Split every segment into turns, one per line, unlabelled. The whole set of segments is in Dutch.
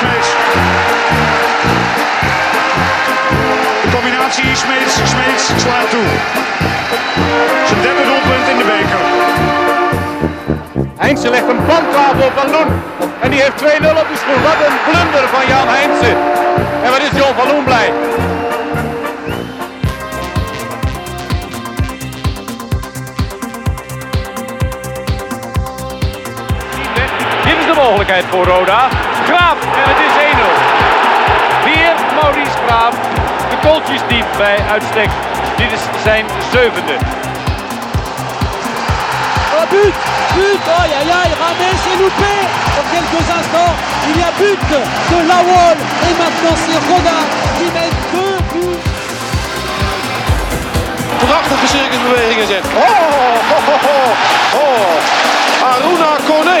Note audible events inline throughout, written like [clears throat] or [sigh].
Smeets. De combinatie Smeets, Smeets slaat toe. Zijn derde doelpunt in de beker.
Heinze legt een bandtafel op Van Loen. En die heeft 2-0 op de schoen. Wat een blunder van Jan Heinze. En wat is John van Loen blij. Dit is de mogelijkheid voor Roda. Graaf en het is 1-0. Weer Maurice Graaf. De kooltjes diep bij uitstek. Dit is zijn zevende.
Oh but But Aïe aïe aïe Ramet s'est loupé En quelques instants, il y a but de Lawol Et maintenant c'est Roda qui met deux buts
prachtige circusbewegingen zet. Oh, oh, oh, oh, oh. Aruna Kone.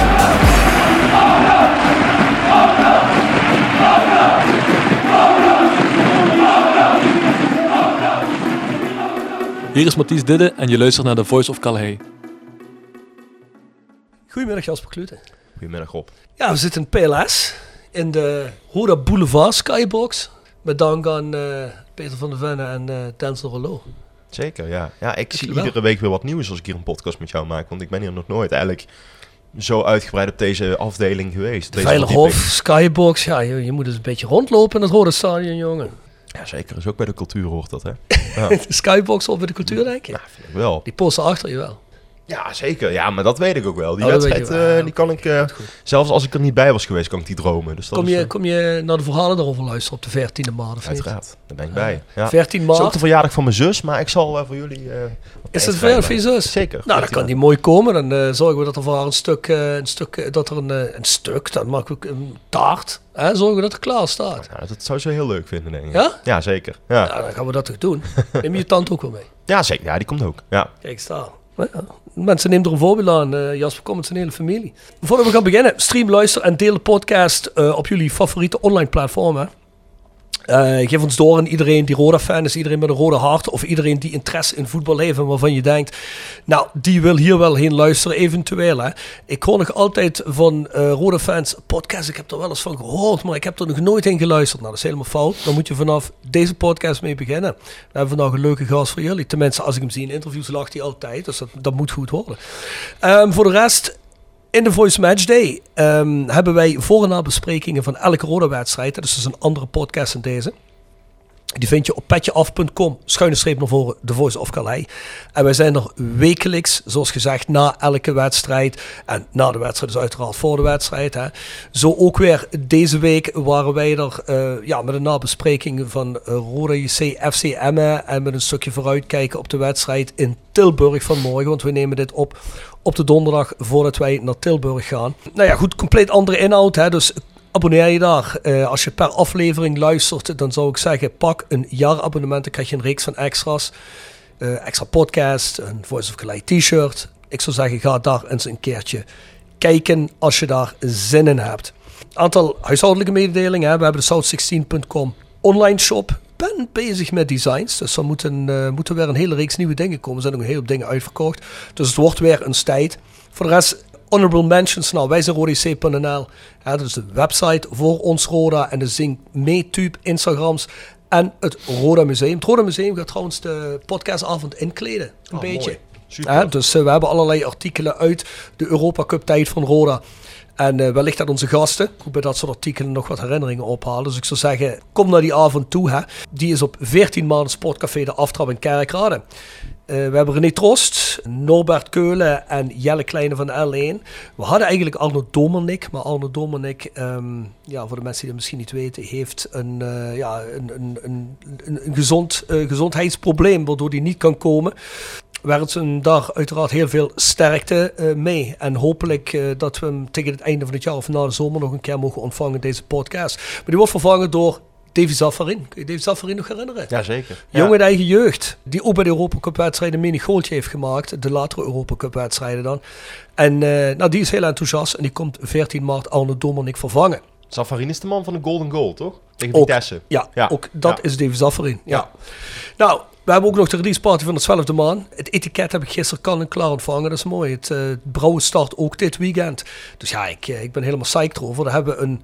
Hier is Mathies Didde en je luistert naar The Voice of Calais.
Goedemiddag Jasper Klute.
Goedemiddag op.
Ja, we zitten in PLS in de Roda Boulevard Skybox met dank aan eh, Peter van der Venne en eh Denzel Rollo.
Zeker, ja. Ja, ik zie
wel.
iedere week weer wat nieuws als ik hier een podcast met jou maak. Want ik ben hier nog nooit eigenlijk zo uitgebreid op deze afdeling geweest. Deze
Veilerhof,
verdieping.
Skybox, ja, je, je moet dus een beetje rondlopen in het Roda Stadion, jongen.
Ja, zeker. Dus ook bij de cultuur hoort dat, hè?
De Skybox over de cultuur, denk je?
Ja, vind ik wel.
Die posten achter je wel.
Ja, zeker. Ja, maar dat weet ik ook wel. Die
Oh, dat
wedstrijd,
weet je wel.
eh,
Ja,
die kan ik... eh, zelfs als ik er niet bij was geweest, kan ik die dromen. Dus dat
Kom
is, eh,
je, kom je naar de verhalen daarover luisteren op de 14e maand? of niet?
Uiteraard, daar ben ik bij. Ja.
14
Het is ook
maart.
de verjaardag van mijn zus, maar ik zal eh, voor jullie... eh, wat
Is
tijd
het veel voor je
vrijmaken.
zus?
Zeker.
Nou, dan kan die mooi komen. Dan eh, zorgen we dat er voor haar een stuk, eh, een stuk eh, dat er een, eh, een stuk, dan maken we ook een taart. Hè? Zorgen we dat er klaar staat.
Ja, nou, dat zou ze heel leuk vinden, denk ik.
Ja?
zeker. Ja, ja.
Nou, dan gaan we dat toch [laughs] doen. Neem je tante ook wel mee.
zeker. Ja, die komt ook. Ja.
Kijk, staan. Ja. Mensen nemen er een voorbeeld aan. eh, Jasper komt met zijn hele familie. Voordat we gaan beginnen, stream, luister en deel de podcast eh, op jullie favoriete online platformen. Eh, geef ons door aan iedereen die Roda-fan is, iedereen met een rode hart of iedereen die interesse in voetbal heeft en waarvan je denkt, nou, die wil hier wel heen luisteren, eventueel. Hè. Ik hoor nog altijd van eh Roda-fans podcast, ik heb er wel eens van gehoord, maar ik heb er nog nooit heen geluisterd. Nou, dat is helemaal fout. Dan moet je vanaf deze podcast mee beginnen. We hebben vandaag een leuke gast voor jullie. Tenminste, als ik hem zie in interviews, lacht hij altijd, dus dat, dat moet goed worden. Ehm, voor de rest, in de Voice Match Day ehm, hebben wij voor- en nabesprekingen van elke rode wedstrijd. Dus dat is een andere podcast dan deze. Die vind je op petjeaf.com, schuine streep naar voren, de Voice of Calais. En wij zijn er wekelijks, zoals gezegd, na elke wedstrijd. En na de wedstrijd, dus uiteraard voor de wedstrijd. Hè. Zo ook weer deze week waren wij er eh, ja, met een nabespreking van eh, Roda JC FC Emmen. En met een stukje vooruitkijken op de wedstrijd in Tilburg vanmorgen. Want we nemen dit op op de donderdag voordat wij naar Tilburg gaan. Nou ja, goed, compleet andere inhoud. Hè, dus Abonneer je daar. Eh, als je per aflevering luistert, dan zou ik zeggen: pak een jaarabonnement. Dan krijg je een reeks van extra's. Eh, extra podcast, een Voice of Calais t-shirt. Ik zou zeggen: ga daar eens een keertje kijken als je daar zin in hebt. Aantal huishoudelijke mededelingen. Hè. We hebben de south16.com online shop. Ik ben bezig met designs, dus er moeten, eh, moeten weer een hele reeks nieuwe dingen komen. Er zijn ook een heleboel dingen uitverkocht. Dus het wordt weer een tijd. Voor de rest, honorable mentions. Nou, wij zijn rodec.nl. Ja, dat is de website voor ons Roda. En de Zing Meetube, Instagrams en het Roda Museum. Het Roda Museum gaat trouwens de podcastavond inkleden. Een
Oh,
beetje.
mooi. Super.
Ja, dus eh, we hebben allerlei artikelen uit de Europa Cup tijd van Roda. En eh, wellicht dat onze gasten ook bij dat soort artikelen nog wat herinneringen ophalen. Dus ik zou zeggen, kom naar die avond toe. Hè. Die is op 14 maanden Sportcafé de Aftrap in Kerkrade. Eh, we hebben René Trost, Norbert Keulen en Jelle Kleine van L1. We hadden eigenlijk Arno Domernik. Maar Arno Domernik, ehm, ja, voor de mensen die dat misschien niet weten, heeft een, eh, ja, een, een, een, een, een gezond, eh, gezondheidsprobleem. Waardoor hij niet kan komen werd een dag uiteraard heel veel sterkte eh, mee. En hopelijk eh, dat we hem tegen het einde van het jaar of na de zomer nog een keer mogen ontvangen, deze podcast. Maar die wordt vervangen door Davy Zaffarin. Kun je Davy Zaffarin nog herinneren?
Jazeker.
Jongen uit eigen jeugd, die ook bij de Europacup-wedstrijden een mini-goaltje heeft gemaakt. De latere Europacup-wedstrijden dan. En eh, nou, die is heel enthousiast en die komt 14 maart Arne Dommernik vervangen.
Safarin is de man van de Golden Goal, toch? Tegen
Ook.
Vitesse.
Ja,
Ja.
ook dat
Ja.
is Davy Zaffarin. Ja.
Ja.
Nou, we hebben ook nog de release party van de 12e maan. Het etiket heb ik gisteren kan en klaar ontvangen. Dat is mooi. Het eh, het brouwen start ook dit weekend. Dus ja, ik, eh, ik ben helemaal psyched over. Dan hebben we een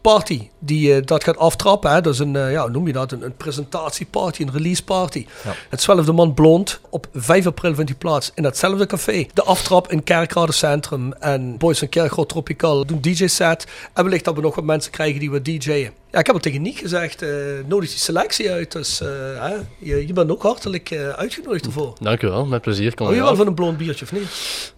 party die eh, dat gaat aftrappen. Hè. Dus een, eh, ja, hoe noem je dat? Een, een presentatieparty, een release party. Het 12e man blond. Op 5 april vindt die plaats in datzelfde café. De aftrap in Kerkrade Centrum. En Boys van Kerkrade Tropical doen DJ-set. En wellicht dat we nog wat mensen krijgen die we DJ'en. Ja, ik heb al tegen Niek gezegd, eh, nodig die selectie uit. Dus eh, hè, je, je bent ook hartelijk eh, uitgenodigd ervoor.
Dankjewel, met plezier. Kan
Hou je
wel.
wel van een blond biertje of niet?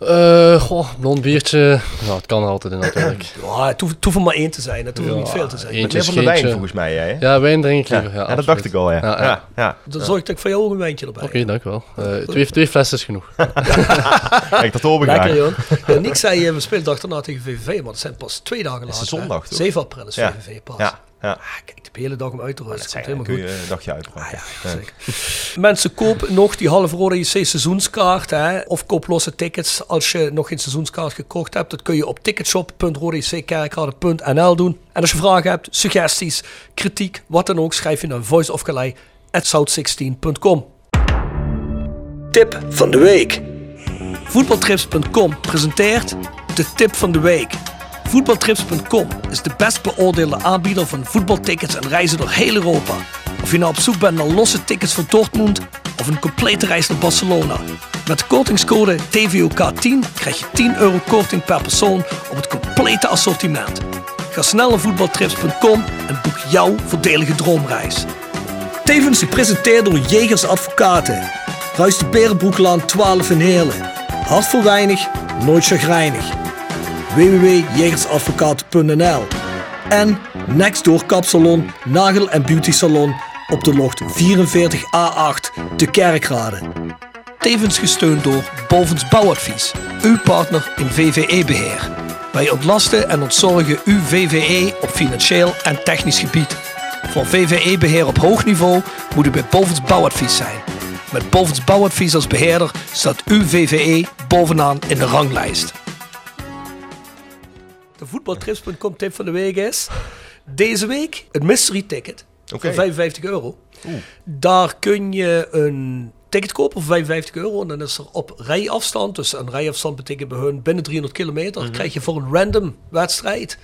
Eh, goh, blond biertje. Ja, het kan altijd
[laughs]
natuurlijk.
Ja, het hoeft het hoeft er maar één te zijn. Het hoeft er niet veel te zijn.
Eentje,
Meneer van de Wijn,
scheentje.
volgens mij, jij. hè?
Ja, wijn drink ik
eh, Ja,
liever. Ja,
ja, dat
absoluut.
dacht ik al, ja.
Ja, ja.
ja. ja.
Dan zorg ik dat ik voor jou ook een wijntje erbij
Oké, dankjewel. Eh, twee, twee flessen is genoeg.
Kijk, dat horen we
Lekker,
[laughs] graag.
joh. Ja, Nick zei, eh, we spelen de dag daarna tegen VVV, maar dat zijn pas twee dagen later.
is
hè.
zondag, toch?
7 april is
Ja.
VVV pas.
Ja, ja.
Ah, kijk, ik heb de hele dag om uit te rusten. Het komt
Dan kun
helemaal
je
goed.
een dagje uitbreiden.
Ah, ja, zeker. Mensen, koop nog die halve rode JC seizoenskaart. Hè, of koop losse tickets als je nog geen seizoenskaart gekocht hebt. Dat kun je op ticketshop.rodejckerkrade.nl doen. En als je vragen hebt, suggesties, kritiek, wat dan ook, schrijf je naar voiceofkalei.south16.com. Tip van de week. Voetbaltrips.com presenteert de tip van de week. Voetbaltrips.com is de best beoordeelde aanbieder van voetbaltickets en reizen door heel Europa. Of je nou op zoek bent naar losse tickets voor Dortmund of een complete reis naar Barcelona. Met de kortingscode TVOK10 krijg je 10 euro korting per persoon op het complete assortiment. Ga snel naar voetbaltrips.com en boek jouw voordelige droomreis. Tevens gepresenteerd door Jegers Advocaten. Ruist de Berenbroeklaan 12 in Heerlen. Hart voor weinig, nooit chagrijnig. www.jegersadvocaten.nl En Nextdoor Kapsalon, Nagel en Beauty Salon op de locht 44A8 te Kerkrade. Tevens gesteund door Bovens Bouwadvies, uw partner in VVE-beheer. Wij ontlasten en ontzorgen uw VVE op financieel en technisch gebied. Voor VVE-beheer op hoog niveau moet u bij Bovens Bouwadvies zijn. Met Bovens Bouwadvies als beheerder staat uw VVE bovenaan in de ranglijst. De voetbaltrips.com tip van de week is... Deze week het mystery ticket
Oké.
voor 55 euro. Daar kun je een ticket kopen voor 55 euro. En dan is er op rijafstand, dus een rijafstand betekent bij hun binnen 300 kilometer, krijg je voor een random wedstrijd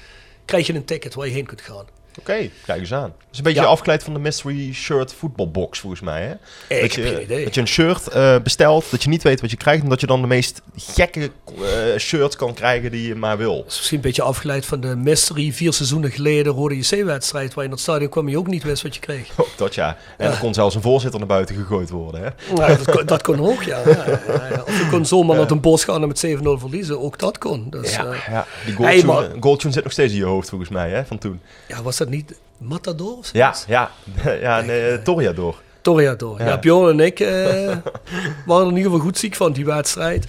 krijg je een ticket waar je heen kunt gaan.
Oké, kijk eens aan. Het is een beetje
Ja.
afgeleid van de mystery shirt voetbalbox, volgens mij, hè?
Ik
dat,
heb geen
je,
idee.
dat je een shirt eh, bestelt, dat je niet weet wat je krijgt... en dat je dan de meest gekke eh, shirt kan krijgen die je maar wil.
Dat is misschien een beetje afgeleid van de mystery vier seizoenen geleden Rode JC-wedstrijd, waar je in het stadion kwam en je ook niet wist wat je kreeg.
Ook [laughs] dat, ja. En er kon zelfs een voorzitter naar buiten gegooid worden, hè?
Ja, dat, kon, dat kon ook, ja. ja, ja, ja. Of je kon zomaar naar een bos gaan en met 7-0 verliezen, ook dat kon. Dus, ja.
Ja, die
Hey,
goaltune,
maar-
goaltune zit nog steeds in je hoofd, volgens mij, hè? Van toen.
ja, was dat niet Matador of zo?
Ja, ja. [laughs] ja nee, Toriador.
Toriador. Ja, Bjorn en ik eh, waren er in ieder geval goed ziek van die wedstrijd.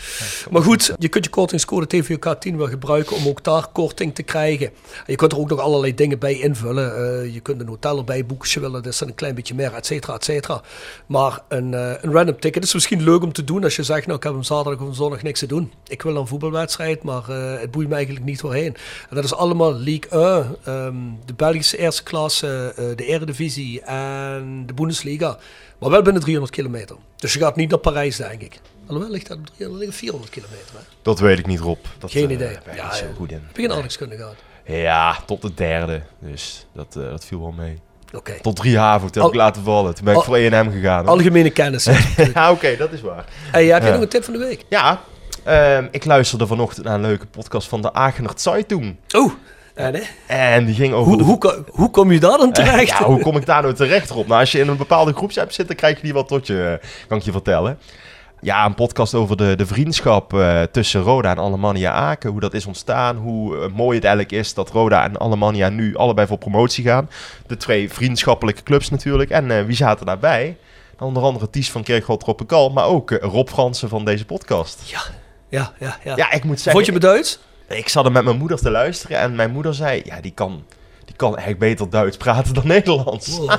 maar goed, je kunt je kortingscode TVK10 wel gebruiken om ook daar korting te krijgen. En je kunt er ook nog allerlei dingen bij invullen. Eh, je kunt een hotel erbij boeken als je wil, dat is dan een klein beetje meer, et cetera, et cetera. Maar een, eh, een random ticket is misschien leuk om te doen als je zegt, nou ik heb hem zaterdag of zondag niks te doen. Ik wil een voetbalwedstrijd, maar eh, het boeit me eigenlijk niet waarheen. En dat is allemaal League 1, ehm, de Belgische eerste klasse, eh, de Eredivisie en de Bundesliga. Maar wel binnen 300 kilometer. Dus je gaat niet naar Parijs, denk ik. Alhoewel ligt dat op 300, ligt 400 kilometer. Hè?
Dat weet ik niet, Rob. Dat,
Geen
eh,
idee.
ben ik
Ja,
niet zo
ja.
goed in.
Ik begin aardrijkskunde gehad.
Ja, tot de derde. Dus dat, eh, dat viel wel mee.
Oké.
Tot drie haven heb ik
Al-
laten vallen. Toen ben ik
Al-
voor 1M gegaan. hoor.
Algemene kennis.
[laughs] ja, oké, dat is waar.
Hey, heb jij
Ja.
nog een tip van de week?
Ja, Ehm, ik luisterde vanochtend naar een leuke podcast van de Agener Zeitung.
Oh, en, hè?
En die ging over...
hoe,
de-
hoe, ko- hoe kom je daar dan
Eh,
terecht?
ja, hoe kom ik daar nou terecht op? Nou, als je in een bepaalde groepsapp zit, dan krijg je die wel tot je, eh, kan ik je vertellen. Ja, een podcast over de, de vriendschap eh, tussen Roda en Alemannia Aken. Hoe dat is ontstaan, hoe eh, mooi het eigenlijk is dat Roda en Alemannia nu allebei voor promotie gaan. De twee vriendschappelijke clubs natuurlijk. En eh, wie zaten daarbij? Nou, Onder andere Ties van Kerkrot Roppekal, maar ook eh, Rob Fransen van deze podcast.
[laughs] ja, ja, ja.
Ja, ik moet zeggen...
Vond je me Duits?
Ik zat er met mijn moeder te luisteren en mijn moeder zei... Ja, die kan, die kan echt beter Duits praten dan Nederlands.
Wow.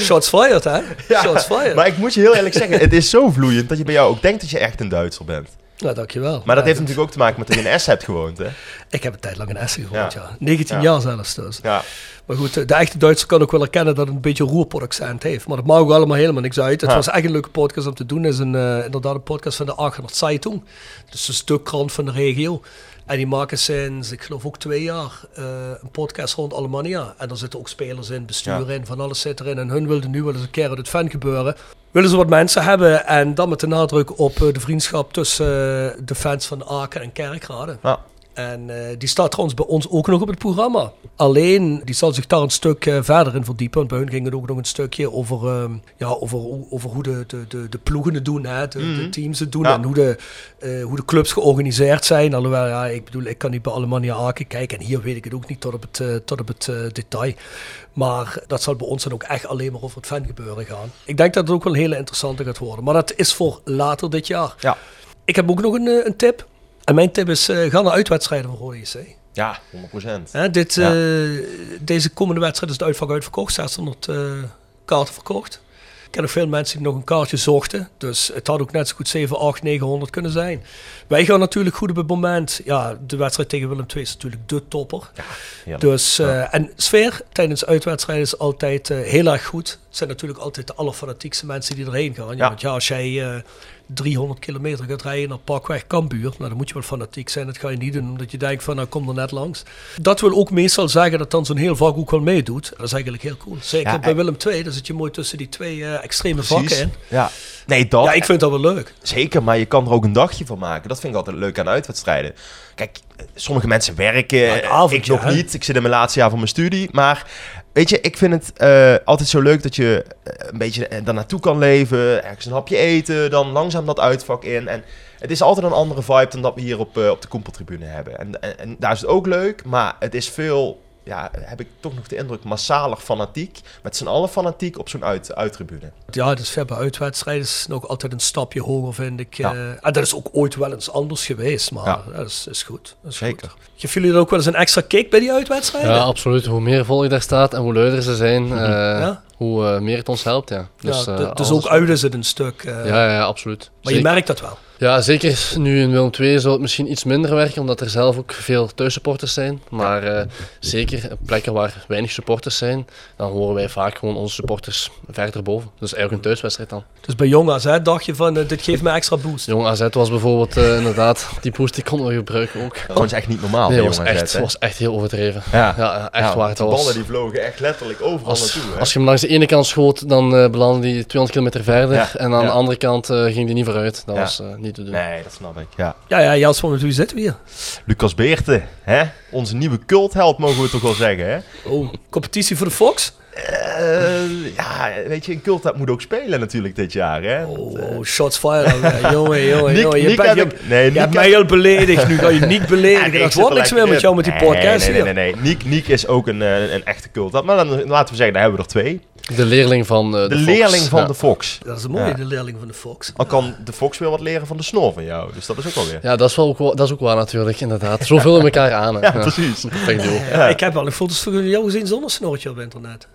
Shots fired, hè?
Oh. Ja,
Shots fired.
Maar ik moet je heel eerlijk zeggen, het is zo vloeiend dat je bij jou ook denkt dat je echt een Duitser bent.
Nou, dankjewel.
Maar
Ja,
dat heeft natuurlijk ook te maken met dat je in S hebt gewoond, hè?
Ik heb een tijd lang in Essen gewoond, ja.
Ja.
19
Ja.
jaar zelfs dus.
Ja.
Maar goed, de echte Duitser kan ook wel erkennen dat het een beetje een roerproducent heeft. Maar dat maakt ook allemaal helemaal niks uit. Het
Ja.
was echt een leuke podcast om te doen. Het is een, eh, inderdaad een podcast van de Aachener Zeitung. Dus een stukkrant van de regio. En die maken sinds, ik geloof ook twee jaar, eh, een podcast rond Alemannia. En daar zitten ook spelers in, bestuur
Ja.
in, van alles zit erin. En hun wilden nu wel eens een keer uit het fan gebeuren. Willen ze wat mensen hebben en dan met de nadruk op eh, de vriendschap tussen eh, de fans van Aken en Kerkrade.
Ja.
En eh, die staat trouwens bij ons ook nog op het programma. Alleen, die zal zich daar een stuk eh, verder in verdiepen. Want bij hun ging het ook nog een stukje over, ehm, ja, over, hoe- over hoe de, de, de, de ploegen het doen, hè, de, de teams het doen.
Ja.
En hoe de, eh, hoe de clubs georganiseerd zijn. Alhoewel, ja, ik bedoel, ik kan niet bij Alemannia Aken kijken. En hier weet ik het ook niet tot op het, eh, tot op het eh, detail. Maar dat zal bij ons dan ook echt alleen maar over het fangebeuren gaan. Ik denk dat het ook wel een hele interessante gaat worden. Maar dat is voor later dit jaar.
Ja.
Ik heb ook nog een, eh, een tip. En mijn tip is, eh, ga naar uitwedstrijden van Rode JC.
Ja, 100%.
Hè, dit,
Ja.
eh, deze komende wedstrijd is de uitvak uitverkocht. 600 eh, kaarten verkocht. Ik ken ook veel mensen die nog een kaartje zochten. Dus het had ook net zo goed 7, 8, 900 kunnen zijn. Wij gaan natuurlijk goed op het moment. Ja, de wedstrijd tegen Willem II is natuurlijk de topper.
heerlijk.
dus, eh, En sfeer tijdens uitwedstrijden is altijd eh, heel erg goed. Het zijn natuurlijk altijd de allerfanatiekste mensen die erheen gaan. Ja.
Ja.
Want ja, als jij eh, 300 kilometer gaat rijden naar Parkweg Kambuur, nou, dan moet je wel fanatiek zijn. Dat ga je niet doen omdat je denkt van, nou kom er net langs. Dat wil ook meestal zeggen dat dan zo'n heel vak ook wel meedoet. Dat is eigenlijk heel cool. Zeker
Ja,
bij
en-
Willem II, dan zit je mooi tussen die twee eh, extreme vakken
Precies. Oh,
in.
Ja. Nee, dat
Ja, ik vind dat wel leuk.
zeker, maar je kan er ook een dagje van maken. Dat vind ik altijd leuk aan uitwedstrijden. Kijk, eh, sommige mensen werken,
een
eh,
avondje,
ik nog
hè?
niet. Ik zit in mijn laatste jaar van mijn studie, maar... Weet je, ik vind het eh, altijd zo leuk dat je eh, een beetje eh, daar naartoe kan leven. Ergens een hapje eten, dan langzaam dat uitvak in. En het is altijd een andere vibe dan dat we hier op, eh, op de Koempeltribune hebben. En, en, en daar is het ook leuk, maar het is veel, ja, heb ik toch nog de indruk, massaler fanatiek. Met z'n allen fanatiek op zo'n uit, uittribune.
Ja, dus ver bij uitwedstrijden is nog altijd een stapje hoger, vind ik.
Ja.
Eh, en dat is ook ooit wel eens anders geweest, maar
Ja.
dat is, is goed. Dat is
Zeker.
Goed. Geven jullie er ook wel eens een extra kick bij die uitwedstrijden?
Ja, absoluut. Hoe meer volk daar staat en hoe leuker ze zijn,
Mhm.
eh,
Ja?
hoe eh, meer het ons helpt. Ja. Dus,
ja,
eh,
d- dus
alles-
ook uit is het een stuk. eh,
Ja, ja, ja, absoluut.
Maar je
Zeker.
merkt dat wel.
Ja, zeker nu in Willem II zal het misschien iets minder werken, omdat er zelf ook veel thuissupporters zijn. Maar eh, zeker op plekken waar weinig supporters zijn, dan horen wij vaak gewoon onze supporters verder boven. Dus eigenlijk een thuiswedstrijd dan.
Dus bij Jong AZ dacht je van, eh, dit geeft me extra boost.
Jong AZ was bijvoorbeeld eh, inderdaad, die boost die konden we gebruiken ook.
Gewoon is echt niet normaal.
Nee,
bij
het was
jongens
echt,
uit, hè?
was echt heel overdreven.
Ja.
Ja, ja, echt
Ja,
waar. Het
die
was,
ballen die vlogen echt letterlijk overal
als,
naartoe. hè?
als je hem langs de ene kant schoot, dan eh belandde die 200 kilometer verder.
Ja,
En aan
ja.
de andere kant eh, ging die niet vooruit. Dat
Ja.
was eh, niet te doen.
Nee, dat snap ik. Ja.
Ja, ja, Jasper, met wie zitten we hier?
Lucas Beerte, hè? onze nieuwe cultheld mogen we toch wel zeggen. Hè?
Oh, competitie voor de Fox?
Eh, ja, weet je, een cultheld moet ook spelen natuurlijk dit jaar. Hè?
Oh, shots fired.
[laughs]
jongen, jongen, jongen.
Nick-
je
Nick
bent-
heb
je,
ik- nee,
je
Nick
hebt mij
heb-
heel beledigd. Nu
[laughs]
ga je niet
Ja,
beledigen.
nee, ik
dat
zit
wordt
er
niks
lekker
meer met
in.
jou met die
Nee,
podcast
Nee, nee, nee.
hier.
nee. Niek, Niek is ook een, eh, een, een echte cultheld. Maar dan, laten we zeggen, daar hebben we er twee.
De leerling van eh, de,
De,
Fox.
leerling van
Ja.
de Fox.
Dat is een mooie,
Ja.
de leerling van de Fox.
Al kan de Fox weer wat leren van de snor van jou. Dus dat is ook alweer.
Ja, dat is, wel ook, wa- dat is ook waar natuurlijk, inderdaad. Zo vullen we elkaar aan. Hè.
Ja, precies.
Dat vind ik ook.
Ja, ik heb wel een foto's van jou gezien zonder snorretje op internet.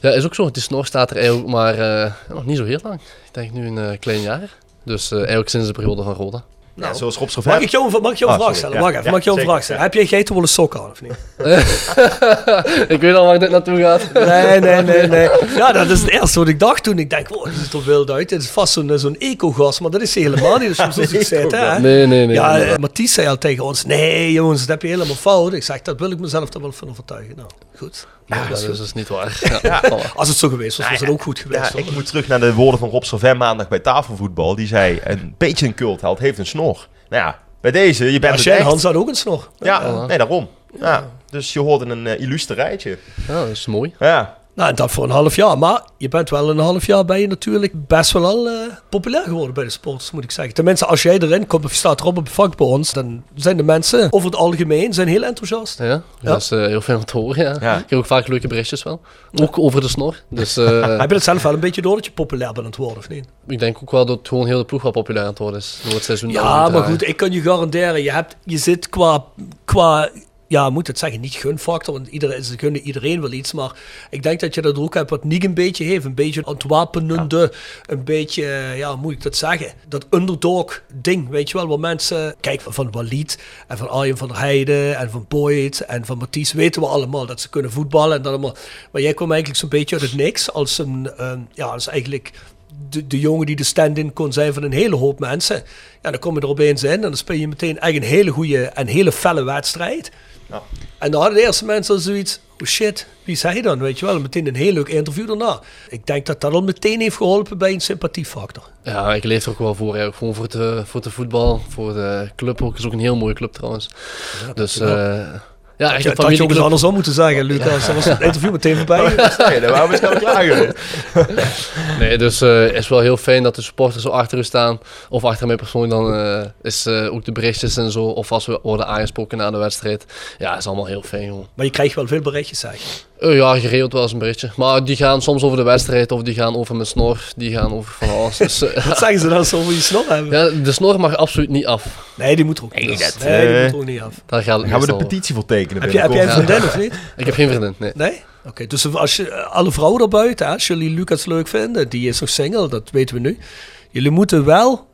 Ja, is ook zo. Die snor staat er eigenlijk maar eh, nog niet zo heel lang. Ik denk nu een eh, klein jaar. Dus eh, eigenlijk sinds de periode van Roda. [laughs]
Ja, zoals Rob
Nou. Mag
Schrevert.
ik jou, een- mag ik jou een
Ah,
vraag
sorry,
stellen?
ja.
Wacht even,
Ja,
mag ik jou een
zeker,
vraag stellen? Heb jij geitenwolle sokken aan of
[laughs]
niet?
Ik weet al waar dit naartoe gaat.
Nee, nee, nee, nee. Ja, dat is het eerste wat ik dacht toen. Ik denk, wow, dit ziet er wild uit. Dit is vast zo'n eh, zo'n eco-gas, maar dat is hij helemaal
[laughs]
niet. Dus soms is het zitten, hè?
Nee, nee, nee.
ja,
nee, nee.
eh, Matthijs zei al tegen ons, nee jongens, dat heb je helemaal fout. Ik zeg, dat wil ik mezelf er wel van overtuigen. Nou, goed.
Ja, dat is dus niet waar. Ja, voilà.
Als het zo geweest was, was het ook goed
Ja,
geweest. hoor.
ik moet terug naar de woorden van Rob Servet maandag bij tafelvoetbal. Die zei, een beetje een cultheld heeft een snor. Nou ja, bij deze, je bent
Als
het
jij
echt.
Hans had ook een snor.
Ja,
Ja.
nee, daarom. Ja. Dus je hoort in een eh, illustre rijtje.
Ja, dat is mooi.
Ja.
Nou, en dat voor een half jaar. Maar je bent wel een half jaar ben je natuurlijk best wel al eh, populair geworden bij de sporters, moet ik zeggen. Tenminste, als jij erin komt of je staat erop op het vak bij ons, dan zijn de mensen over het algemeen zijn heel enthousiast.
Ja, dat is eh, heel fijn om te horen. Ja.
Ja.
Ik heb ook vaak leuke berichtjes wel. Ook over de snor. Dus
[laughs]
eh,
Heb je dat zelf wel een beetje door dat je populair bent aan het worden, of niet?
ik denk ook wel dat gewoon heel de ploeg wat populair aan het worden is. Door het seizoen
Ja,
aan te
maar
draaien.
goed, ik kan je garanderen, je, hebt, je zit qua, qua, ja, moet het zeggen, niet gunfactor, want iedereen, ze gunnen iedereen wel iets, maar ik denk dat je dat ook hebt wat Niek een beetje heeft, een beetje ontwapenende, een beetje, eh, ja, hoe moet ik dat zeggen, dat underdog ding, weet je wel, waar mensen, kijk, van- van Walid en van Arjen van der Heijden en van Boyd en van Mathies weten we allemaal dat ze kunnen voetballen en dat allemaal, maar jij kwam eigenlijk zo'n beetje uit het niks als een, ehm, ja, als eigenlijk de, de jongen die de stand-in kon zijn van een hele hoop mensen. Ja, dan kom je er opeens in en dan speel je meteen echt een hele goede en hele felle wedstrijd.
Ja.
En dan hadden de eerste mensen al zoiets, oh shit, wie is hij dan, weet je wel. En meteen een heel leuk interview daarna. Ik denk dat dat al meteen heeft geholpen bij een sympathiefactor.
Ja, ik leef er ook wel voor. hè. Ook Gewoon voor de, voor de voetbal, voor de club ook. Het is ook een heel mooie club trouwens. dus eh, ja,
Ja, dat had
echt een
je ook eens
familieclub.
andersom moeten zeggen, Lucas. Dan was het interview meteen voorbij.
Daar sta je, daar waren we snel klaar geweest.
Nee, dus eh, het is wel heel fijn dat de supporters zo achter u staan. Of achter mij persoonlijk dan eh, is eh, ook de berichtjes en zo. Of als we worden aangesproken na de wedstrijd. Ja, is allemaal heel fijn gewoon.
Maar je krijgt wel veel berichtjes, zeg je.
Eh, ja, geregeld wel eens een berichtje. Maar die gaan soms over de wedstrijd of die gaan over mijn snor. Die gaan over van alles. Dus, eh, [laughs]
Wat zeggen ze dan als ze over je snor hebben?
ja, de snor mag absoluut niet af.
Nee, die moet er ook niet af.
dat,
Nee, die
eh,
moet er ook niet af.
Daar
Dan
gaat het
gaan we de
meestal over.
petitie voor tekenen
Heb, je, heb jij een
binnenkort.
vriendin of niet?
Ik heb geen vriendin, nee.
Nee? Oké, dus als je, eh, alle vrouwen daarbuiten, hè, als jullie Lucas leuk vinden, die is nog single, dat weten we nu. Jullie moeten wel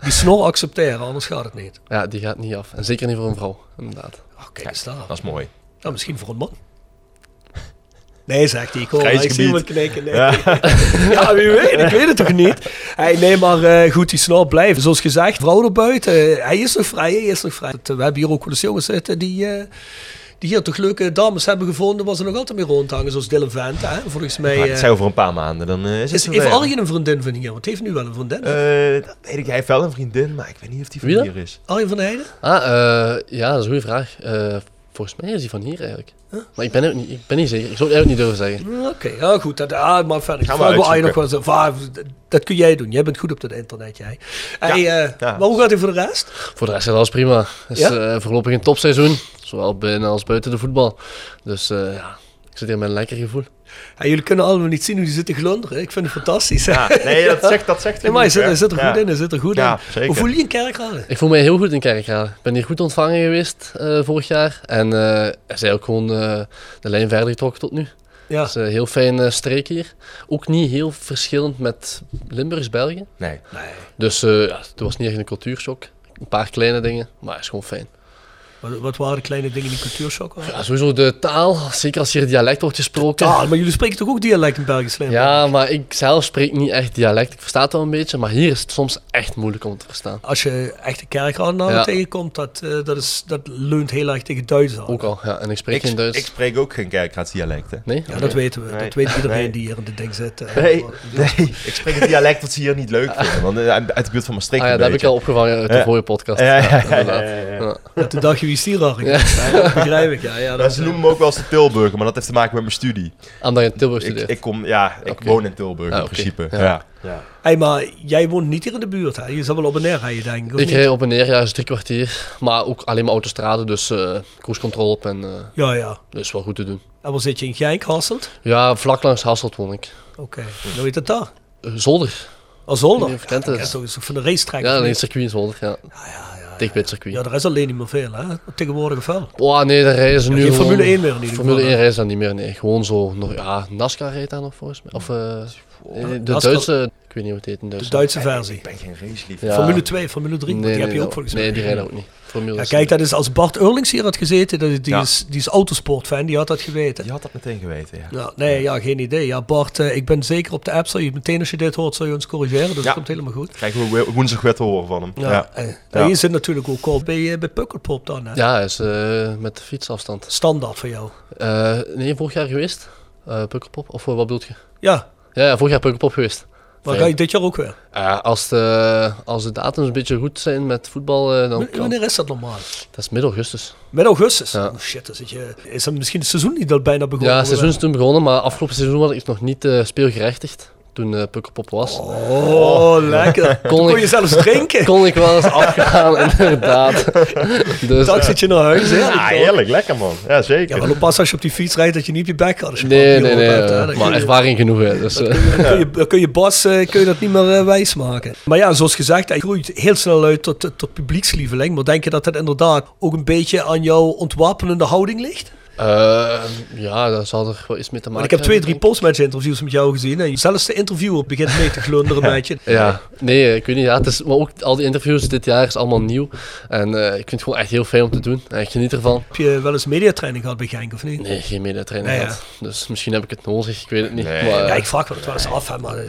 die snor [laughs] accepteren, anders gaat het niet.
Ja, die gaat niet af. En zeker niet voor een vrouw, inderdaad.
Oké, kijk eens daar.
Dat is mooi.
Nou, misschien voor een man. [laughs] Nee, zegt hij. Ik hoor
Grijs
ik zie
gebied.
wat knikken. Nee. [laughs] Ja. wie weet. Ik weet het toch niet. Hey, nee, maar eh, goed, die snor blijft. Zoals gezegd, vrouw erbuiten. eh, hij is nog vrij, hij is nog vrij. Het, eh, we hebben hier ook wel eens jongens zitten die... eh, die hier toch leuke dames hebben gevonden, was er nog altijd mee rondhangen, zoals Dylan Vent. Hè? Volgens mij.
Maar
eh,
het zijn over een paar maanden, dan eh, is het
Is
er
heeft
weer.
Arjen een vriendin van hier? Want heeft nu wel een vriendin.
Eh, dat weet ik, hij heeft wel een vriendin, maar ik weet niet of die van
Wie dan?
hier is.
Arjen van Heijden?
Ah, eh, ja, dat is een goede vraag. Eh, volgens mij is die van hier eigenlijk. Maar ik ben, ook niet, ik ben niet zeker. Ik zou het eigenlijk niet durven zeggen.
Mm, Oké, ja, goed. Dat, ah, maar verder.
Gaan
Gaan
we
we Arjen
uitzoeken.
nog wel zo. Ah, dat- dat kun jij doen. Jij bent goed op dat internet, jij. Hey, eh,
ja.
Maar hoe gaat het voor de rest?
Voor de rest is alles prima. Het is
Ja?
eh, voorlopig een topseizoen. Zowel binnen als buiten de voetbal. Dus eh, ja, ik zit hier met een lekker gevoel.
Hey, jullie kunnen allemaal niet zien hoe die zitten glunderen. Ik vind het fantastisch.
Ja, Ah, nee, dat zegt, dat
[laughs]
zegt
Nee, maar hij
genoeg,
zit,
hè?
hij zit er goed
Ja.
in. Hij zit er goed
Ja,
in.
zeker.
Hoe voel je je in Kerkrade?
Ik voel mij heel goed in Kerkrade. Ik ben hier goed ontvangen geweest eh, vorig jaar. En eh, er zijn ook gewoon eh, de lijn verder getrokken tot nu.
Ja.
Het is een heel fijne streek hier. Ook niet heel verschillend met Limburgs-België.
Nee.
Nee.
Dus eh ja, het was niet echt een cultuurshock. Een paar kleine dingen, maar het is gewoon fijn.
Wat, wat waren de kleine dingen die cultuurshock waren?
Ja, sowieso de taal, zeker als hier dialect wordt gesproken.
Ah, maar jullie spreken toch ook dialect in Belgisch Limburg?
Ja, maar ik zelf spreek niet echt dialect. Ik versta het wel een beetje, maar hier is het soms echt moeilijk om te verstaan.
Als je echte kerkradenaren
Ja.
tegenkomt, dat, eh, dat, is, dat leunt heel erg tegen Duits aan.
Ook al, ja. En ik spreek
Ik,
geen Duits.
ik spreek ook geen kerkraadsdialect, hè.
nee? Ah,
Ja,
Oké.
dat weten we.
Nee.
Dat weet iedereen
Nee.
die hier in dit ding zit. eh.
Nee, nee, ik spreek het dialect dat ze hier niet leuk vinden. Want eh, uit de buurt van Maastricht
Ah ja,
een
dat heb ik
beetje.
al opgevangen uit de
Ja.
vorige podcast.
Ja, ja, ja,
inderdaad.
ja, ja.
Ja.
Dat de dag je is hier al. Ja, dat begrijp ik. Ja, ja,
Ja,
dat,
Nou, ze noemen me ook wel eens de Tilburger, maar dat heeft te maken met mijn studie.
Omdat je in Tilburg
Ik,
studeert.
ik kom, ja, ik
Oké.
woon in Tilburg
Ah,
in
oké.
principe.
Ja.
Ja.
Hey, maar jij woont niet hier in de buurt. Hè? Je zal wel op en neer rijden, denk ik. of
Ik eh,
niet?
reed op en neer, ja, is drie kwartier. Maar ook alleen maar autostraden, dus eh cruise control op en eh
Ja, ja.
dat is wel goed te doen.
En waar zit je in Genk, Hasselt?
Ja, vlak langs Hasselt woon ik.
Oké, dan weet het daar.
Eh, Zolder.
Als
Ik weet
zolder.
niet of je kent
Dat
het.
is toch is toch van de racetrack?
Ja,
of
alleen
niet?
het circuit is Zolder, ja. Dicht bij het circuit.
ja, er is alleen niet meer veel, hè? Tegenwoordig wel.
Oh nee, daar rijden ze nu
geen
gewoon-
Formule 1 meer in ieder
Formule
geval,
1 rijden ze dan niet meer, nee. Gewoon zo, nog, ja, NASCAR rijdt daar nog volgens mij. Of eh, de
NASCAR.
Duitse, ik weet niet hoe het heet in
De
Duitsland.
Duitse versie.
Ik ben geen raceliefhebber.
Ja.
Formule 2, Formule 3,
Nee,
die heb
nee,
je ook
dat-
volgens mij.
Nee, die rijden ook niet. Formule
Ja,
is-
kijk, dat is als Bart Eurlings hier had gezeten, dat is, die,
Ja.
is, die is autosportfan, die had dat geweten.
Je had dat meteen geweten, ja.
Ja, nee, ja, geen idee. Ja, Bart, eh, ik ben zeker op de app. Zal je meteen als je dit hoort, zal je ons corrigeren. Dus
Ja.
dat komt helemaal goed.
Krijgen we wo- woensdag weer te horen van hem.
Ja.
Ja.
eh,
Ja.
en je zit natuurlijk ook al bij, eh, bij Pukkelpop dan. Hè?
Ja, is eh, met de fietsafstand.
Standaard voor jou.
Eh, nee, vorig jaar geweest. Eh Pukkelpop, of eh, wat bedoel je?
Ja,
Ja, ja, vorig jaar Pukkelpop geweest.
Maar
Nee.
ga je dit jaar ook weer?
Eh, als, de, als de datums een beetje goed zijn met voetbal, eh, dan
W-
kan...
Wanneer is dat normaal?
Dat is midden augustus.
Met augustus?
Ja.
Oh shit, dan zit je, is dan misschien het seizoen niet al bijna begonnen?
Ja, het seizoen is toen begonnen, maar afgelopen seizoen was ik nog niet eh, speelgerechtigd. Toen eh Pukkelpop was.
Oh, lekker. Kon,
[laughs] Kon
kon
ik-
je zelfs drinken.
Kon ik wel eens afgaan, [laughs] inderdaad. Dus,
Dag zit je naar huis, hè?
Ja, heerlijk. Lekker, man. Ja, zeker.
Ja, wel oppassen als je op die fiets rijdt dat je niet op je bek gaat. Als je
eh, nee,
gewoon
nee,
bier op
nee.
hebt, hè. Dan
eh,
kun
Maar
je-
ervaring genoeg, hè. Dus, eh,
Dan kun je, dan kun je Bas eh, kun je dat niet meer eh, wijsmaken. Maar ja, zoals gezegd, hij groeit heel snel uit tot, tot- tot publiekslieveling. Maar denk je dat dat inderdaad ook een beetje aan jouw ontwapenende houding ligt?
eh, ja, daar zal er wel iets mee te maken
Want ik heb twee, drie
hebben,
postmatch-interviews met jou gezien. En zelfs de interviewer begint mee te glunderen met je.
denk ik. Ja, nee, eh, ik weet niet. Ja, het is, maar ook al die interviews dit jaar is allemaal nieuw. En eh, ik vind het gewoon echt heel fijn om te doen. En ik geniet ervan.
Heb je wel eens mediatraining gehad bij Genk of niet?
Nee, geen mediatrainer
Nee,
gehad. Dus misschien heb ik het nodig, ik weet het niet.
Nee.
Maar, eh,
Nou Ja, ik vraag me dat wel eens af, hè, maar eh,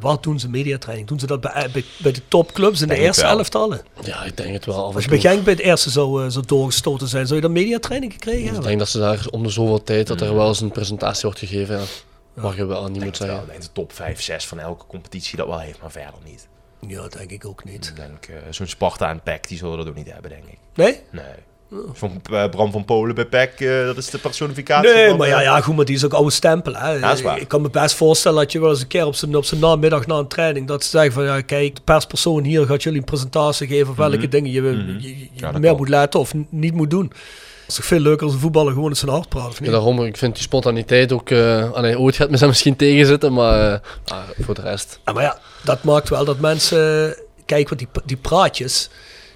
wat doen ze mediatraining? Doen ze dat bij, eh, bij, bij de topclubs in de
Denk het
eerste
wel.
elftallen?
eh, ja, ik denk het wel. af en
Als je bij
toe.
Genk bij het eerste zou, eh, zou doorgestoten zijn, zou je dan mediatraining gekregen
Ik
hebben?
denk dat ze daar om de zoveel tijd dat
Mm.
er wel eens een presentatie wordt gegeven. Ja. Mag je wel niet moet
Ja,
zeggen.
alleen de top 5, 6 van elke competitie dat wel heeft, maar verder niet.
Ja, denk ik ook niet.
Ik denk, eh, zo'n Sparta en PEC, die zullen dat ook niet hebben, denk ik.
Nee?
Nee. Van eh, Bram van Polen bij PEC, eh, dat is de personificatie
Nee,
van,
maar ja,
eh, [laughs]
ja, goed, maar die is ook oude stempel. Hè.
dat is waar.
Ik kan me best voorstellen dat je wel eens een keer op zijn, op zijn namiddag na een training dat ze zeggen van ja, kijk, de perspersoon hier gaat jullie een presentatie geven van welke dingen je, je- je
Mhm. Ja, dat
meer
kan.
moet letten of n- niet moet doen. Het is toch veel leuker als een voetballer gewoon eens zijn hart praat. of niet?
Ja, daarom, ik vind die spontaniteit ook... eh allee, ooit gaat me daar misschien tegenzitten, maar eh, ah, voor de rest...
Ja, maar ja, dat maakt wel dat mensen. Kijk, want die, die praatjes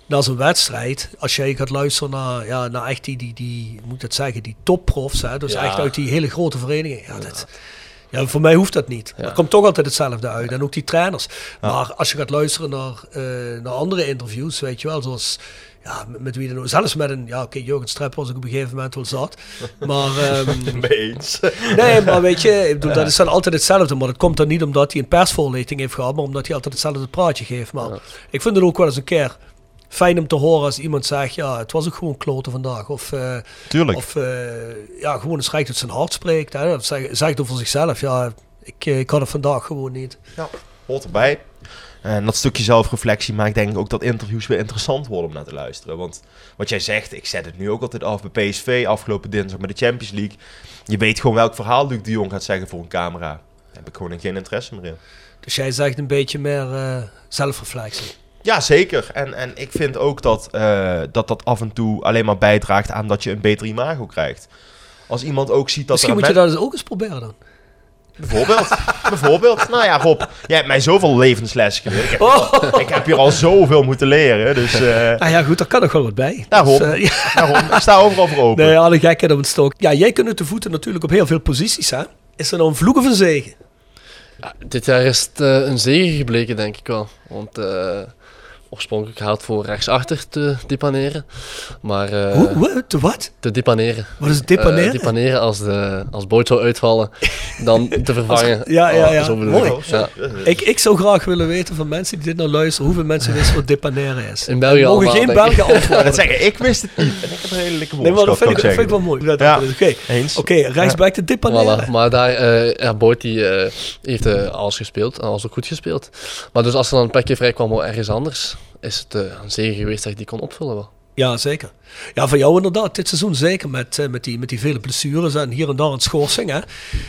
na zo'n wedstrijd. Als jij gaat luisteren naar, ja, naar echt die, die, die hoe moet ik dat zeggen, die topprofs. Hè, dus
Ja.
echt uit die hele grote verenigingen. Ja, dat, ja, voor mij hoeft dat niet. Er komt toch altijd hetzelfde uit. En ook die trainers. Maar als je gaat luisteren naar, eh, naar andere interviews, weet je wel, zoals. Ja, met, met wie dan ook. Zelfs met een... Ja, oké, Jurgen Strepp was ik op een gegeven moment wel [laughs] zat. Maar ehm,
Mee eens.
Nee, maar weet je, ik bedoel, dat is dan altijd hetzelfde. Maar dat komt dan niet omdat hij een persvoorlichting heeft gehad, maar omdat hij altijd hetzelfde praatje geeft. Maar ik vind het ook wel eens een keer fijn om te horen als iemand zegt, ja, het was ook gewoon kloten vandaag. Of, eh,
Tuurlijk.
of eh, ja, gewoon eens recht uit zijn hart spreekt. Hè. Of zeg- zegt over zichzelf, ja, ik, eh, ik had het vandaag gewoon niet.
Ja, hoort erbij. En dat stukje zelfreflectie maakt denk ik ook dat interviews weer interessant worden om naar te luisteren. Want wat jij zegt, ik zet het nu ook altijd af bij PSV afgelopen dinsdag met de Champions League. Je weet gewoon welk verhaal Luc de Jong gaat zeggen voor een camera. Daar heb ik gewoon geen interesse meer in.
Dus jij zegt een beetje meer eh, zelfreflectie.
Ja, zeker. En, en ik vind ook dat, eh, dat dat af en toe alleen maar bijdraagt aan dat je een beter imago krijgt. Als iemand ook ziet dat
Misschien
er
moet
aan
je dat eens ook eens proberen dan.
Bijvoorbeeld. [laughs] Bijvoorbeeld. Nou ja, Rob, jij hebt mij zoveel levenslessen geleerd. Ik heb,
Oh.
ik heb hier al zoveel moeten leren. Dus eh,
Ah ja, goed, daar kan nog wel wat bij.
Daarom.
Dus, eh, ja.
daarom, ik sta overal voor open.
Nee, alle gekken op het stok. Ja, jij kunt het de voeten natuurlijk op heel veel posities, hè? Is er nou een vloek of een zegen?
Ja, dit jaar is het eh, een zegen gebleken, denk ik wel. Want eh, oorspronkelijk haalt voor rechtsachter te depaneren. Maar eh,
Hoe? Hoe? Te wat?
te depaneren.
Wat is het
Eh,
depaneren?
depaneren als, de, als Boyd zou uitvallen, dan
[laughs]
te vervangen.
ja, ja,
Oh,
ja.
zo bedoel
Mooi.
ik. Ja.
ik, ik zou graag willen weten van mensen die dit nou luisteren, hoeveel mensen wisten wat depaneren is.
In België
Mogen
allemaal,
geen
denk ik.
Belgen
[laughs]
Nou, dat
antwoorden.
zeggen, ik wist het niet. En ik heb een redelijke
Nee, maar dat
woordenschat,
vind
kan
ik, dat vind
ik
ik
zeggen.
wel mooi. Dat-
Ja.
Oké,
Eens.
Oké, rechtsback te depaneren.
Voilà, maar daar, eh ja, Boyd die, eh, heeft eh, alles gespeeld en alles ook goed gespeeld. Maar dus als er dan een plekje vrij kwam wel ergens anders, is het eh, een zegen geweest dat ik die kon opvullen wel.
Ja, zeker. Ja, van jou inderdaad. Dit seizoen zeker met, eh, met, die, met die vele blessures en hier en daar een schorsing. Hè.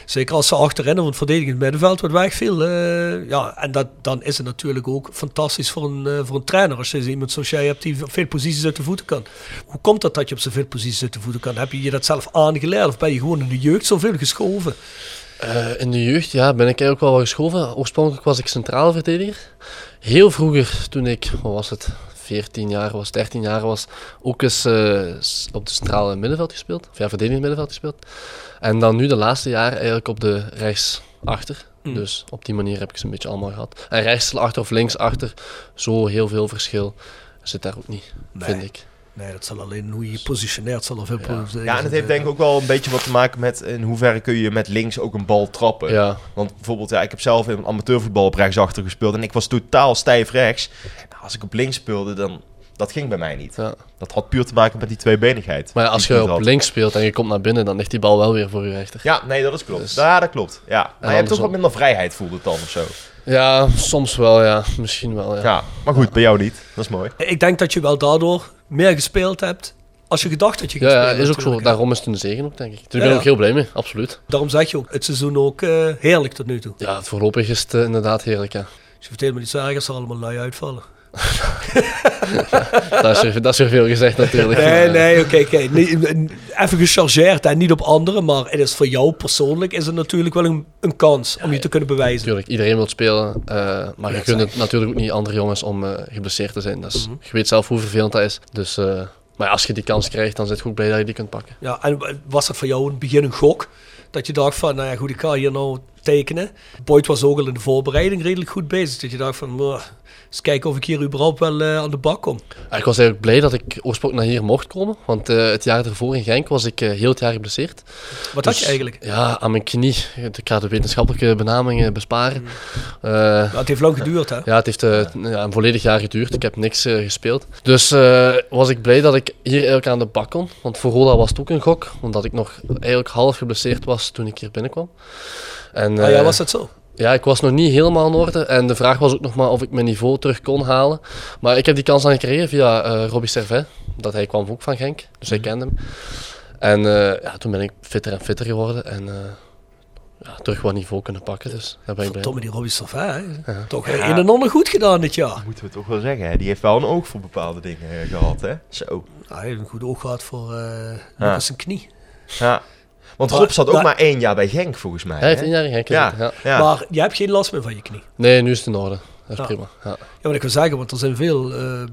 Zeker als ze achterin of het verdedigend middenveld wat wegviel. eh ja, en dat, dan is het natuurlijk ook fantastisch voor een, eh, voor een trainer. Als je zo iemand zoals jij hebt die op veel posities uit de voeten kan. Hoe komt dat dat je op zoveel posities uit de voeten kan? Heb je je dat zelf aangeleerd of ben je gewoon in de jeugd zoveel geschoven?
Eh, in de jeugd ja, ben ik eigenlijk wel wat geschoven. Oorspronkelijk was ik centrale verdediger. Heel vroeger, toen ik, wat was het, 14 jaar was, 13 jaar was, ook eens eh, s- op de centrale middenveld gespeeld. Of ja, verdedigend middenveld gespeeld. En dan nu de laatste jaren eigenlijk op de rechtsachter.
Mm.
Dus op die manier heb ik ze een beetje allemaal gehad. En rechtsachter of linksachter, zo heel veel verschil zit daar ook niet,
Nee.
vind ik.
Nee, dat zal alleen hoe je je positioneert zal er veel eh, problemen
Ja, en het heeft denk ik ook wel een beetje wat te maken met in hoeverre kun je met links ook een bal trappen.
Ja,
Want bijvoorbeeld, ja, ik heb zelf in amateurvoetbal op rechtsachter gespeeld en ik was totaal stijf rechts. Nou, als ik op links speelde, dan dat ging bij mij niet.
ja.
Dat had puur te maken met die tweebenigheid.
Maar ja,
die
als
ik
je
niet
op
had.
links speelt en je komt naar binnen, dan ligt die bal wel weer voor je rechter.
Ja, nee, dat is klopt.
Dus-
Ja, dat klopt. Ja. Maar je hebt ook
andersom.
wat minder vrijheid, voelde het dan of zo.
Ja, soms wel, ja. Misschien wel, ja.
Ja, maar goed, bij jou niet. Dat is mooi.
Ik denk dat je wel daardoor meer gespeeld hebt als je gedacht dat je
Ja,
gaat
ja,
spelen,
dat is ook zo.
natuurlijk, hè.
Daarom is het een zegen ook, denk ik. Dus ik
Ja,
ben
ja.
ook heel blij mee, absoluut.
Daarom zeg je ook, het seizoen ook eh, heerlijk tot nu toe.
Ja, voorlopig is het eh, inderdaad heerlijk, ja.
Dus je vertelt me niet zo erg als er allemaal lui uitvallen.
dat, is er, dat is er veel gezegd
[laughs]
natuurlijk.
Nee,
Maar, eh,
nee, oké, oké. Niet- n- Even gechargeerd en niet op anderen, maar het is voor jou persoonlijk is het natuurlijk wel een, een kans om je te kunnen bewijzen.
Natuurlijk, iedereen wil spelen, eh, maar je
Ja,
kunt het
zeg.
natuurlijk ook niet andere jongens om eh, geblesseerd te zijn. Dat is,
Mhm.
Je weet zelf hoe vervelend dat is. Dus, eh, maar ja, als je die kans krijgt, dan zit goed blij dat je die kunt pakken.
Ja, en w- was dat voor jou in het begin een gok? Dat je dacht van, nou ja, goed, ik ga hier nou tekenen. Boyd was ook al in de voorbereiding redelijk goed bezig. Dat je dacht van, "Mwah, eens kijken of ik hier überhaupt wel eh, aan de bak kom.
Ja, Ah, Ik was eigenlijk blij dat ik oorspronkelijk naar hier mocht komen, want eh, het jaar ervoor in Genk was ik eh, heel het jaar geblesseerd.
Wat had
Dus,
je eigenlijk?
Ja, aan mijn knie. Ik ga de wetenschappelijke benamingen besparen.
Hmm.
Eh,
Ja, het heeft lang geduurd, hè?
ja, het heeft eh, t- ja, een volledig jaar geduurd. Ik heb niks eh, gespeeld. Dus eh, was ik blij dat ik hier eigenlijk aan de bak kon. Want voor Roda was het ook een gok. Omdat ik nog eigenlijk half geblesseerd was toen ik hier binnenkwam. En,
Ah ja,
eh,
was dat zo?
ja, ik was nog niet helemaal in orde. En de vraag was ook nog maar of ik mijn niveau terug kon halen. Maar ik heb die kans dan gekregen via eh Robbie Servet. Dat hij kwam ook van Genk. Dus hij kende hem. En eh, ja, toen ben ik fitter en fitter geworden. En eh, ja, terug wat niveau kunnen pakken. Dus daar ben ik blij
Verdomme
mee.
die Robbie Savin, hè? Toch eh, een en ander goed gedaan dit jaar.
Moeten we toch wel zeggen, hè? die heeft wel een oog voor bepaalde dingen eh, gehad, hè? Zo.
Nou, hij heeft een goed oog gehad voor eh
Ja.
zijn knie.
Ja. Want
Maar-
Rob zat ook
maar-
maar één jaar bij Genk, volgens mij.
Hij heeft
hè?
één jaar in Genk
Ja,
gezeten.
ja.
Ja.
Maar je hebt geen last meer van je knie.
Nee, nu is het in orde. Dat is
Ja.
prima. Ja.
Ja, wat ik wil zeggen, want er zijn veel eh,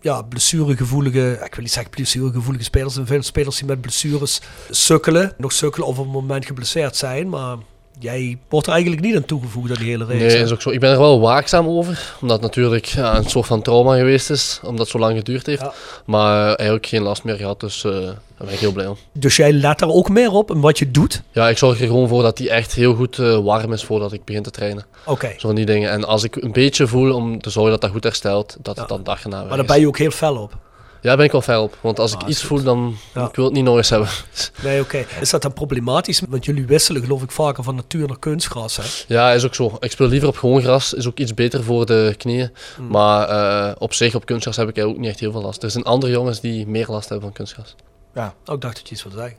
ja, blessuregevoelige, ik wil niet zeggen blessuregevoelige spelers, er zijn veel spelers die met blessures sukkelen, nog sukkelen of op het moment geblesseerd zijn, maar jij wordt er eigenlijk niet aan toegevoegd aan die hele reeks.
Nee,
hè?
is ook zo. Ik ben er wel waakzaam over. Omdat het natuurlijk ja, een soort van trauma geweest is. Omdat het zo lang geduurd heeft.
Ja.
Maar eh, eigenlijk geen last meer gehad. Dus eh, daar ben ik heel blij om.
Dus jij let daar ook meer op in wat je doet?
Ja, ik zorg er gewoon voor dat die echt heel goed eh, warm is voordat ik begin te trainen.
Oké,
Zo van die dingen. En als ik een beetje voel om te zorgen dat dat goed herstelt, dat het dan dag erna
maar
weer
daar
is.
ben je ook heel fel op.
Ja, ben ik wel fel op. Want als ik iets voel, dan
Ja.
ik wil het niet nog eens hebben. [laughs]
Nee, oké. Is dat dan problematisch? Want jullie wisselen geloof ik vaker van natuur naar kunstgras, hè?
ja, is ook zo. Ik speel liever op gewoon gras. Is ook iets beter voor de knieën.
Hmm.
Maar eh, op zich, op kunstgras heb ik ook niet echt heel veel last. Er zijn andere jongens die meer last hebben van kunstgras.
Oh, ik dacht dat je iets wilde zeggen.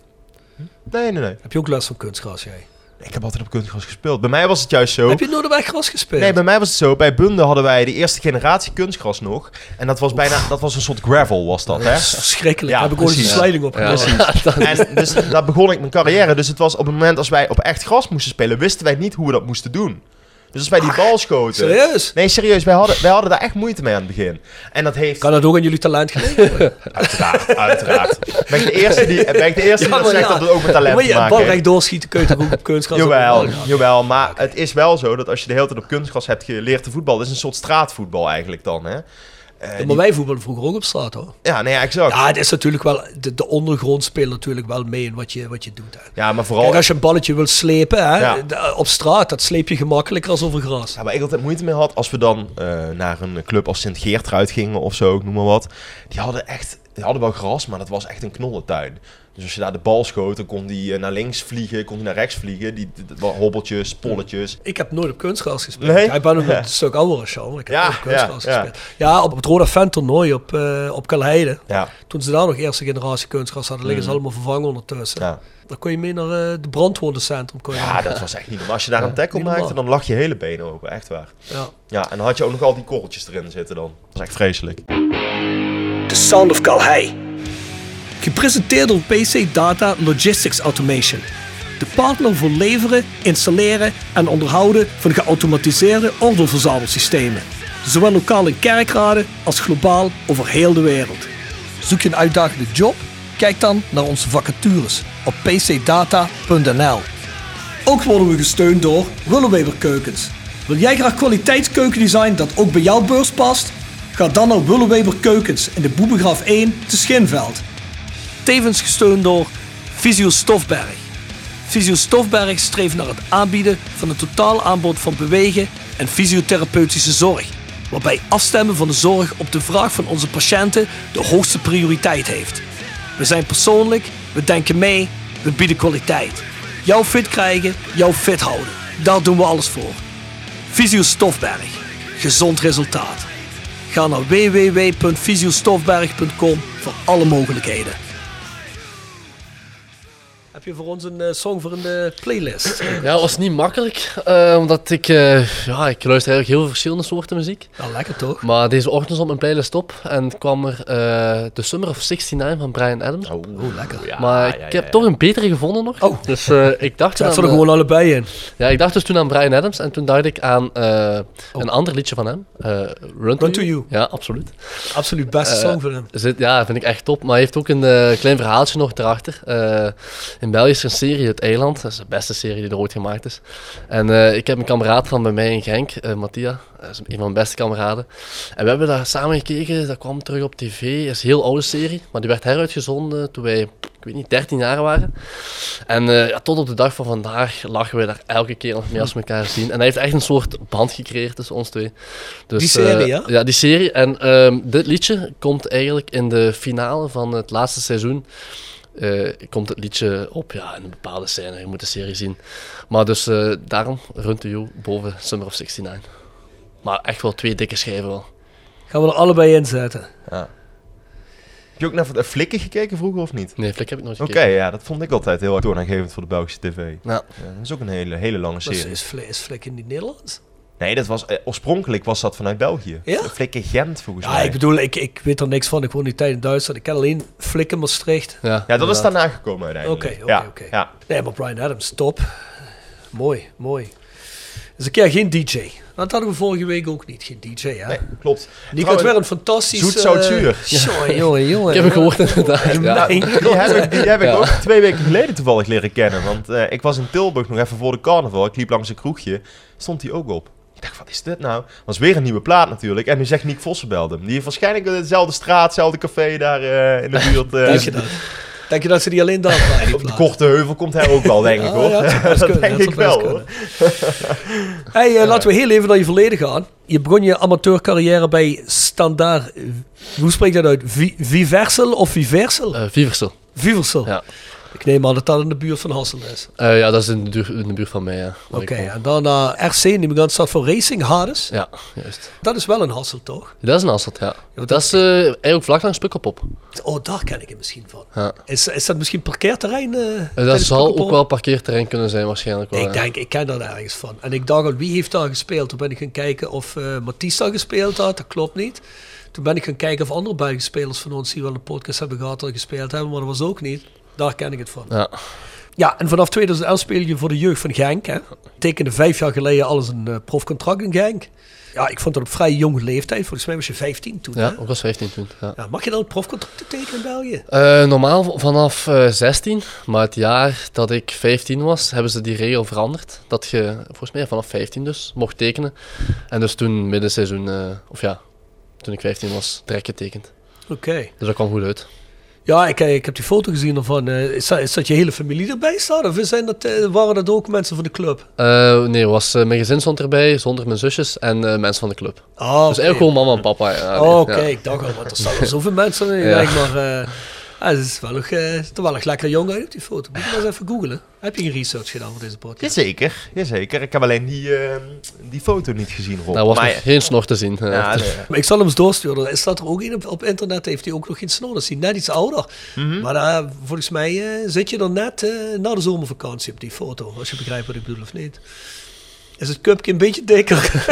Nee, nee, nee.
Heb je ook last van kunstgras, jij?
Ik heb altijd op kunstgras gespeeld. Bij mij was het juist zo.
Heb je Noorderweggras gespeeld?
Nee, bij mij was het zo. Bij Bunde hadden wij de eerste generatie kunstgras nog. En dat was bijna, dat was een soort gravel was dat, hè?
Verschrikkelijk.
Ja,
Daar heb ik ooit een
precies.
slijding op gedaan.
En dus daar begon ik mijn carrière. Dus het was op het moment als wij op echt gras moesten spelen, wisten wij niet hoe we dat moesten doen. Dus als wij die bal schoten.
Serieus?
Nee, serieus, wij hadden, wij hadden daar echt moeite mee aan het begin. En dat heeft.
Kan dat ook aan jullie talent gelegen?
Uiteraard, uiteraard. Ben ik de eerste die, ben ik de eerste die dat
maar
zegt dat het ook met talent
Maar
te
je een
maken
bal
heeft?
recht doorschieten, kun je toch ook op kunstgras
Jawel,
op een bal?
jawel, maar het is wel zo dat als je de hele tijd op kunstgras hebt geleerd te voetballen, dat is een soort straatvoetbal eigenlijk dan, hè? Eh,
Ja, Maar
die-
wij voetballen vroeger ook op straat hoor.
ja, nee, ja, exact. Ja,
Ja, het is natuurlijk wel, de, de ondergrond speelt natuurlijk wel mee in wat je, wat je doet. Hè.
maar vooral...
Kijk, als je een balletje wil slepen hè,
Oh. Ja.
de- op straat, dat sleep je gemakkelijker als over gras.
Ja, waar ik altijd moeite mee had, als we dan eh, naar een club als Sint-Geertruid gingen of zo, ik noem maar wat. Die hadden echt, die hadden wel gras, maar dat was echt een knollentuin. Dus als je daar de bal schoot, dan kon die eh, naar links vliegen, kon die naar rechts vliegen. Die, die- die- hobbeltjes, polletjes.
Ik heb nooit op kunstgras gespeeld.
Nee?
Ja, ik ben ook een stuk ouder als jou, maar ik heb
Ja,
nooit op kunstgras
ja, ja.
gespeeld. Ja, op het Roda Fan toernooi op, eh op Kalheide.
Ja,
Toen ze daar nog eerste generatie kunstgras hadden, liggen ze allemaal vervangen ondertussen.
Mhm. ja.
Dan kon je mee naar eh, de brandwondencentrum. Kon je
ja,
mee.
dat was echt niet normaal. Als je daar een tackle
niet normaal.
maakte, dan lag je hele benen open, echt waar.
Ja.
Ja, en dan had je ook nog al die korreltjes erin zitten dan. Dat is echt vreselijk.
The Sound of Calhei. Gepresenteerd door PC Data Logistics Automation. De partner voor leveren, installeren en onderhouden van geautomatiseerde ordeelverzamelsystemen. Zowel lokaal in kerkraden als globaal over heel de wereld. Zoek je een uitdagende job? Kijk dan naar onze vacatures op pcdata.nl. Ook worden we gesteund door Willeweber Keukens. Wil jij graag kwaliteitskeukendesign dat ook bij jouw beurs past? Ga dan naar Willeweber Keukens in de Boebegraaf 1 te Schinveld. Tevens gesteund door Visio Stofberg. Visio Stofberg streeft naar het aanbieden van een totaal aanbod van bewegen en fysiotherapeutische zorg. Waarbij afstemmen van de zorg op de vraag van onze patiënten de hoogste prioriteit heeft. We zijn persoonlijk, we denken mee, we bieden kwaliteit. Jou fit krijgen, jou fit houden. Daar doen we alles voor. Visio Stofberg. Gezond resultaat. Ga naar www.visiostofberg.com voor alle mogelijkheden. Heb je voor ons een eh, song voor een eh, [clears throat] playlist?
Ja, het was niet makkelijk, eh, omdat ik, eh, ja, ik luister eigenlijk heel veel verschillende soorten muziek.
Nou, lekker toch?
Maar deze ochtend stond mijn playlist op en kwam er eh The Summer of 69 van Brian Adams. op.
Oeh, lekker.
maar ik heb toch een betere gevonden nog.
Oh.
Dus eh, ik, dacht toen
[laughs] Zet
aan,
ze er
eh,
gewoon allebei in.
ja, ik dacht dus toen aan Brian Adams en toen dacht ik aan eh, een ander liedje van hem. eh, Run,
Oh. to You.
Ja, absoluut.
Absoluut beste
Eh,
song voor hem.
Zit, ja, vind ik echt top. Maar hij heeft ook een eh, klein verhaaltje nog erachter. Eh, in België is er een serie, Het Eiland. Dat is de beste serie die er ooit gemaakt is. En eh, ik heb een kameraad van bij mij in Genk, eh Mattia. Dat is een van mijn beste kameraden. En we hebben daar samen gekeken. Dat kwam terug op tv. Dat is een heel oude serie. Maar die werd heruitgezonden toen wij, ik weet niet, 13 jaar waren. En eh, ja, tot op de dag van vandaag lachen we daar elke keer nog mee als we elkaar zien. En hij heeft echt een soort band gecreëerd tussen ons twee. Dus,
Die serie,
eh,
ja?
ja, die serie. En ehm, dit liedje komt eigenlijk in de finale van het laatste seizoen. eh, komt het liedje op, ja, in een bepaalde scène. Je moet de serie zien. Maar dus eh, daarom Run to You boven Summer of 69. Maar echt wel twee dikke schijven wel.
Gaan we er allebei in zetten.
Heb je ook naar eh, Flikken gekeken vroeger of niet?
Nee, Flik heb ik nooit
Oké,
gekeken.
ja, dat vond ik altijd heel erg toonaangevend voor de Belgische tv.
Nou,
Ja, dat is ook een hele, hele lange
Dat
serie.
is, Fl- is Flik in het Nederlands?
Nee, dat was, eh, oorspronkelijk was dat vanuit België.
Ja?
Flikken Gent volgens
Ja,
mij.
ik bedoel, ik, ik weet er niks van. Ik woon nu tijd in Duitsland. Ik ken alleen Flik in Maastricht.
ja,
ja, dat is
inderdaad.
daarna gekomen uiteindelijk.
Oké, oké,
ja,
oké.
Ja.
Nee, maar Brian Adams, top. Mooi, mooi. Dus een keer geen DJ. Want Dat hadden we vorige week ook niet, geen DJ. Hè?
Nee, klopt.
Die
Trouwens,
had weer een fantastisch...
zoet, zout,
eh, [laughs]
zuur.
Jongen, jongen, jongen.
Ik heb hem gehoord inderdaad. Ja.
Nou,
Die heb ik, die heb ik
Ja.
ook twee weken geleden toevallig leren kennen. Want eh, ik was in Tilburg nog even voor de carnaval. Ik liep langs een kroegje. Stond die ook op. Ik dacht, wat is dit nou? Was weer een nieuwe plaat natuurlijk. En nu zegt Nick Vossenbeld hem. Die heeft waarschijnlijk in dezelfde straat, hetzelfde café daar eh,
[laughs]
in de buurt. eh,
Denk je dat? Denk je dat ze die alleen [laughs] daar draaien, die
op de
plaat?
korte heuvel komt hij ook wel, denk ik
Ah,
hoor.
ja,
[laughs]
dat zou best
dat
kunnen,
denk
dat
ik
zou
wel
best
hoor.
Hey, eh, laten we heel even naar je verleden gaan. Je begon je amateurcarrière bij Standaard... eh, Hoe spreek je dat uit? Vi- Viversel of Viversel?
Eh, Viversel.
Viversel.
ja.
Ik neem aan dat dat in de buurt van Hassel is.
Eh, ja, dat is in de, duur- in de buurt van mij. Ja.
Oké, en daarna RC, neem ik aan, staat voor Racing Hades.
Ja, juist.
Dat is wel een Hassel, toch?
Dat is een Asselt, ja.
wat
dat is eh, eigenlijk vlak langs Pukkelpop.
Oh, daar ken ik het misschien van.
Ja.
Is, is dat misschien parkeerterrein? eh,
Eh, dat
tijdens
zal ook
Pukkelpop?
wel parkeerterrein kunnen zijn waarschijnlijk wel.
Ik
ja.
denk, ik ken daar ergens van. En ik dacht al, wie heeft daar gespeeld? Toen ben ik gaan kijken of eh Mathies daar gespeeld had. Dat klopt niet. Toen ben ik gaan kijken of andere Belgische spelers van ons die wel een podcast hebben gehad, al gespeeld hebben. Maar dat was ook niet. Daar ken ik het van.
Ja.
Ja, en vanaf 2011 speel je voor de jeugd van Genk. Hè? Tekende vijf jaar geleden al eens een eh, profcontract in Genk. Ja, ik vond dat op vrij jonge leeftijd. Volgens mij was je 15 toen.
ja,
hè?
ook als 15, 20. Ja.
Ja, mag je dan een profcontract tekenen in België?
Eh, normaal v- vanaf eh, 16, maar het jaar dat ik 15 was, hebben ze die regel veranderd. Dat je, volgens mij vanaf 15 dus, mocht tekenen. En dus toen middenseizoen, eh of ja, toen ik 15 was, direct getekend.
Oké.
Dus dat kwam goed uit.
Ja, ik, eh, ik heb die foto gezien ervan. Eh, Is dat, is dat je hele familie erbij staan? Of zijn dat, eh, waren dat ook mensen van de club?
Eh, nee, was, eh, mijn gezin stond erbij, zonder mijn zusjes en eh, mensen van de club.
Oh,
Dus eigenlijk gewoon mama en papa. Ja,
Oké,
nee,
Oh, Oké,
ja.
ik dacht al, want er staan wel zoveel mensen in.
Ja.
Denk maar, eh, ja, het is wel nog, eh, het ziet er wel nog lekker jong uit op die foto. Moet je maar eens even googlen. Heb je een research gedaan voor deze podcast?
Jazeker, jazeker. Ik heb alleen die, eh, die foto niet gezien, Rob.
Daar was
Maar-
nog geen snor te zien. eh.
Nou, ja, nee.
Maar ik zal hem eens doorsturen. Er staat er ook in op, op internet, heeft hij ook nog geen snor. Dat is hij net iets ouder.
Mhm.
Maar eh, volgens mij eh, zit je er net eh, na de zomervakantie op die foto. Als je begrijpt wat ik bedoel of niet. Is het cupje een beetje dikker?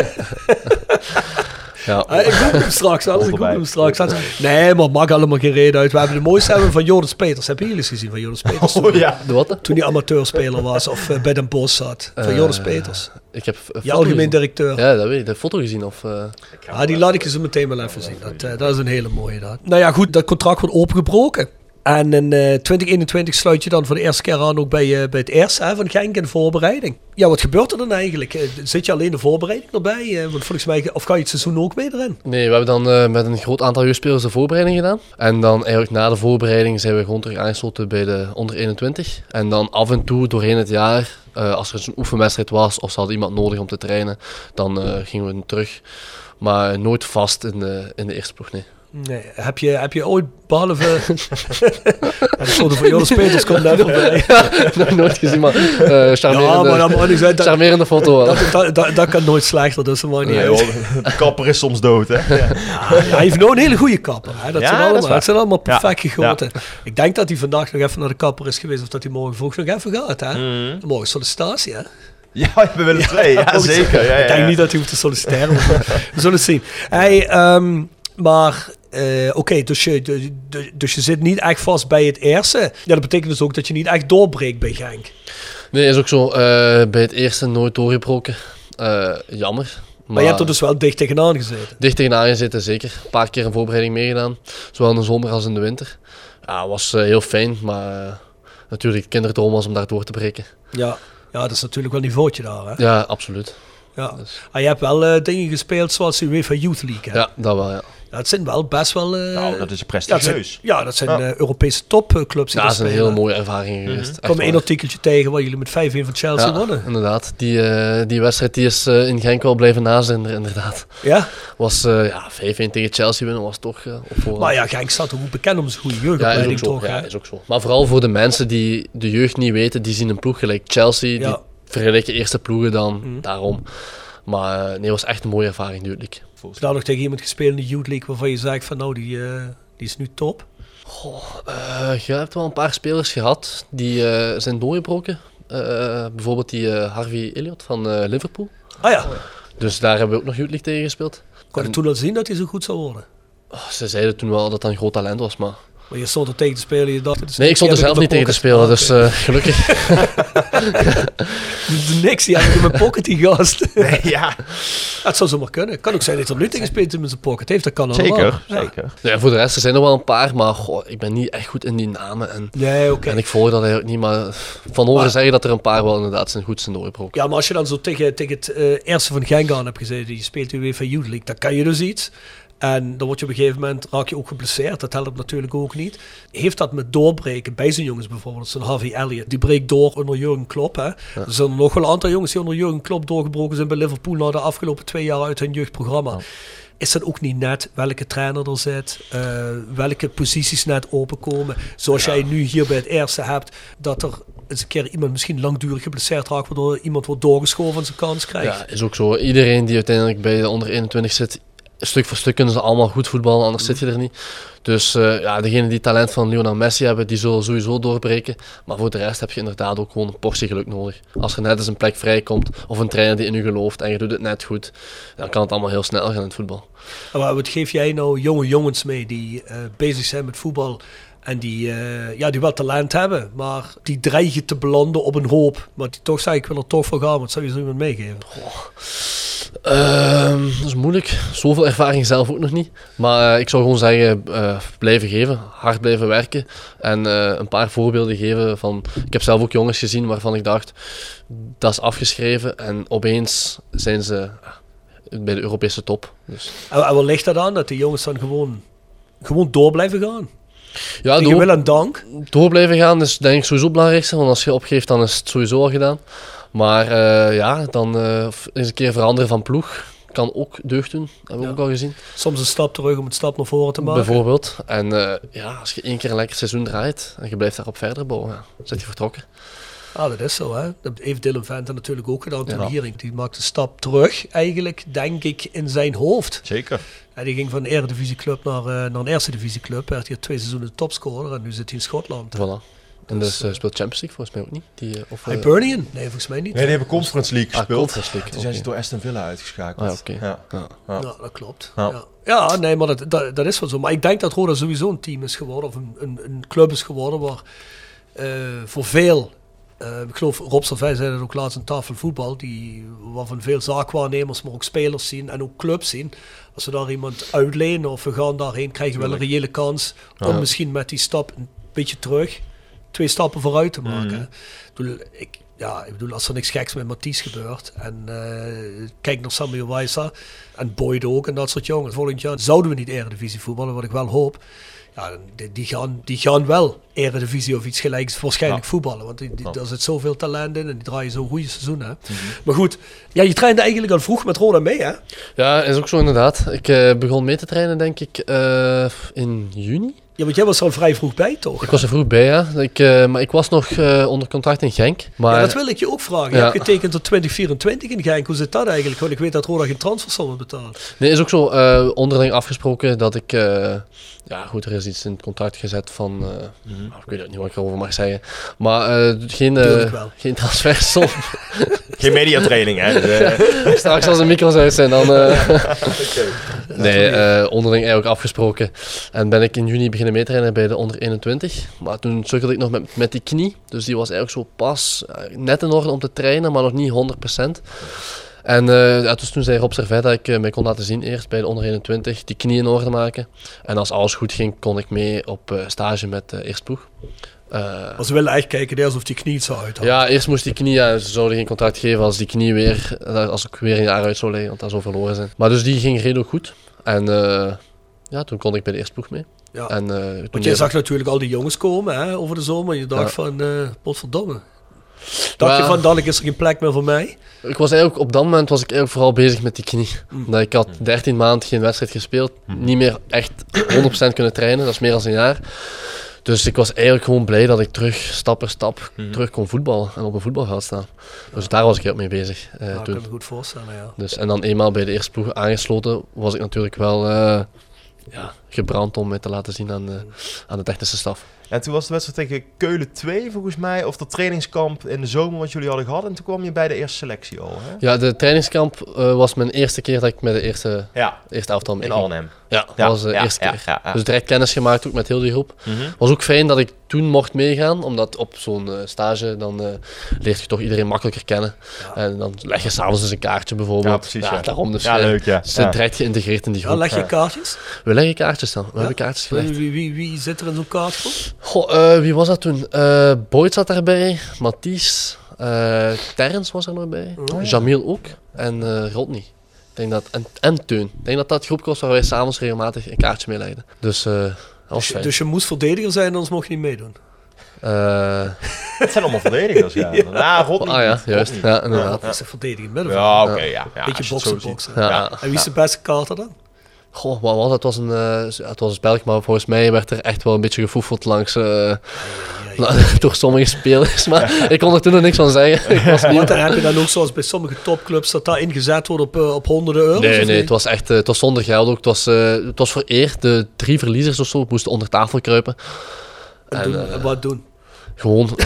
Ja.
Ah, ik google hem straks, anders ik google hem
Onderbij.
straks. anders- Nee, maar maakt allemaal geen reden uit. We hebben de mooiste hebben we van Joris Peters. Hebben jullie eens gezien van Joris Peters? toen-
Oh ja.
De wat?
Toen hij amateurspeler was of eh, bij Den Bosch zat. Van
Eh,
Joris Peters.
Ik heb eh,
Je
foto
algemeen
gezien.
directeur.
Ja, dat weet ik. De foto gezien of... eh,
Ah, die laat ik je zo meteen wel even zien. Dat, eh, dat is een hele mooie daad. Nou ja, goed, dat contract wordt opengebroken. En in eh, 2021 sluit je dan voor de eerste keer aan ook bij, eh, bij het eerste hè, van Genk in de voorbereiding. Ja, wat gebeurt er dan eigenlijk? Eh, zit je alleen de voorbereiding erbij? Eh, want volgens mij, of ga je het seizoen ook mee erin?
Nee, we hebben dan eh, met een groot aantal jeugdspelers de voorbereiding gedaan. En dan eigenlijk na de voorbereiding zijn we gewoon terug aangesloten bij de onder 21. En dan af en toe doorheen het jaar, eh, als er eens een oefenwedstrijd was of ze hadden iemand nodig om te trainen, dan eh, gingen we terug. Maar nooit vast in de, in de eerste ploeg, nee.
Nee, heb je, heb je ooit, behalve... [laughs] ja, de foto van Joris Peters komt
[laughs]
daar voorbij.
Nog [laughs] nooit gezien, maar eh charmerende,
Ja, maar dat mag niet zijn. Dat,
charmerende foto wel.
dat, dat, dat, dat kan nooit slechter, dus dat maakt niet
Nee,
uit.
joh, de kapper is soms dood, hè?
Ja, hij heeft nog een hele goede kapper. Hè? Dat,
Ja,
zijn
dat is
allemaal, dat,
waar.
zijn allemaal perfect
Ja,
gegoten. Ik denk dat hij vandaag nog even naar de kapper is geweest. Of dat hij morgen vroeg nog even gaat. Hè? Morgen sollicitatie. Hè?
Ja, we willen twee. Mm. Ja,
Volgens-
zeker. Ja, ja,
Ik denk
ja.
niet dat hij hoeft te solliciteren. maar we zullen het zien. Hey, ehm, maar... eh, Oké, dus, je, de- de- dus je zit niet echt vast bij het eerste. Ja, dat betekent dus ook dat je niet echt doorbreekt bij Genk.
Nee, is ook zo. eh, bij het eerste nooit doorgebroken. Eh, jammer.
Maar je hebt er dus wel dicht tegenaan gezeten.
dicht tegenaan gezeten, zeker. Een paar keer een voorbereiding meegedaan. Zowel in de zomer als in de winter. Ja, was eh, heel fijn, maar eh, natuurlijk, kinderdroom was om daar door te breken.
Ja. ja, dat is natuurlijk wel een niveautje daar. Hè?
Ja, absoluut.
Ja. Ah, je hebt wel eh, dingen gespeeld zoals de UEFA Youth League. Hè?
Ja, dat wel, ja.
Ja, het zijn wel best wel... eh,
Nou, dat is
ja, dat zijn,
prestigieus.
ja, dat zijn
Ja.
eh, Europese topclubs. die
Ja,
daar
dat is een
spelen.
heel mooie ervaring geweest.
Ik kwam één artikeltje tegen waar jullie met 5-1 van Chelsea
Ja,
wonnen.
inderdaad. Die, eh, die wedstrijd die is eh, in Genk wel blijven nazinderen, inderdaad.
Ja?
Was eh, ja, 5-1 tegen Chelsea winnen, was toch eh, op voorhand.
Maar ja, Genk staat ook goed bekend om zijn goede
Ja, is
jeugdopleiding
ook, zo,
toch.
ja,
hè?
is ook zo. Maar vooral voor de mensen die de jeugd niet weten, die zien een ploeg gelijk Chelsea. Die
Ja.
vergelijken eerste ploegen dan daarom. Maar eh, nee, het was echt een mooie ervaring, duidelijk.
Heb je daar nog tegen iemand gespeeld in de Youth League waarvan je zegt van nou, die, eh, die is nu top?
Eh, je hebt wel een paar spelers gehad die eh, zijn doorgebroken. Eh, bijvoorbeeld die eh, Harvey Elliott van eh, Liverpool.
Ah ja,
Dus daar hebben we ook nog Youth League tegen gespeeld.
kon je toen al zien dat hij zo goed zou worden?
Oh, ze zeiden toen wel dat dat een groot talent was, maar...
Maar je stond er tegen te spelen en je dacht... dit is
Nee, ik
niks,
stond er
die heb
zelf niet
ik in
tegen te
mijn
spelen, dus eh, gelukkig. [laughs]
pocket. Niks, die heb ik in mijn pocket, die gast.
[laughs]
[laughs]
Ja,
Dat zou zomaar kunnen. Kan ook zijn dat hij er nu tegen speelt in zijn pocket heeft, dat kan allemaal.
zeker.
Nee.
zeker.
Nee, voor de rest, er zijn er wel een paar, maar goh, ik ben niet echt goed in die namen. En
Nee, oké.
En ik volg dat eigenlijk niet, maar van horen
Maar-
zeggen dat er een paar wel inderdaad zijn goed zijn doorgebroken.
Ja, maar als je dan zo tegen, tegen het eh, eerste van Genk aan hebt gezeten, je speelt de UEFA Youth League, dan kan je dus iets. En dan word je op een gegeven moment, raak je ook geblesseerd. Dat helpt natuurlijk ook niet. Heeft dat met doorbreken bij zijn jongens bijvoorbeeld, zo'n Harvey Elliott, die breekt door onder Jurgen Klopp. Hè? Er zijn nog wel een aantal jongens die onder Jurgen Klopp doorgebroken zijn bij Liverpool na de afgelopen twee jaar uit hun jeugdprogramma. Is dat ook niet net welke trainer er zit, eh, welke posities net openkomen? Zoals jij nu hier bij het eerste hebt, dat er eens een keer iemand misschien langdurig geblesseerd raakt, waardoor iemand wordt doorgeschoven en zijn kans krijgt.
Ja, is ook zo. Iedereen die uiteindelijk bij de onder 21 zit, stuk voor stuk kunnen ze allemaal goed voetballen, anders zit je
Mhm.
er niet. Dus eh, ja, degenen die talent van Lionel Messi hebben, die zullen sowieso doorbreken. Maar voor de rest heb je inderdaad ook gewoon een portie geluk nodig. Als er net eens een plek vrijkomt, of een trainer die in u gelooft en je doet het net goed, dan kan het allemaal heel snel gaan in het voetbal.
En Wat wat geef jij nou jonge jongens mee die eh, bezig zijn met voetbal en die, eh, ja, die wel talent hebben, maar die dreigen te belanden op een hoop, maar die toch zeggen ik wil er toch voor gaan, wat zou je zo iemand meegeven?
Ehm, dat is moeilijk. Zoveel ervaring zelf ook nog niet. Maar eh, ik zou gewoon zeggen, eh, blijven geven. Hard blijven werken. En eh, een paar voorbeelden geven van... Ik heb zelf ook jongens gezien waarvan ik dacht... Dat is afgeschreven. En opeens zijn ze eh, bij de Europese top. Dus,
En, en wat ligt dat aan, dat die jongens dan gewoon, gewoon door blijven gaan?
ja,
Tegen
Ah, door,
wil en dank.
door blijven gaan is denk ik sowieso het belangrijkste. Want als je opgeeft, dan is het sowieso al gedaan. Maar eh, ja, dan eh, eens een keer veranderen van ploeg. Kan ook deugd doen. Dat hebben we ook al gezien.
Soms een stap terug om een stap naar voren te maken.
Bijvoorbeeld. En eh, ja, als je één keer een lekker seizoen draait en je blijft daarop verder bouwen, ja, dan zit je vertrokken.
Ah, dat is zo, hè. Dat heeft Dylan Venter natuurlijk ook gedaan toen
Ja.
Hiering. Die maakte een stap terug, eigenlijk, denk ik, in zijn hoofd.
Zeker.
En die ging van een eredivisieclub naar, eh, naar een eerste divisieclub. Werd hier twee seizoenen topscorer en nu zit hij in Schotland.
Voilà. En dus eh, speelt Champions League volgens mij ook niet. Die, eh, of, eh,
Hibernian? Nee, volgens mij niet.
Nee, die hebben Conference League
ah,
gespeeld.
Conference
Dus
League,
Toen zijn ze
oké.
door Aston Villa uitgeschakeld.
Ah, oké.
ja.
Ja.
Ja, dat klopt. Ja,
Ja.
ja. nee, maar dat, dat, dat is wel zo. Maar ik denk dat Roda sowieso een team is geworden, of een, een, een club is geworden, waar eh, voor veel... eh, ik geloof, Rob Servais zei dat ook laatst aan tafel voetbal, die, waarvan veel zaakwaarnemers, maar ook spelers zien en ook clubs zien. Als we daar iemand uitlenen of we gaan daarheen, krijgen we wel een reële kans om misschien met die stap een beetje terug twee stappen vooruit te maken. hè. Ik bedoel, ik, ja, ik bedoel, als er niks geks met Matthijs gebeurt. En eh, kijk naar Samuel Weissa en Boyd ook en dat soort jongens. Volgend jaar zouden we niet eredivisie voetballen, wat ik wel hoop. Ja, dan- die, die, gaan, die gaan wel eredivisie of iets gelijks waarschijnlijk
Ja.
voetballen. Want die, die, daar zit zoveel talent in en die draaien zo'n goede seizoen. Hè? Maar goed, ja, je trainde eigenlijk al vroeg met Roda mee. Hè?
Ja, is ook zo inderdaad. Ik eh, begon mee te trainen, denk ik, eh, in juni.
Ja, want jij was er al vrij vroeg bij, toch?
Ik was er vroeg bij, ja. Ik, eh, maar ik was nog eh, onder contract in Genk. Maar
Ja, dat wil ik je ook vragen. Je
Ja.
hebt getekend tot 2024 in Genk. Hoe zit dat eigenlijk? Want ik weet dat Roda geen transfersom betaalt.
Nee, is ook zo eh, onderling afgesproken dat ik... eh, ja, goed, er is iets in het contract gezet van... eh,
Mhm.
Ik weet ook niet wat ik erover mag zeggen. Maar eh, geen,
Tuurlijk
eh
wel.
geen [laughs] transversal.
Geen mediatraining, [laughs] hè? Dus, eh,
[laughs] Straks als de micro's uit zijn, dan... eh, [laughs] nee, eh, onderling eigenlijk afgesproken. En ben ik in juni beginnen meetrainen bij de onder 21. Maar toen sukkelde ik nog met, met die knie. Dus die was eigenlijk zo pas eh, net in orde om te trainen, maar nog niet 100%. En eh, ja, dus toen zei Rob Servet dat ik eh, mij kon laten zien eerst bij de onder 21, die knie in orde maken. En als alles goed ging, kon ik mee op eh, stage met de eerste ploeg. Eh,
Maar ze willen eigenlijk kijken nee, alsof die knie het zou uithouden.
ja, eerst moest die knie, ja, ze zouden geen contract geven als die knie weer, eh, als ik weer een jaar uit zou liggen, want dat zou verloren zijn. Maar dus die ging redelijk goed. En eh, ja, toen kon ik bij de eerste ploeg mee.
Ja.
En, eh, toen
Want jij
weer-
zag natuurlijk al die jongens komen hè, over de zomer. Je dacht
Ja.
van, eh potverdomme. Dacht je
Maar-
van, dadelijk is er geen plek meer voor mij?
Ik was eigenlijk, op dat moment was ik eigenlijk vooral bezig met die knie.
Mm.
[laughs] Omdat ik had 13 maanden geen wedstrijd gespeeld, niet meer echt 100% kunnen trainen, dat is meer dan een jaar. Dus ik was eigenlijk gewoon blij dat ik terug, stap per stap, terug kon voetballen en op een voetbalveld staan. Dus daar was ik heel mee bezig eh,
Ja, dat kan
toen.
ik me goed voorstellen, ja.
Dus, en dan eenmaal bij de eerste ploeg aangesloten, was ik natuurlijk wel eh, ja, gebrand om mij te laten zien aan de, aan de technische staf.
en toen was de wedstrijd tegen Keulen 2, volgens mij. Of dat trainingskamp in de zomer wat jullie hadden gehad. En toen kwam je bij de eerste selectie al, hè?
Ja, de trainingskamp eh, was mijn eerste keer dat ik met de eerste,
Ja,
eerste elftal mee
in Arnhem.
Ja, dat
Ja,
was de
ja,
eerste
ja,
keer.
ja, ja.
Dus direct kennis gemaakt ook met heel die groep.
Mhm.
was ook fijn dat ik toen mocht meegaan, omdat op zo'n eh, stage dan eh, leert je toch iedereen makkelijker kennen. En dan leg je s'avonds eens een kaartje bijvoorbeeld.
Ja, precies, ja.
daarom dus.
Ja,
eh,
leuk, ja.
Ze zijn
Ja.
direct geïntegreerd in die
Ja,
groep.
leg je kaartjes?
We leggen kaartjes dan. We hebben kaartjes gelegd.
Wie, wie, wie zit er in zo'n kaartje?
Goh, eh, wie was dat toen? Eh Boyd zat daarbij, Mathies, eh Terrence was er nog bij,
Oh,
Jamil ook en eh, Rodney. Ik denk dat, en, en Teun. Ik denk dat dat het groepje was waar wij s'avonds regelmatig een kaartje mee legden. Dus eh dat was fijn.
Dus je moest verdediger zijn, anders mocht je niet meedoen.
Eh,
Het zijn allemaal verdedigers, ja. Nou, ja. rot niet.
ah [laughs] ja,
Rot
juist.
niet.
Ja, inderdaad.
Dat is een verdedigend middenveld.
Ja, oké, ja. ja.
Beetje
als je het zo
boksen,
ziet.
boksen.
Ja.
Ja.
En wie is de beste kaarter dan?
Goh, wat was dat? Het was een, eh het was een spel, maar volgens mij werd er echt wel een beetje gefoefeld langs eh, [laughs] door sommige spelers. Maar
[laughs]
ik kon er toen nog niks van zeggen. Ik was niet
Want dan heb je dan ook zoals bij sommige topclubs dat daar ingezet wordt op, eh, op honderden euro's.
Nee,
of
nee,
niet?
het was echt eh, het was zonder geld ook. Het was, eh, het was voor eer. De drie verliezers of zo moesten onder tafel kruipen.
En doen,
eh,
en wat doen?
Gewoon,
[laughs]
eh,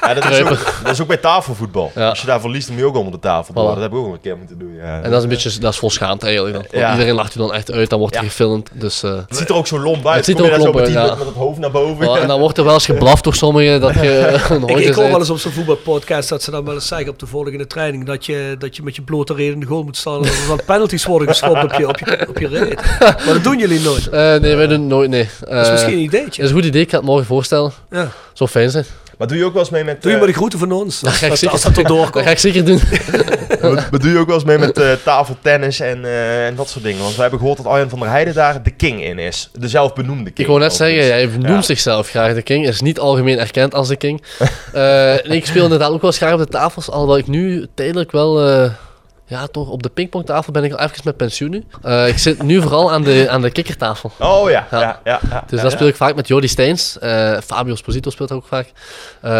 Ja, dat, is ook, dat is ook bij tafelvoetbal.
Ja.
Als je daar verliest, dan moet je ook onder de tafel. door.
Voilà.
Dat heb ik ook nog een keer moeten doen. Ja.
en dat is een beetje dat is vol schaamte eigenlijk. Dan. Want
Ja.
Iedereen lacht je dan echt uit, dan wordt er
Ja.
gefilmd.
[laughs]
Dus, eh,
Het ziet er ook zo lomp uit.
Het ziet
Kom
er
je
ook
daar
lomp
zo met,
uit,
die-
ja.
met het hoofd naar boven.
wel,
Ja.
en dan wordt er wel eens geblaft door sommigen
[laughs]
dat je eh, een
Ik,
hondje
ik hoor wel
bent.
eens op zo'n voetbalpodcast dat ze dan wel eens zeggen op de volgende training dat je, dat je met je blote reet in de goal moet staan. en Dat er dan penalties worden geschopt op je, op, je, op je reet. Maar dat doen jullie nooit. Dat
Eh, nee, wij doen het nooit, nee.
is
Eh,
misschien een
is
ideetje.
een goed idee, ik ga het morgen voorstellen.
Ja.
Zou fijn zijn.
Maar doe je ook wel eens mee met...
Doe je
eh,
maar de groeten van ons. Als
ga ik
dat,
zeker-
als dat erdoor
Dat
komt.
ga ik zeker doen.
[laughs] maar, maar doe je ook wel eens mee met eh, tafeltennis en, eh, en dat soort dingen? Want we hebben gehoord dat Arjen van der Heijden daar de king in is. De zelfbenoemde king.
Ik wou net zeggen,
overigens.
hij noemt zichzelf graag de king. Is niet algemeen erkend als de
[laughs]
king. Eh, nee, ik speel inderdaad ook wel eens graag op de tafels. Alhoewel ik nu tijdelijk wel... eh, ja, toch, op de pingpongtafel ben ik al even met pensioen nu. Eh, ik zit nu vooral aan de, aan de kikkertafel.
Oh ja, ja,
Ja.
ja. ja,
Dus
ja, ja.
dat speel ik vaak met Jordi Steins. Eh Fabio Sposito speelt daar ook vaak. Eh,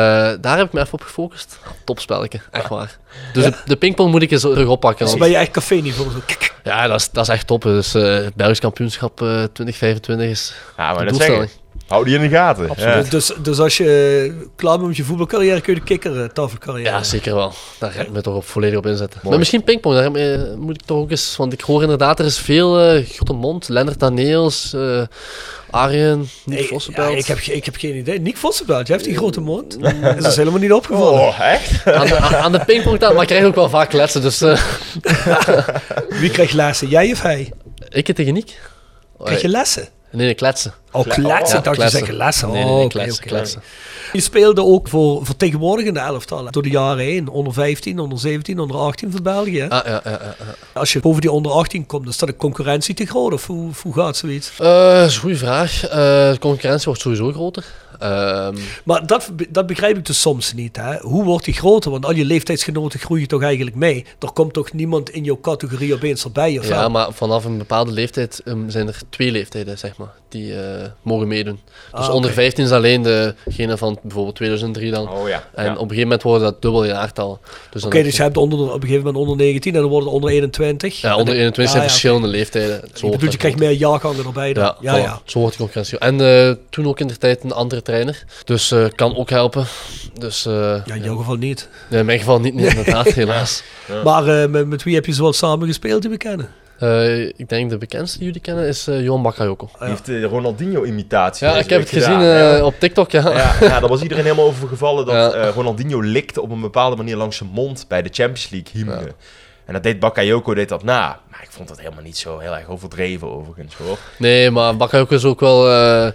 daar heb ik me even op gefocust. Topspelletje, echt waar. Dus de, de pingpong moet ik eens terug oppakken.
Dus
want-
ben je echt café niveau. Zo, kik, kik.
ja, dat is, dat is echt top. Dus eh Belgisch kampioenschap eh, 2025 is
Ja, maar
de
dat zeg
doelstelling.
ik. Hou die in de gaten. Ja.
Dus, dus als je klaar bent met je voetbalcarrière, kun je de kikker eh, tafelcarrière.
Ja, zeker wel. Daar ga ik me toch op volledig op inzetten. Maar misschien pingpong, daar eh, moet ik toch ook eens... Want ik hoor inderdaad, er is veel eh grote mond. Lennart Daneels, eh Arjen, Nick
Ik, ja,
Vossenbelt. Eh,
ik, heb, ge- ik heb geen idee. Nick Vossenbelt, jij hebt die grote mond. Dat is ons helemaal niet opgevallen.
Oh, echt?
aan, de, aan de pingpongtafel, maar ik krijg ook wel vaak kletsen. Dus eh,
Wie krijgt lessen? Jij of hij?
ik en tegen Nick. Oh,
Krijg je lessen?
Nee, nee, kletsen.
Oh, kletsen. ik dacht je
kletsen.
zeggen lessen.
Nee, nee,
Oh,
nee,
oké,
kletsen,
oké.
kletsen.
Je speelde ook voor vertegenwoordigende elftallen door de jaren heen. Onder 15, onder 17, onder 18 voor België. hè?
Ah, ja, ja, ja, ja.
Als je boven die onder 18 komt, dan staat de concurrentie te groot. Of hoe, hoe gaat zoiets?
Eh, dat is een goede vraag. Eh, de concurrentie wordt sowieso groter. Ehm,
Maar dat, dat begrijp ik dus soms niet. Hè? Hoe wordt die groter? Want al je leeftijdsgenoten groeien toch eigenlijk mee. Er komt toch niemand in jouw categorie opeens erbij? Of
ja,
wel?
maar vanaf een bepaalde leeftijd ehm, zijn er twee leeftijden, zeg maar, die eh, mogen meedoen.
Ah,
Dus
oké.
onder 15 is alleen degene van bijvoorbeeld 2003 dan.
Oh ja.
En
ja.
op een gegeven moment worden dat dubbel jaartallen. Dus dan
Oké,
heb
dus
je-
je hebt onder, op een gegeven moment onder 19 en dan worden het onder 21.
ja, onder 21 zijn
Ah, Ja, ja,
verschillende leeftijden. Zo
Ik
wordt
bedoel, je
dat
krijgt meer jaargangen erbij dan.
Ja,
Ja, ja.
voilà. zo wordt de concurrentie. En eh, toen ook in de tijd een andere trainer. Dus eh, kan ook helpen. Dus eh,
Ja, in jouw geval niet.
nee, in mijn geval niet, nee, inderdaad, [laughs] helaas.
Maar eh, met, met wie heb je zoal samen gespeeld die we kennen?
Eh, ik denk de bekendste die jullie kennen is eh Johan Bakayoko.
Die heeft de Ronaldinho-imitatie.
Ja,
deze
ik heb het
week
gezien
gedaan,
eh,
ja.
op TikTok, ja.
Ja, ja, daar was iedereen helemaal over gevallen dat
Ja.
eh, Ronaldinho likte op een bepaalde manier langs zijn mond bij de Champions League hymne. En dat deed Bakayoko deed dat na. Maar ik vond dat helemaal niet zo heel erg overdreven overigens
[laughs]
hoor.
Nee, maar Bakayoko is ook wel eh,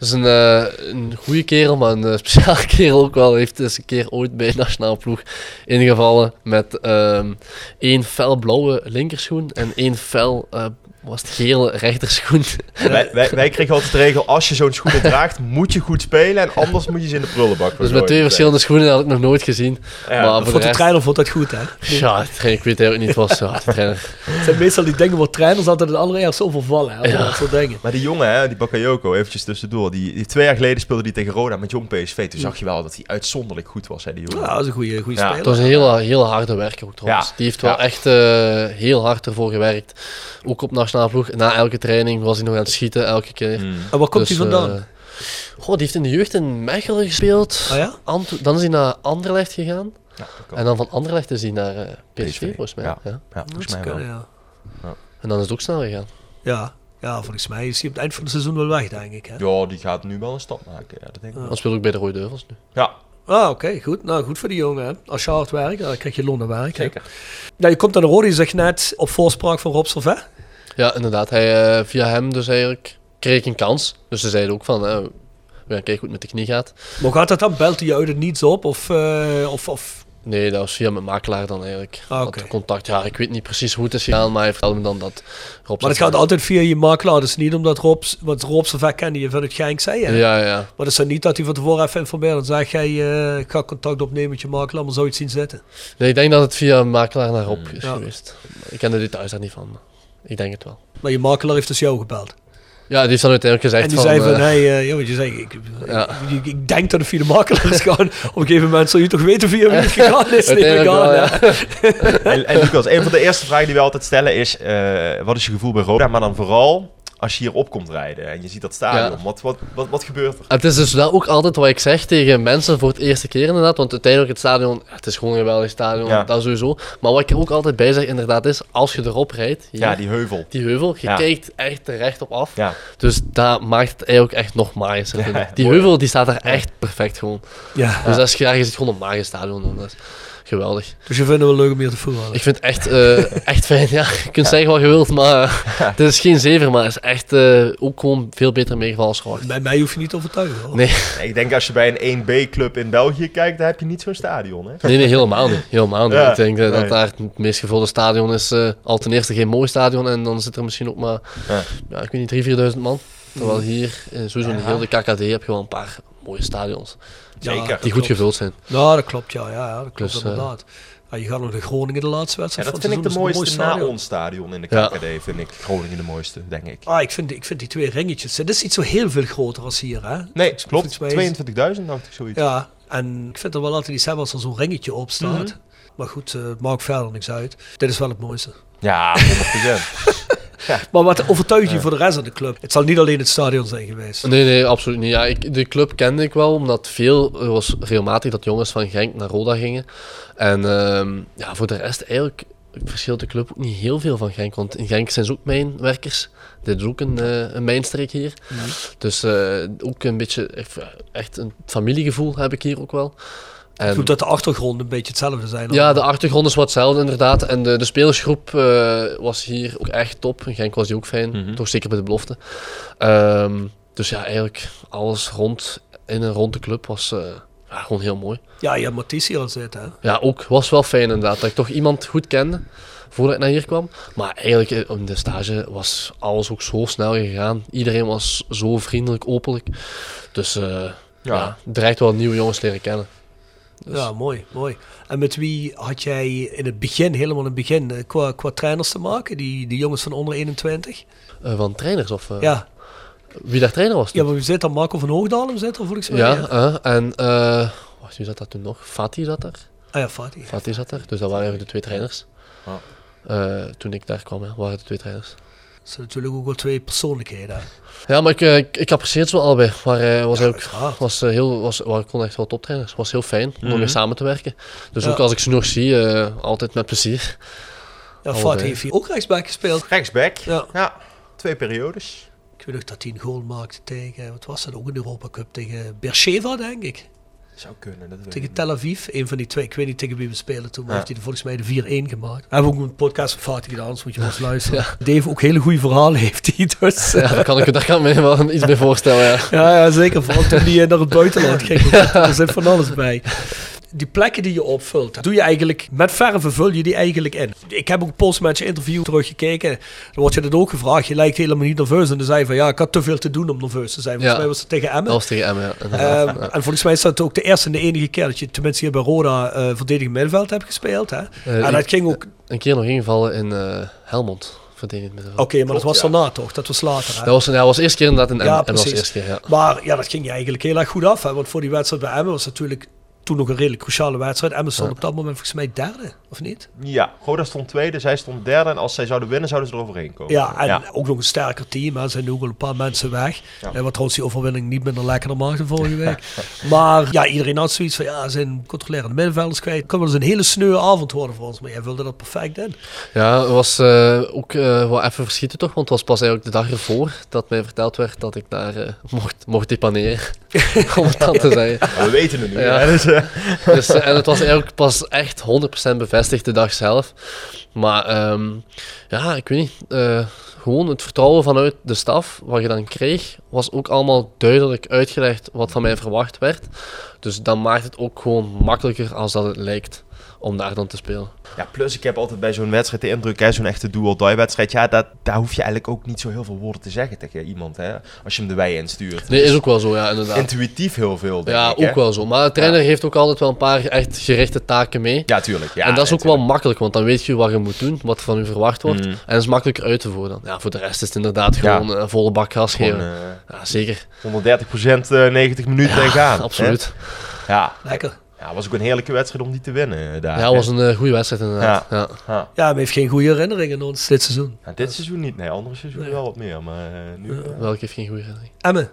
is een, eh, een goede kerel, maar een eh, [laughs] speciale kerel ook wel. Hij heeft eens een keer ooit bij de nationale ploeg ingevallen met ehm één fel blauwe linkerschoen en één fel, eh, was het gele rechterschoen. [laughs]
Wij, wij, wij kregen altijd de regel, als je zo'n schoenen draagt, moet je goed spelen. En anders moet je ze in de prullenbak
Dus
gooien.
met twee verschillende schoenen dat had ik nog nooit gezien.
Ja,
maar
dat
voor
Vond
de
de
rest...
trainer vond dat
[laughs]
goed, hè?
Ja, de trainer, ik weet eigenlijk niet wat ze had. de trainer.
Het zijn meestal die dingen waar trainers altijd het allereerst over vallen. Hè?
Ja.
Dat soort dingen.
Maar die jongen, hè, die Bakayoko, eventjes tussendoor. Die, die twee jaar geleden speelde hij tegen Roda met jong PSV. Toen zag je wel dat hij uitzonderlijk goed was, hè, die jongen.
Ja, dat is een goede, goede
Ja.
Het
speler.
was een hele, hele harde werker ook trouwens.
Ja,
Die heeft wel
ja.
echt eh, heel hard ervoor gewerkt. Ook op nationale ploeg. Na elke training was hij nog aan het schieten, elke keer.
Hmm.
En waar komt
Dus,
hij vandaan?
eh, goh, die heeft in de jeugd in Mechelen gespeeld.
Ah ja?
Anto- dan is hij naar Anderlecht gegaan.
Ja, dat kan.
En dan van Anderlecht is hij naar eh, PSV,
PSV,
volgens mij.
ja.
Ja.
Ja, volgens mij
Dat
wel.
kan, ja.
En dan is het ook snel gegaan.
Ja. ja, volgens mij is hij op het eind van het seizoen wel weg, denk ik. Hè?
Ja, die gaat nu wel een stap maken. Ja, dat denk ik. wel.
Dan speelt ook bij de Rode Duivels nu.
Ja,
Ah, oké, goed. Nou, goed voor die jongen. hè. Als je hard werkt, dan krijg je loon en werk. hè. Nou, je komt aan de rode, je zegt net, op voorspraak van Rob Servet.
Ja, inderdaad. Hij, eh, via hem dus eigenlijk kreeg ik een kans. Dus ze zeiden ook van... eh, we gaan kijken hoe het met de knie gaat.
Maar gaat dat dan? Belt hij je uit het niets op? Of, eh, of, of...
Nee, dat was via mijn makelaar dan eigenlijk.
Ah,
Dat
oké.
contact, ja, ik weet niet precies hoe het is gegaan, maar hij vertelde me dan dat Rob...
Maar het gaat altijd via je makelaar. Dus niet omdat Rob... Want Rob Servet kende je van het Genk, zei je. hè?
Ja, ja.
Maar dat is dan niet dat hij van tevoren even informeert. Dan zegt hij, eh, ik ga contact opnemen met je makelaar, maar zou je het zien zitten?
Nee, ik denk dat het via mijn makelaar naar
Hmm.
Rob is
Ja.
geweest. Ik ken de details daar niet van. maar Ik denk het wel.
Maar je makelaar heeft dus jou gebeld.
Ja, die heeft dan uiteindelijk
en
gezegd
die
van...
zei van,
eh,
hey, eh, jongen, je zei, ik,
Ja.
ik, ik- ik denk dat het via de makelaar is gegaan. Op een gegeven moment zul je toch weten via
[laughs]
wie het gegaan is. neem ik
uiteindelijk
aan,
wel,
hè?
ja. [laughs]
En, en Lucas, een van de eerste vragen die we altijd stellen is: eh, wat is je gevoel bij Roda? Maar dan vooral als je hierop komt rijden en je ziet dat stadion.
Ja.
Wat, wat, wat, wat gebeurt er?
Het is dus wel ook altijd wat ik zeg tegen mensen voor het eerste keer inderdaad. Want uiteindelijk het stadion, het is gewoon een geweldig stadion,
Ja.
dat sowieso. Maar wat ik er ook altijd bij zeg inderdaad is, als je erop rijdt, hier,
Ja, die heuvel.
[laughs] die heuvel, je
Ja.
kijkt echt er recht op af.
Ja,
Dus dat maakt het eigenlijk echt nog magischer. vind ik.
Ja,
die
mooi.
heuvel die staat daar echt perfect gewoon.
Ja.
Dus als je daar je zit gewoon een magisch stadion. en Dat is geweldig.
Dus je vindt het wel leuk om hier te voetballen.
Ik vind het echt, eh, echt fijn. Ja, je kunt zeggen wat je wilt, maar eh, het is geen zever. Maar het is echt eh, ook gewoon veel beter meegevallen als verwacht.
Bij mij hoef je niet te overtuigen. Hoor.
Nee.
Nee, ik denk als je bij een 1B-club in België kijkt, daar heb je niet zo'n stadion. Hè?
Nee, nee, helemaal niet. Helemaal niet.
Ja,
ik denk eh,
nee.
dat daar het meest gevulde stadion is. eh, al ten eerste geen mooi stadion en dan zit er misschien ook maar,
Ja.
ja. ik weet niet, 3.000, 4.000 man. Terwijl hier, eh, sowieso in heel de KKD, heb je wel een paar mooie stadions
Ja, dat
Zeker.
die goed
klopt.
gevuld zijn.
Nou, dat klopt, ja. ja, ja dat klopt
Dus, eh,
inderdaad. Ja, je gaat nog naar Groningen de laatste
Ja,
wedstrijd
dat
van
vind
het
ik de
seizoen. Dat
mooiste
is een mooi stadion.
na ons stadion in de
Ja.
KKD, vind ik. Groningen de mooiste, denk ik.
Ah, ik vind, ik vind die twee ringetjes. Dat is niet zo heel veel groter als hier, hè?
Nee,
volgens
klopt. 22.000
mij is-
dacht ik zoiets.
Ja, en ik vind het wel altijd iets hebben als er zo'n ringetje op staat.
Mhm.
Maar goed, eh, het maakt verder niks uit. Dit is wel het mooiste.
Ja,
[laughs]
100%.
Maar wat overtuigt je voor de rest van de club? Het zal niet alleen het stadion zijn geweest.
Nee, nee, absoluut niet. Ja, ik, de club kende ik wel, omdat veel er was regelmatig dat jongens van Genk naar Roda gingen. En ehm, ja, voor de rest eigenlijk verschilt de club ook niet heel veel van Genk. Want in Genk zijn ze ook mijnwerkers. Dit is ook een, eh, een mijnstreek hier. Dus eh, ook een beetje eh, echt een familiegevoel heb ik hier ook wel.
Ik
En
bedoel dat de achtergronden een beetje hetzelfde zijn.
ja, de achtergrond is wat hetzelfde inderdaad. En de, de spelersgroep eh, was hier ook echt top. In Genk was die ook fijn. Toch zeker bij de belofte. Ehm, dus ja, eigenlijk alles rond in en rond de club was eh, ja, gewoon heel mooi.
Ja, je hebt Matisse hier al zitten. Hè?
Ja, ook. Was wel fijn inderdaad. Dat ik toch iemand goed kende voordat ik naar hier kwam. Maar eigenlijk eh, in de stage was alles ook zo snel gegaan. Iedereen was zo vriendelijk, openlijk. Dus eh, ja. direct wel nieuwe jongens leren kennen. Dus-
Ja, mooi, mooi. En met wie had jij in het begin, helemaal in het begin, eh, qua, qua trainers te maken? Die, die jongens van onder 21?
Eh, van trainers of eh,
Ja,
wie daar trainer was.
ja
toen?
maar wie zit daar? Marco van Hoogdalem zit er volgens mij.
ja,
hè?
eh, en eh wacht, wie zat dat toen nog? Fatih zat er.
Ah ja, Fatih.
Fatih zat er. Dus dat waren eigenlijk de twee trainers.
Ah.
Eh, toen ik daar kwam, ja, waren de twee trainers.
Dat zijn natuurlijk ook wel twee persoonlijkheden. hè?
Ja, maar ik, eh, ik, ik apprecieer het wel allebei. Maar eh, was ook
uiteraard.
was, eh, heel, was, waren kon echt wel toptrainers. was heel fijn om mee samen te werken. Dus
Mhm. Ja.
ook als ik ze nog zie, eh, altijd met plezier. [laughs]
Ja, Fatih
Allebei.
heeft hier ook rechtsback gespeeld.
Rechtsback.
Ja.
Ja. Twee periodes.
Ik weet nog dat hij een goal maakte tegen, wat was dat, ook in de Europa Cup, tegen Beersheva denk ik.
Zou kunnen. Dat weet ik
Tegen
niet.
Tel Aviv, een van die twee. Ik weet niet tegen wie we spelen toen, maar heeft hij er volgens mij de 4-1 gemaakt. We hebben ook een podcast van Fatih gedaan, anders moet je ons luisteren. Dave ook hele goede verhalen heeft hij, dus...
Ja, daar kan ik, daar kan ik me wel [laughs] iets bij voorstellen. Ja.
Ja, ja zeker. Vooral toen die eh, naar het buitenland ging. Er zit van alles bij. Die plekken die je opvult, doe je eigenlijk met verven vul je die eigenlijk in. Ik heb ook een postmatch interview teruggekeken. Dan word je dat ook gevraagd. Je lijkt helemaal niet nerveus. En dan zei je van ja, ik had te veel te doen om nerveus te zijn. Volgens
Ja.
mij was het tegen Emmen.
Dat was tegen Emmen, ja.
[laughs] Ehm,
[laughs] inderdaad.
En volgens mij is dat ook de eerste en de enige keer dat je tenminste hier bij Roda eh verdedigend middenveld hebt gespeeld. Hè? en dat
Eh, ik-
ging ook... Oké,
Een keer nog ingevallen in eh, Helmond. Verdedigend met
maar dat was daarna toch? Dat was later. Hè?
Dat was, ja, dat was de eerste keer inderdaad in Emmen.
Oh. Ja,
Emmen was de
precies.
eerste keer, ja.
Maar ja, dat ging je eigenlijk heel erg goed af. Hè? Want voor die wedstrijd bij Emmen was het natuurlijk toen nog een redelijk cruciale wedstrijd. Emmen stond op dat moment volgens mij derde, of niet?
Ja, Roda stond tweede, zij stond derde. En als zij zouden winnen, zouden ze eroverheen komen.
Ja, en
ja.
ook nog een sterker team. hè. Er zijn ook al een paar mensen weg. Eh, Wat trouwens die overwinning niet minder lekkerder maakte vorige week.
[laughs]
maar ja, iedereen had zoiets van, ja, ze zijn controlerende middenvelders kwijt. Het kan wel eens een hele sneuwe avond worden voor ons. Maar jij wilde dat perfect in.
Ja, het was eh, ook eh, wel even verschieten toch, want het was pas eigenlijk de dag ervoor dat mij verteld werd dat ik daar eh, mocht, mocht depaneren, [laughs] om het dan te zeggen.
Maar we weten het nu.
Ja.
hè, dus, eh,
Dus, eh, en het was eigenlijk pas echt 100% bevestigd de dag zelf. Maar ehm, ja, ik weet niet, eh, gewoon het vertrouwen vanuit de staf, wat je dan kreeg, was ook allemaal duidelijk uitgelegd wat van mij verwacht werd. Dus dan maakt het ook gewoon makkelijker als dat het lijkt om daar dan te
[laughs]
spelen.
Ja, plus ik heb altijd bij zo'n wedstrijd de indruk, hè, zo'n echte do-or-die-wedstrijd, ja, dat, daar hoef je eigenlijk ook niet zo heel veel woorden te zeggen tegen iemand, hè, als je hem de wei instuurt. Dus
Nee, is ook wel zo, ja, inderdaad.
Intuïtief heel veel, denk
Ja,
ik, hè?
ook wel zo. Maar de trainer heeft ook altijd wel een paar echt gerichte taken mee.
Ja, tuurlijk. Ja,
en dat is
nee,
ook wel
tuurlijk.
makkelijk, want dan weet je wat je moet doen, wat van u verwacht wordt. En dat is makkelijk uit te voeren. dan. Ja, voor de rest is het inderdaad
Mm. Ja.
gewoon eh, volle bak gas geven.
Gewoon, eh,
ja,
[laughs]
zeker.
130% eh, 90 minuten en
[laughs]
gaan. hè?
Absoluut.
Ja.
Lekker.
ja, was ook een heerlijke wedstrijd om die te winnen eh, daar.
Ja,
hè.
het was een eh, goede wedstrijd inderdaad. Ja.
Ja.
Ja, maar heeft geen goede herinneringen aan ons dit seizoen.
Ja, dit seizoen niet, nee, andere seizoen wel wat meer, maar eh, nu... eh,
Welke heeft geen goede herinnering?
Emmen.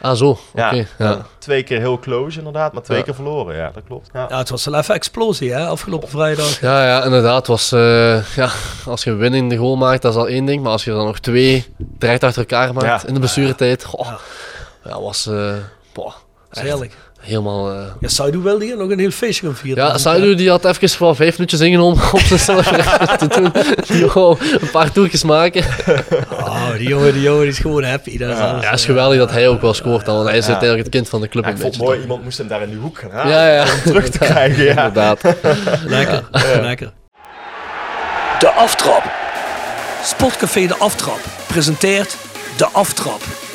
Ah, zo. Oké.
ja,
ja.
ja, twee keer heel close inderdaad, maar twee
Ja.
keer verloren, ja, dat klopt. Ja.
Ja, het was wel even explosie, hè, afgelopen vrijdag.
Ja, ja, inderdaad. Het Was, eh, ja, als je een winnende goal maakt, dat is al één ding. Maar als je er dan nog twee direct achter elkaar maakt
Ja.
in de blessuretijd. Goh, ja, was eh, boah,
Dat
echt
is heerlijk.
helemaal... eh,
Ja, Saidu wilde hier nog een heel feestje gaan vieren.
Ja, Saidu die had even voor vijf minuutjes ingenomen om zichzelf [laughs] te doen. Yo, een paar toertjes maken.
Oh, die jongen, die jongen die is gewoon happy. Dat is alles.
Ja, het is geweldig dat hij ook wel scoort dan, want hij is
Ja.
uiteindelijk het kind van de club
Ja,
een
ik vond
beetje.
het mooi, iemand moest hem daar in die hoek gaan halen.
Ja, ja.
Terug te krijgen,
toch?
ja.
[laughs] Inderdaad.
Lekker, lekker. De Aftrap. Sportcafé De Aftrap presenteert De Aftrap.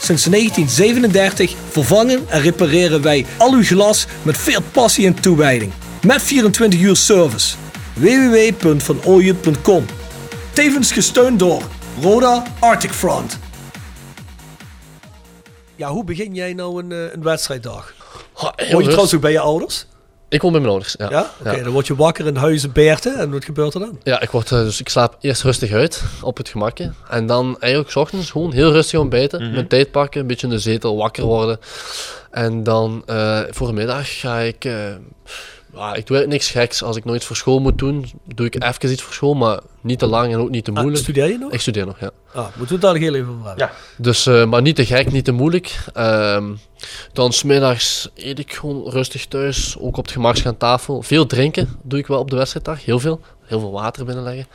Sinds 1937 vervangen en repareren wij al uw glas met veel passie en toewijding. Met 24 uur service. www.vanooyen.com Tevens gesteund door Roda Arctic Front. Ja, hoe begin jij nou een, eh, een wedstrijddag?
Oh, heel
Hoor je
rust-
trouwens ook bij je ouders?
Ik woon bij mijn ouders, ja.
Ja? Oké, dan word je wakker in huizen Beerten en wat gebeurt er dan?
Ja, ik, word, eh, dus ik slaap eerst rustig uit op het gemakje. En dan eigenlijk 's ochtends gewoon heel rustig ontbijten.
Mhm.
Mijn tijd pakken, een beetje in de zetel wakker worden. En dan eh, voor de middag ga ik. eh, ja, ik doe eigenlijk niks geks. Als ik nooit voor school moet doen, doe ik even iets voor school. Maar niet te lang en ook niet te
Ah,
moeilijk.
studeer je nog?
Ik studeer nog, ja.
Ah, moeten we het daar nog heel even over hebben?
Ja.
Dus, eh, maar niet te gek, niet te moeilijk. Ehm, dan smiddags eet ik gewoon rustig thuis, ook op het gemakje aan tafel. Veel drinken doe ik wel op de wedstrijddag, heel veel. Heel veel water binnenleggen.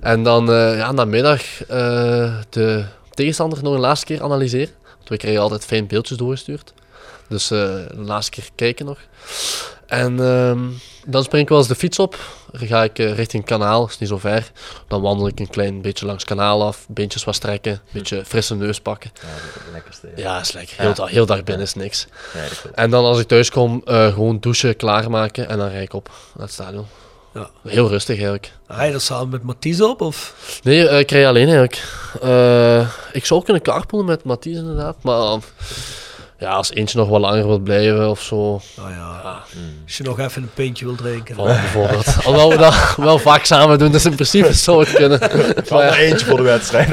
En dan eh ja, namiddag eh, de tegenstander nog een laatste keer analyseren. Want we krijgen altijd fijn beeldjes doorgestuurd. Dus eh een laatste keer kijken nog. En ehm, dan spring ik wel eens de fiets op. Dan ga ik eh, richting kanaal, is niet zo ver. Dan wandel ik een klein beetje langs kanaal af, beentjes wat strekken, een
Hm.
beetje frisse neus pakken.
Lekkerste.
Ja, is lekker. Heel, dag, heel dag binnen is niks.
Nee, dat klopt.
En dan als ik thuis kom, eh, gewoon douchen, klaarmaken en dan rijd ik op naar het stadion.
Ja.
Heel rustig eigenlijk.
Ga je dat samen met Mathies op? Of?
Nee, eh, ik rij alleen eigenlijk. Eh, ik zou kunnen carpoolen met Mathies inderdaad, maar eh, ja, als eentje nog wat langer wil blijven of zo,
Nou ja,
Ah.
als je nog even een pintje wil drinken.
dan
[laughs]
bijvoorbeeld. Alhoewel we dat wel vaak samen doen, dus in principe zou het kunnen.
Van er eentje voor de
[laughs]
wedstrijd.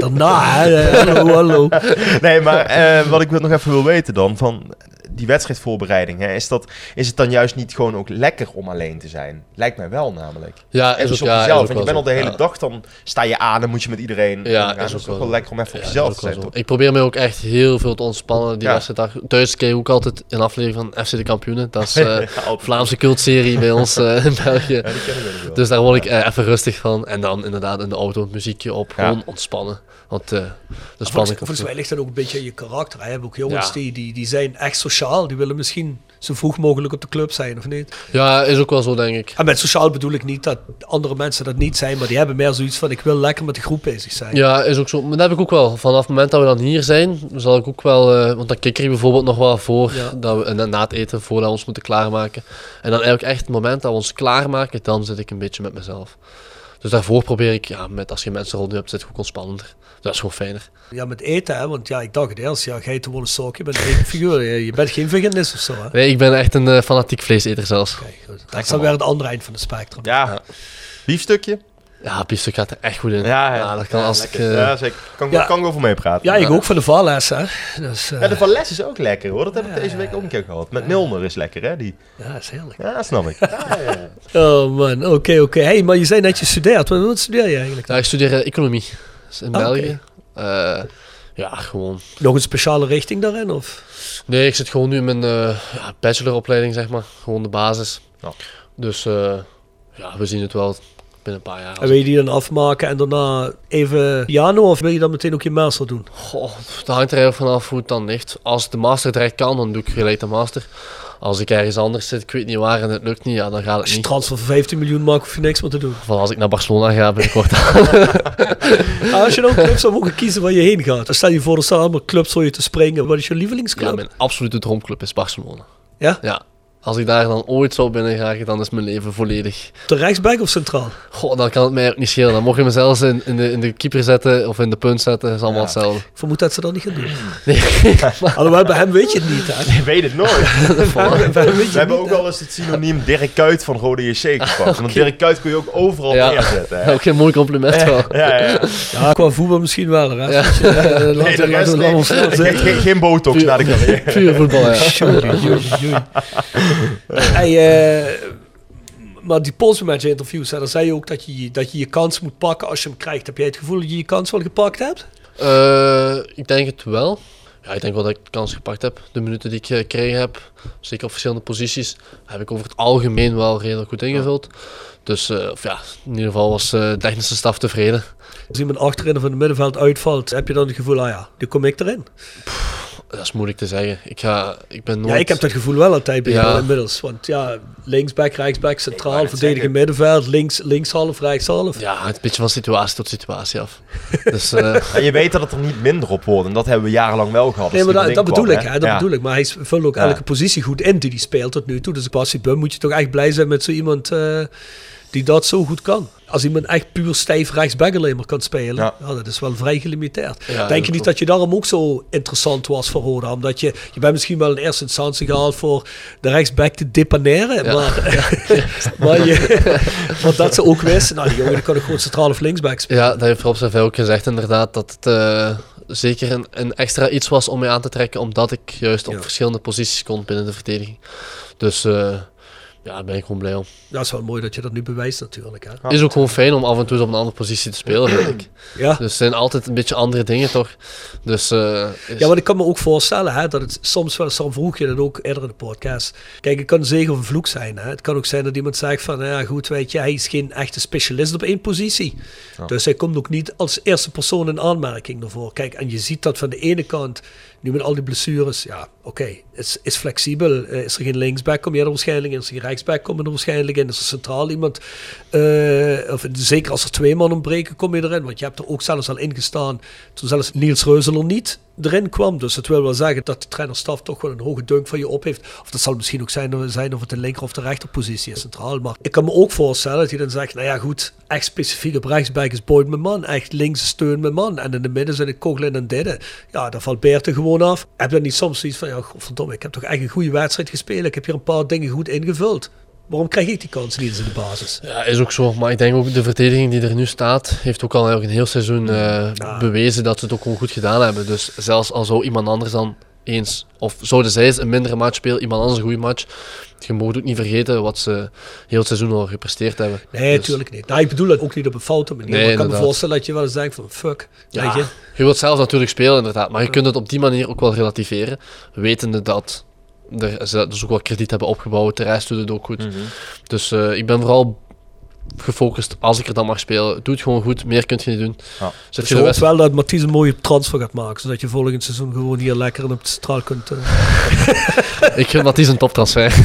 Daarna, hè, eh, hallo, hallo.
[laughs] Nee, maar eh, wat ik wil- nog even wil weten dan, van die wedstrijdvoorbereiding, hè, is, dat, is het dan juist niet gewoon ook lekker om alleen te zijn? Lijkt mij wel namelijk.
Ja,
Even
Ah, is
dus op
ook, ja, is
jezelf,
ook
want je
wel
bent al de
zo.
hele
Ja.
dag, dan sta je aan en moet je met iedereen
Ja,
omgaan. Dat
is ook
is
wel
ook wel
zo.
lekker om even op
Ja,
jezelf te
dat is ook wel
zijn,
zo.
toch?
Ik probeer me ook echt heel veel te ontspannen die
Ja.
wedstrijd. Thuis kijk ik ook altijd een aflevering van FC de Kampioenen.
[laughs]
Dat is eh
altijd.
Vlaamse cultserie bij ons eh, in België.
[laughs] Ja, die ken ik wel wel.
Dus daar word ik eh, even rustig van. En dan inderdaad in de auto het muziekje op.
Ja.
Gewoon ontspannen. Want eh, de
Volgens,
spanning...
volgens mij ligt dat ook een beetje aan je karakter. Hè? Je hebt ook jongens
Ja.
die, die, die zijn echt sociaal. Die willen misschien zo vroeg mogelijk op de club zijn, of niet?
Ja, is ook wel zo, denk ik.
En met sociaal bedoel ik niet dat andere mensen dat niet zijn, maar die hebben meer zoiets van ik wil lekker met de groep bezig zijn.
Ja, is ook zo. Maar dat heb ik ook wel. Vanaf het moment dat we dan hier zijn, zal ik ook wel... eh, want dan kik ik bijvoorbeeld nog wel voor.
Ja.
Dat we, en na het eten, voordat we ons moeten klaarmaken. En dan eigenlijk echt het moment dat we ons klaarmaken, dan zit ik een beetje met mezelf. Dus daarvoor probeer ik, ja, met, als je mensen rond je hebt, zit het ook ontspannender. Dat is gewoon fijner.
Ja, met eten, hè? want ja, ik dacht het eerst, ja, geitenwolle wollen sok, je bent geen figuur, je, je bent geen veganist of zo. Hè?
Nee, ik ben echt een eh, fanatiek vleeseter zelfs.
Kijk, goed. Dat is dan weer het andere eind van het spectrum.
Ja, biefstukje?
Ja, biefstuk gaat er echt goed in.
Ja, ja.
dat kan als ik...
Lekker.
eh,
ja, zeker. Kan, ik-
Ja.
kan ik over meepraten.
Ja, ik ook van de valles, hè. Dus, eh,
Ja, de Valles is ook lekker hoor. Dat heb ik deze week ook een keer gehad. Met Milner is lekker hè. Die.
ja, dat is heerlijk.
Ja, snap ik. Ja, ja, ja.
Oh man, oké, oké. Hey, maar je zei net je studeert. Wat, wat studeer je eigenlijk?
ja, ik studeer eh, economie. Dus in
Ah, oké.
België. Eh, ja, gewoon
Nog een speciale richting daarin? Of?
Nee, ik zit gewoon nu in mijn eh, ja, bacheloropleiding, zeg maar. Gewoon de basis.
Ja.
Dus eh, ja, we zien het wel binnen een paar jaar.
En wil je die dan afmaken en daarna even piano? Of wil je dan meteen ook je master doen?
Goh, dat hangt er heel vanaf hoe het dan ligt. Als ik de master direct kan, dan doe ik gelijk de master. Als ik ergens anders zit, ik weet niet waar en het lukt niet, ja, dan gaat
Als
het
je een
niet.
transfer van 15 miljoen maakt, hoef je niks meer te doen.
Van als ik naar Barcelona ga binnenkort.
Maar als je nou een club zou mogen kiezen waar je heen gaat. Dan stel je voor, er staan allemaal clubs voor je te springen. Wat is je
ja,
lievelingsclub?
mijn absolute droomclub is Barcelona.
Ja?
Ja. Als ik daar dan ooit zou binnen gaan, dan is mijn leven volledig.
Op de rechtsback of centraal?
Goh, dan kan het mij ook niet schelen. Dan mocht je me zelfs in, in, de, in de keeper zetten of in de punt zetten. is allemaal hetzelfde.
Ik vermoed dat ze dat niet gaan doen. Alhoewel, bij hem weet je het niet. Hè?
Je weet het [laughs] nooit.
Bij hem weet
We
je het
hebben
niet.
ook wel eens het synoniem Dirk Kuyt van Rode JC gepakt. Want Dirk Kuyt kun je ook overal
Ja.
neerzetten.
[laughs]
Hè?
Ook een mooi compliment wel.
Ja, ja, ja.
Ja, qua voetbal misschien wel. Hè? Laten we- laten we-
eh, Nee, de rest
laten we
nee.
allemaal snel
Geen-
zeggen.
geen, geen botox
[laughs]
na de carrière.
Puur voetbal, ja.
Jongen, jongen, jongen. Hey, eh, maar die postmanager interviews, hè, daar zei je ook dat je, dat je je kans moet pakken als je hem krijgt. Heb jij het gevoel dat je je kans wel gepakt hebt?
Eh, ik denk het wel. Ja, ik denk wel dat ik de kans gepakt heb. De minuten die ik eh, gekregen heb, zeker op verschillende posities, heb ik over het algemeen wel redelijk goed ingevuld. Dus eh, of ja, in ieder geval was eh, de technische staf tevreden.
Als iemand achterin of in het middenveld uitvalt, heb je dan het gevoel, ah ja, nu kom ik erin.
Dat is moeilijk te zeggen. Ik, ga, ik ben nooit...
Ja, ik heb dat gevoel wel altijd bij
Ja.
jou inmiddels. Want ja, linksback, rechtsback,
wou
centraal,
net
verdedigen
zeggen.
middenveld, links, linkshalf, rechtshalf.
Ja, het is een beetje van situatie tot situatie af.
[laughs]
Dus eh,
En je weet dat het er niet minder op wordt. En dat hebben we jarenlang wel gehad.
Nee, maar dat, dat bedoel ik, hè, dat
bedoel ik.
bedoel ik. Maar hij vult ook
Ja.
elke positie goed in die hij speelt tot nu toe. Dus als je bum moet je toch echt blij zijn met zo iemand eh, die dat zo goed kan. als iemand echt puur stijf rechtsback alleen maar kan spelen,
Ja.
ja. dat is wel vrij gelimiteerd.
dat
Denk je niet
klopt.
dat je daarom ook zo interessant was voor Roda? Omdat je, je bent misschien wel in eerste instantie gehaald voor de rechtsback te depaneren,
Ja.
maar, [laughs] maar je, want dat ze ook wisten, nou die jongen die kan ook gewoon centraal of linksback spelen.
Ja, dat heeft Rob Savij ook gezegd inderdaad, dat het eh, zeker een, een extra iets was om mij aan te trekken, omdat ik juist op
Ja.
verschillende posities kon binnen de verdediging. Dus eh, ja, daar ben ik gewoon blij om.
Dat is wel mooi dat je dat nu bewijst natuurlijk. Hè?
Het is ook gewoon fijn om af en toe eens op een andere positie te spelen, vind ik.
Ja.
Dus het zijn altijd een beetje andere dingen, toch? Dus eh, is-
Ja, want ik kan me ook voorstellen hè, dat het soms wel, soms vroeg je dat ook eerder in de podcast. Kijk, het kan een zegen of een vloek zijn. Hè. Het kan ook zijn dat iemand zegt van, nou ja goed, weet je, hij is geen echte specialist op één positie. Dus hij komt ook niet als eerste persoon in aanmerking daarvoor. Kijk, en je ziet dat van de ene kant, nu met al die blessures, ja, oké, is, is flexibel. Eh, is er geen linksback, kom je er waarschijnlijk in. Is er geen rechtsback, kom je er waarschijnlijk in. Is er centraal iemand, eh, of zeker als er twee man ontbreken, kom je erin. Want je hebt er ook zelfs al in gestaan, toen zelfs Niels Reuzeler niet erin kwam. Dus het wil wel zeggen dat de trainerstaf toch wel een hoge dunk van je op heeft. Of dat zal misschien ook zijn, zijn of het de linker of de rechterpositie is centraal. Maar ik kan me ook voorstellen dat je dan zegt, nou ja goed, echt specifiek op rechtsback is Boyd mijn man. Echt links is Steun mijn man. En in de midden zijn het Koglin en Didde. Ja, daar valt Beerten gewoon af. Heb je dan niet soms zoiets van, ja godverdomme, ik heb toch echt een goede wedstrijd gespeeld. Ik heb hier een paar dingen goed ingevuld. Waarom krijg ik die kans niet eens in de basis?
Ja, is ook zo. Maar ik denk ook de verdediging die er nu staat, heeft ook al eigenlijk een heel seizoen eh, bewezen dat ze het ook gewoon goed gedaan hebben. Dus zelfs al zou iemand anders dan eens, of zouden zij eens een mindere match spelen, iemand anders een goede match. Je mag ook niet vergeten wat ze heel het seizoen al gepresteerd hebben.
Nee,
Dus-
natuurlijk niet. Nou, ik bedoel het ook niet op een foute manier.
Nee,
maar ik kan me
inderdaad.
voorstellen dat je wel eens denkt van, fuck,
Ja,
weet je.
je wilt zelf natuurlijk spelen inderdaad, maar je kunt het op die manier ook wel relativeren, wetende dat er, ze dus ook wel krediet hebben opgebouwd, de rest doet het ook goed.
Mhm.
Dus eh, ik ben vooral gefocust, als ik er dan mag spelen, doe het gewoon goed, meer kunt je niet doen.
Ja.
Zet
Dus
je
ik
de
hoop [laughs]
rest...
wel dat Mathies een mooie transfer gaat maken. Zodat je volgend seizoen gewoon hier lekker en op de straal kunt... eh,
Ik vind dat die een toptransfer. [laughs]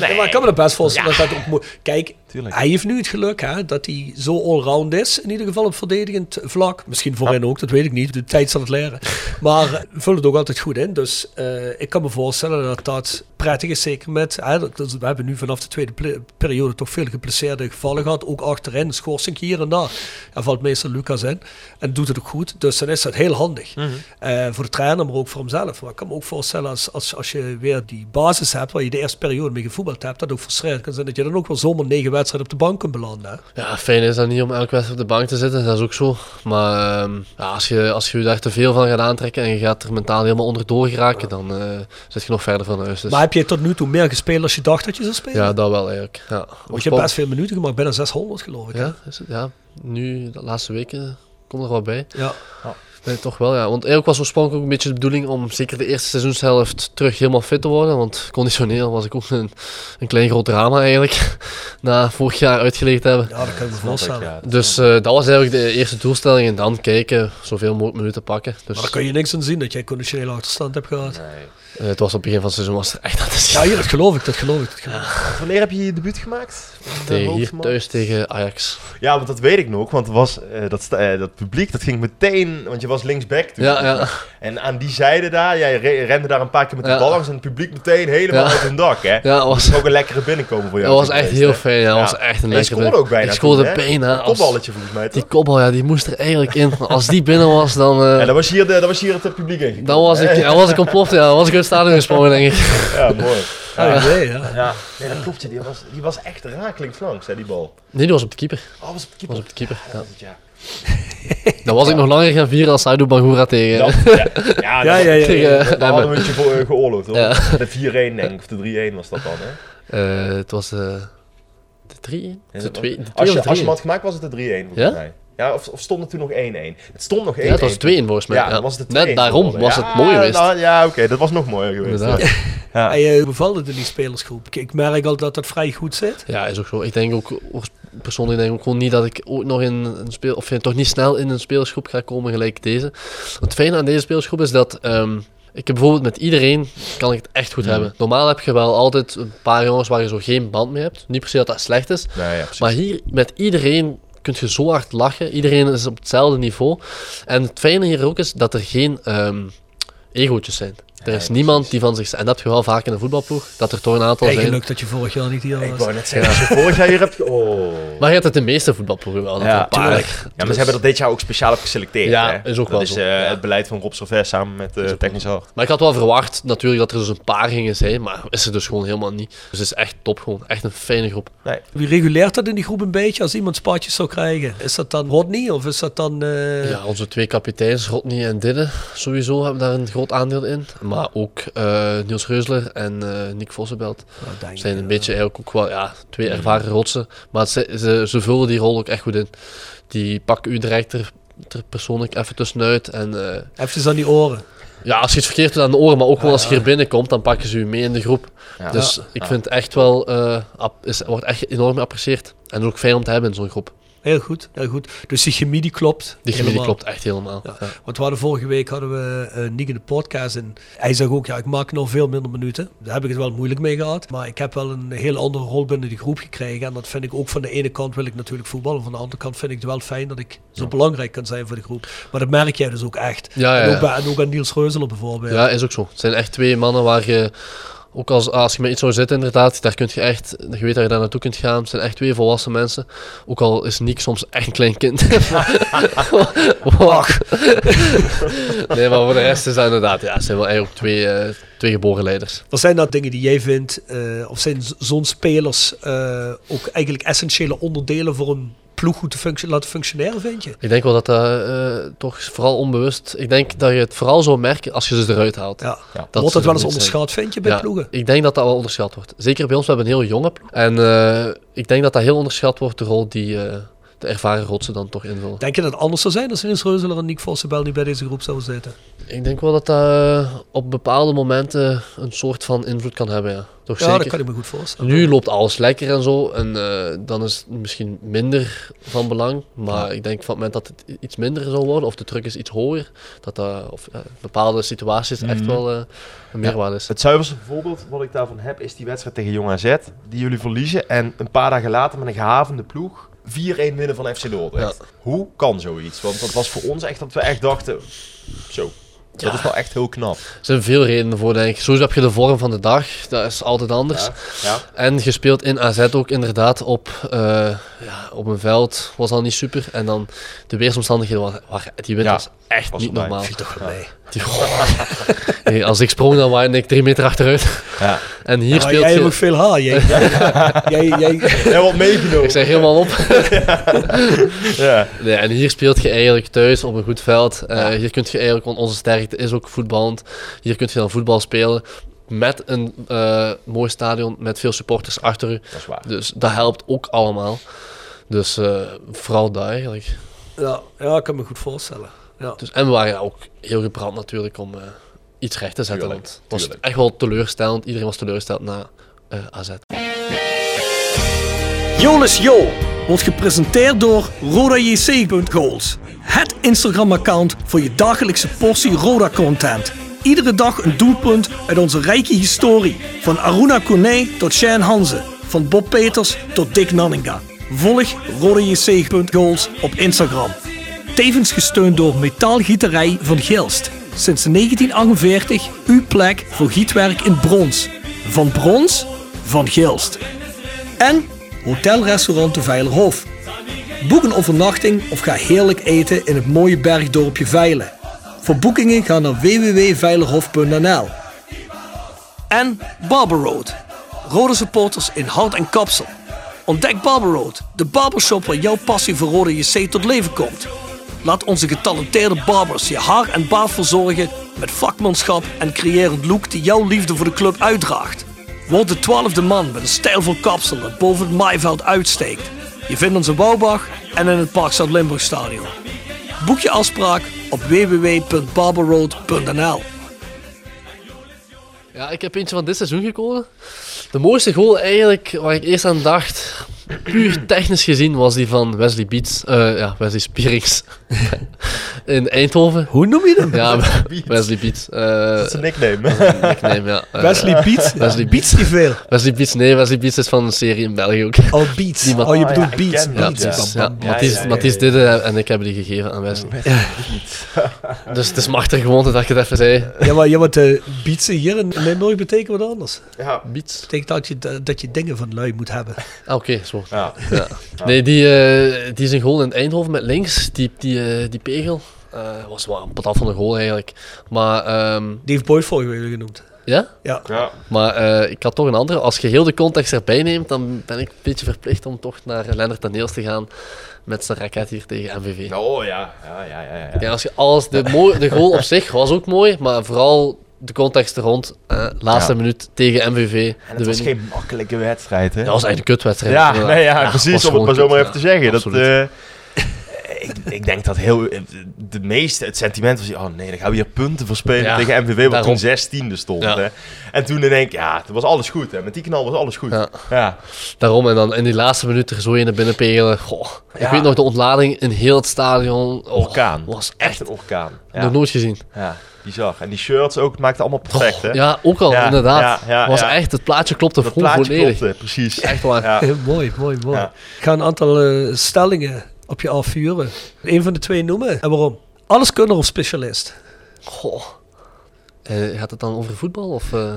Ja, maar ik kan me dat best voorstellen dat dat ook mooi... Kijk,
Tuurlijk.
hij heeft nu het geluk hè, dat hij zo allround is. In ieder geval op verdedigend vlak. Misschien voorin ook, dat weet ik niet. De tijd zal het leren. Maar eh, vul het ook altijd goed in. Dus eh, ik kan me voorstellen dat dat prettig is. Zeker met... Hè, dat- dat- we hebben nu vanaf de tweede ple- periode toch veel geblesseerde gevallen gehad. Ook achterin, schorsing hier en daar. Daar valt meester Lucas in. En doet het ook goed. Dus dan is dat heel handig. Eh, voor de trainer, maar ook voor hemzelf. Maar ik kan me ook voorstellen als, als, als je weer die basis hebt... waar je de eerste periode mee gevoetbald hebt... dat ook frustrerend kan zijn dat je dan ook wel zomaar negen wedstrijden op de bank kunt belanden. hè.
Ja, fijn is dat niet om elke wedstrijd op de bank te zitten, dat is ook zo. Maar ehm, ja, als, je, als je je daar te veel van gaat aantrekken en je gaat er mentaal helemaal onderdoor geraken, dan eh, zit je nog verder van huis. Dus,
Maar heb je tot nu toe meer gespeeld als je dacht dat je zou spelen?
ja, dat wel eigenlijk. Ja.
Want je hebt best veel minuten gemaakt, bijna 600 geloof ik. hè?
Ja, is het, ja. nu, de laatste weken, komt er wat bij.
Ja.
Nee, toch wel, ja. Want eigenlijk was oorspronkelijk ook een beetje de bedoeling om zeker de eerste seizoenshelft terug helemaal fit te worden. Want conditioneel was ik ook een, een klein groot drama eigenlijk, [laughs] na vorig jaar uitgelegd te hebben.
Ja, dat kan ik me voorstellen.
Ja, dat-
Dus eh, dat was eigenlijk de eerste doelstelling. En dan kijken, zoveel mogelijk minuten pakken. Dus
Maar daar kun je niks aan zien dat jij conditionele achterstand hebt gehad.
nee.
eh, het was op het begin van het seizoen was er echt aan te zien.
Ja, hier, dat geloof ik, dat geloof ik. Dat geloof ik.
Wanneer heb je je debuut gemaakt? Met, eh,
[laughs] tegen, hier
Hoogman?
thuis tegen Ajax.
Ja, want dat weet ik nog, want er was, eh, dat, sta- eh, dat publiek dat ging meteen, want je was linksback toen.
Ja, ja.
En aan die zijde daar, jij re- rende daar een paar keer met de
Ja.
bal langs en het publiek meteen helemaal
Ja.
uit hun dak, hè?
Ja, was,
Ook een lekkere binnenkomen voor jou.
dat was echt
natuurlijk
heel
geweest, hè?
fijn. Ja,
Ja.
was echt een
En je
lekker
scoorde ook bijna.
Ik scoorde
toen, hè?
bijna.
Een
Als,
kopballetje volgens mij,
die
toch?
kopbal, ja, die moest er eigenlijk in. Maar Als die Nou, binnen was, dan... eh,
Ja, dat was hier, de, dat was hier het eh, publiek in.
Dan was ik, dan was ik ontploft, ja. Dan was ik uit het stadion gesprongen, denk ik.
Ja,
[laughs]
mooi.
Ah, nee, ja.
Ja, nee, dat klopt. Die was, die was echt rakelings langs, hè, die bal.
Nee, die was op de keeper.
Oh, was op de keeper.
Was op de keeper, ja.
Dat, ja.
Dan was ik nog langer gaan vieren als Saido Bangura tegen.
Dat, ja,
Ja,
ja, dat-
ja, ja.
tegen eh,
Daar
Emmen.
hadden we het je voor eh, geoorloofd, hoor.
Ja.
De 4-1, denk ik, of de 3-1 was dat dan, hè?
Eh, het was eh, de 3
Ja,
De
dat-
2 De
Als
2
je,
of
als je hem
de
had gemaakt, was het de 3-1, volgens
Ja?
mij. Ja, of, of stond het toen nog 1-1? Het stond nog 1-1.
3 Ja, het was 2 in volgens mij.
Ja,
Ja,
dan was het de 2-1
Net daarom
geworden.
was
Ja,
het mooi geweest.
nou, ja, oké, dat was nog mooier geweest.
Inderdaad.
ja. Ja.
Hij eh, bevalt het in die spelersgroep. Ik- Ik merk al dat dat vrij goed zit.
Ja, is ook zo. Ik denk ook, oors- persoonlijk denk ik ook gewoon niet dat ik ooit nog in een speel, of eh, toch niet snel in een spelersgroep ga komen gelijk deze. Het fijne aan deze spelersgroep is dat ehm, ik heb bijvoorbeeld met iedereen kan ik het echt
Mhm.
goed hebben. Normaal heb je wel altijd een paar jongens waar je zo geen band mee hebt. Niet per se dat dat slecht is,
Nou ja, precies.
maar hier met iedereen kun je zo hard lachen. Iedereen is op hetzelfde niveau. En het fijne hier ook is dat er geen ehm egootjes zijn. Er is niemand die van zich... En dat heb je wel vaak in een voetbalploeg, dat er toch een aantal zijn.
geluk dat je vorig jaar niet hier
Ik
was.
wou net zeggen, als je vorig jaar hier hebt... ge- Oh.
Maar je hebt het in de meeste voetbalploegen wel. dat
Ja,
er een paar-
tuurlijk. Ja, maar
Dus-
ze hebben dat dit jaar ook speciaal op geselecteerd.
Ja,
hè?
is ook wel
Dat is
zo.
eh,
Ja.
het beleid van Rob Servet samen met eh Technisch Hart.
Maar ik had wel verwacht natuurlijk dat er dus een paar gingen zijn, maar is er dus gewoon helemaal niet. Dus het is echt top gewoon. Echt een fijne groep.
Wie reguleert dat in die groep een beetje als iemand spaatjes zou krijgen? Is dat dan Rodney of is dat dan... eh,
Ja, onze twee kapiteins, Rodney en Didde, sowieso hebben daar een groot aandeel in. Maar ook eh, Niels Reusler en eh Nick Vossenbelt
nou, denk ik,
zijn een
ja.
beetje eigenlijk ook wel ja, twee ervaren rotsen. Maar ze, ze, ze vullen die rol ook echt goed in. Die pakken u direct er, er persoonlijk even tussenuit. En eh,
Even aan die oren.
ja, als je iets verkeerd doet aan de oren, maar ook wel als je hier binnenkomt, dan pakken ze u mee in de groep.
Ah, Ja.
Dus ik vind echt wel, eh, ap- is, wordt echt enorm geapprecieerd. En ook fijn om te hebben in zo'n groep.
Heel goed, heel goed. Dus die chemie die klopt.
Die chemie die
helemaal.
klopt echt helemaal.
Ja.
Ja.
Want we hadden vorige week hadden we eh Nick in de podcast en hij zegt ook, ja, ik maak nog veel minder minuten. Daar heb ik het wel moeilijk mee gehad. Maar ik heb wel een heel andere rol binnen die groep gekregen. En dat vind ik ook van de ene kant wil ik natuurlijk voetballen. Van de andere kant vind ik het wel fijn dat ik zo belangrijk kan zijn voor de groep. Maar dat merk jij dus ook echt.
Ja, ja,
En, ook
ja.
bij, en ook aan Niels Reuzeler bijvoorbeeld.
Ja, is ook zo. Het zijn echt twee mannen waar je, ook als, als je met iets zou zitten inderdaad, daar kun je echt, je weet dat je daar naartoe kunt gaan. Het zijn echt twee volwassen mensen. Ook al is Nick soms echt een klein kind.
[laughs]
Wacht. nee, maar voor de rest is dat inderdaad, ja, het zijn wel eigenlijk twee, eh, twee geboren leiders.
Wat zijn dat dingen die jij vindt, eh, of zijn z- zo'n spelers eh, ook eigenlijk essentiële onderdelen voor een ploeg goed te function- laten functioneren, vind je?
Ik denk wel dat dat eh, toch vooral onbewust, ik denk dat je het vooral zou merken als je ze eruit haalt.
Ja.
Ja.
Dat
Wordt
ze
dat wel
er
eens
goed zijn.
onderschat, vind je, bij
Ja,
ploegen?
Ik denk dat dat wel onderschat wordt. Zeker bij ons, we hebben een heel jonge ploeg. En eh, ik denk dat dat heel onderschat wordt, de rol die eh, de ervaren rotsen dan toch invullen.
Denk je dat het anders zou zijn als Niels Reuzeler en Nick Vossenbel niet bij deze groep zouden zitten?
Ik denk wel dat dat eh, op bepaalde momenten een soort van invloed kan hebben, ja. Toch
Ja, dat
zeker.
kan ik me goed voorstellen.
Nu loopt alles lekker en zo, en eh, dan is het misschien minder van belang. Maar ik denk van het moment dat het iets minder zou worden, of de druk is iets hoger, dat dat of, ja, bepaalde situaties
Mhm.
echt wel eh, een meerwaarde is.
Het zuiverste voorbeeld wat ik daarvan heb is die wedstrijd tegen Jong AZ. Die jullie verliezen en een paar dagen later met een gehavende ploeg 4-1 winnen van FC Dordrecht. Hoe kan zoiets? Want dat was voor ons echt dat we echt dachten... Zo, dat is wel echt heel knap.
Er zijn veel redenen voor, denk ik. Sowieso heb je de vorm van de dag, dat is altijd anders.
Ja.
En gespeeld in AZ ook inderdaad op, eh, ja, op een veld was al niet super. En dan de weersomstandigheden, waren, waren- die wind
Ja,
was echt
was
niet
erbij.
normaal.
Toch wel mee.
Die- [laughs] Nee, als ik sprong, dan waarde ik drie meter achteruit. [laughs]
Ja.
En hier
Maar
speelt
jij hebt
je...
ook veel haar.
[laughs]
Jij, jij, jij,
En wat meegenomen.
Ik zeg helemaal op.
Ja.
[laughs] Nee, en hier speelt je eigenlijk thuis op een goed veld. Eh, Hier kunt je eigenlijk, want onze sterkte is ook voetballend. Hier kunt je dan voetbal spelen met een eh, mooi stadion, met veel supporters achter u.
Dat is waar.
Dus dat helpt ook allemaal. Dus eh, vooral dat eigenlijk.
ja, ja, ik kan me goed voorstellen. Ja.
Dus, en we waren ook heel gebrand natuurlijk om eh, iets recht te zetten.
Tuurlijk,
want het was
tuurlijk.
echt wel teleurstellend. Iedereen was teleurgesteld na eh, AZ.
Jolis Jo wordt gepresenteerd door RodaJC.goals. Het Instagram-account voor je dagelijkse portie Roda-content. Iedere dag een doelpunt uit onze rijke historie. Van Aruna Kone tot Shane Hanze. Van Bob Peters tot Dick Nanninga. Volg RodaJC.goals op Instagram. Tevens gesteund door Metaalgieterij van Gilst. Sinds 1948 uw plek voor gietwerk in brons. Van brons, van Gilst en hotelrestaurant De Veilerhof. Boek een overnachting of ga heerlijk eten in het mooie bergdorpje Veilen. Voor boekingen ga naar www.veilerhof.nl En Barber Road. Rode supporters in hout en kapsel. Ontdek Barber Road, de barbershop waar jouw passie voor rode JC tot leven komt. Laat onze getalenteerde barbers je haar en baard verzorgen met vakmanschap en creërend look die jouw liefde voor de club uitdraagt. Word de twaalfde man met een stijlvol kapsel dat boven het maaiveld uitsteekt. Je vindt ons in Bouwbach en in het Park Zuid-Limburg Stadion. Boek je afspraak op www.barberroad.nl
Ja, ik heb eentje van dit seizoen gekozen. De mooiste goal eigenlijk, waar ik eerst aan dacht, puur technisch gezien was die van Wesley Beats, eh, ja, Wesley Spierings [laughs] in Eindhoven.
Hoe noem je hem?
Ja, [laughs] Wesley Beats. eh,
Dat [laughs] is een nickname.
nickname, ja. Eh,
Wesley Piet.
Wesley
Piet niet veel.
Wesley Beats, nee, Wesley Beats is van een serie in België ook.
Oh, Beats.
Mat-
Oh, je
Ah,
bedoelt
ja, ik
Beats.
ken
Ja,
Beats.
Beats,
precies.
Bam,
Ja,
bam, bam.
Matthijs
ja, ja,
Matthijs Didde en ik hebben die gegeven aan Wesley. [laughs] Dus het is machtig gewoonte dat ik het even zei.
Ja, maar, ja, want eh, bietsen hier in Limburg betekent wat anders.
Ja.
Beats.
betekent dat je, dat- dat je dingen van lui moet hebben.
Ah, oké, zo.
Ja.
Ja. Nee, die, eh, die zijn goal in Eindhoven met links, die, die, eh, die pegel. eh, was wel een patat van de goal eigenlijk. Maar, ehm,
Die heeft Boyd vorige week [laughs] genoemd.
ja?
Ja.
Maar eh, ik had toch een andere. Als je heel de context erbij neemt, dan ben ik een beetje verplicht om toch naar Lennart Daniels te gaan met zijn raket hier tegen MVV.
Oh ja. Ja, ja, ja. ja.
Ja, als je alles, de, mooi, de goal op zich was ook mooi, maar vooral de context er rond. eh, laatste
Ja.
minuut tegen MVV.
En
de
het was
winning.
geen makkelijke wedstrijd, hè?
Dat was eigenlijk een kutwedstrijd.
Ja,
inderdaad.
nee, ja,
Ja, was
precies, om
gewoon
het maar
kut,
zomaar
ja.
even te zeggen. Dat,
Absoluut.
eh, ik, ik denk dat heel, eh, de meeste, het sentiment was, oh nee, dan gaan we hier punten verspelen
Ja,
tegen MVV, wat
daarom.
toen 16e stond.
Ja.
Hè? En toen in één keer, ja, toen was alles goed. Hè? Met die knal was alles goed.
Ja.
Ja, ja.
Daarom, en dan in die laatste minuut er zo in de binnenpegelen. Goh, ik
Ja.
weet nog, de ontlading in heel het stadion. Oh,
Orkaan.
Was echt
echt een orkaan. Ja.
nog nooit gezien.
ja, bizar. En die shirts ook, het maakte allemaal perfect, hè?
Oh, Ja, ook al,
Ja,
inderdaad.
ja, ja,
was
ja.
echt, het plaatje klopte
Dat
gewoon
plaatje
volledig.
klopte, precies.
Echt waar.
Ja.
Heel Eh, mooi, mooi, mooi.
Ja.
Ik ga een aantal eh, stellingen op je afvuren. Eén van de twee noemen. En waarom? Alles kunnen of specialist?
Goh. Eh, gaat het dan over voetbal? Of, eh?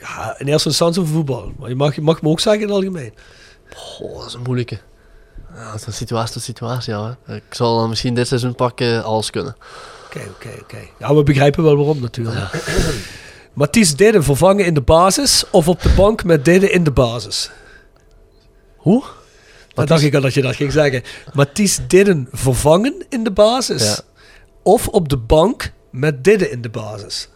Ja, in eerste instantie over voetbal. Maar je mag, je mag me ook zeggen in het algemeen.
Goh, dat is een moeilijke. Ja, het is een situatie tot situatie, ja. hè. Ik zal dan misschien dit seizoen pakken alles kunnen.
Oké, oké, oké. Ja, we begrijpen wel waarom natuurlijk. [clears throat] Mathies Dede vervangen in de basis of op de bank met Dede in de basis?
Hoe?
Dat dacht ik al dat je dat ging zeggen. Mathies Didden vervangen in de basis
Ja.
of op de bank met Didden in de basis?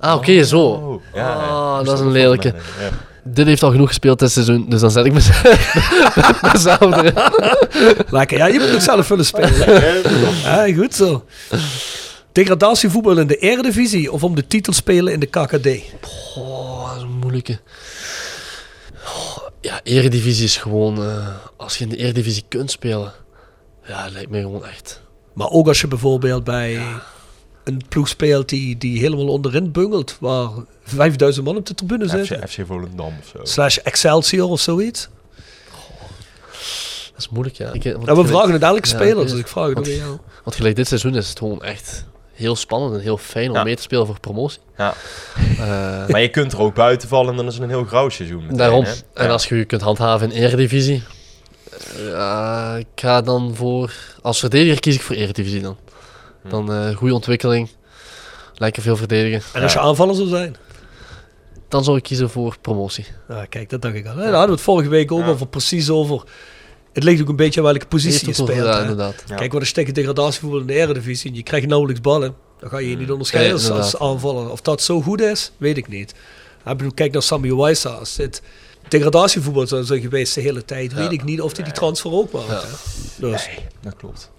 Ah, oké, zo.
Oh,
[laughs]
ja, ja.
Ah,
Moest
dat is
er
een
nog
lelijke.
van, hè. Ja.
Dit heeft al genoeg gespeeld dit seizoen, dus dan zet ik mezelf, mezelf [laughs] erin.
Lekker, ja, je moet ook zelf willen
[laughs]
spelen. Ja, goed zo. Degradatievoetbal in de Eredivisie of om de titel spelen in de KKD?
Oh, dat is een moeilijke. Goh, ja, eredivisie is gewoon... eh, als je in de eredivisie kunt spelen... Ja, dat lijkt mij gewoon echt...
Maar ook als je bijvoorbeeld bij een ploeg speelt die, die helemaal onderin bungelt, waar 5000 man op de tribune zitten.
FC, FC Volendam of zo.
Slash Excelsior of zoiets.
Dat is moeilijk, ja. Ik, eh, want
En we
gelijk-
vragen het elke
ja,
speler,
is-
dus ik vraag het ook
want-
aan jou.
Want gelijk dit seizoen is het gewoon echt heel spannend en heel fijn om
Ja.
mee te spelen voor promotie.
Ja. [laughs]
Eh,
Maar je kunt er ook buiten vallen en dan is het een heel grauw seizoen. meteen,
Daarom.
hè?
En
Ja.
als je je kunt handhaven in Eredivisie. eh, Ja, ik ga dan voor. Als verdediger kies ik voor Eredivisie dan.
Hm.
Dan eh goede ontwikkeling. Lekker veel verdedigen.
En als je aanvaller zou zijn?
Dan zou ik kiezen voor promotie.
Nou, kijk, dat dacht ik al. Daar hadden we het vorige week ook over, precies over. Het ligt ook een beetje aan welke positie je
Heeft ook wel-
speelt.
ja,
hè.
inderdaad. [laughs]
Ja.
Kijk, wat is tegen degradatievoetbal in de Eredivisie en je krijgt nauwelijks ballen. Dan ga je je niet onderscheiden
Nee,
als- als
inderdaad.
aanvaller. Of dat zo goed is, weet ik niet. Ik bedoel, kijk naar Sammy Wijsa. Als dit degradatievoetbal zou zijn geweest de hele tijd, weet ik niet of hij die transfer ook maakt. hè. Dus.
Dat klopt.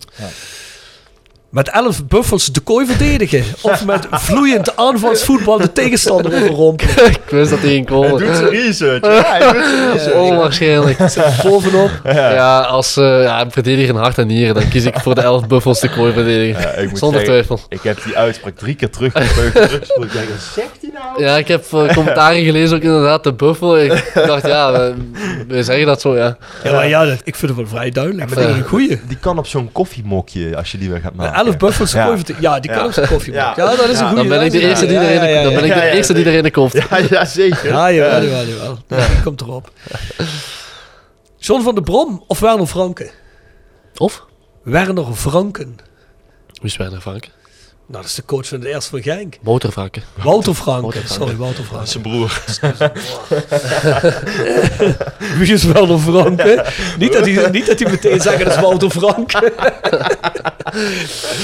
Met elf buffels de kooi verdedigen. Of
[laughs]
met vloeiend aanvalsvoetbal de tegenstander overrompelen.
Ik wist dat hij ging
Hij doet
komen.
zijn research.
[laughs]
Ja, hij doet zijn research.
Onwaarschijnlijk.
Bovenop.
Ja, als eh, ja, een verdediger in hart en nieren, dan kies ik voor de elf buffels te kooi verdedigen.
Ja, ik moet
Zonder
zeggen,
twijfel.
Ik heb die uitspraak drie keer
[laughs]
teruggepeugd. ik denk, wat zegt hij nou?
Ja, ik heb eh, commentaren gelezen, ook inderdaad, de buffel. Ik dacht, ja, we, we zeggen dat zo, ja.
Ja, maar ja, dat- ik vind het wel vrij duidelijk. Ik vind het een goeie.
Die kan op zo'n koffiemokje, als je die weer gaat maken.
Elf buffels de
Ja.
kooi verdedigen. Ja, die kan
Ja.
op zijn koffie
Ja.
maken. Ja, dat is een
Ja.
goeie.
Dan ben
dat
ik
is
de
een
eerste die
goeie. Ja, ja,
erin,
ja,
dan ben ik
ja,
de
ja,
eerste die
ja.
erin komt.
Ja, ja, zeker.
Ja, jawel, jawel, jawel. Die komt erop. John van der Brom of Werner Franken?
Of?
Werner Franken.
Wie is Werner Frank?
Nou, dat is de coach van de eerste van Genk.
Motorvrakken.
Wouter Franken.
Wouter Franken.
Sorry, Wouter Franken.
[laughs] Zijn broer.
Wie is Werner Franken?
[laughs]
Niet dat hij, niet dat hij meteen zeggen dat is Wouter Franken.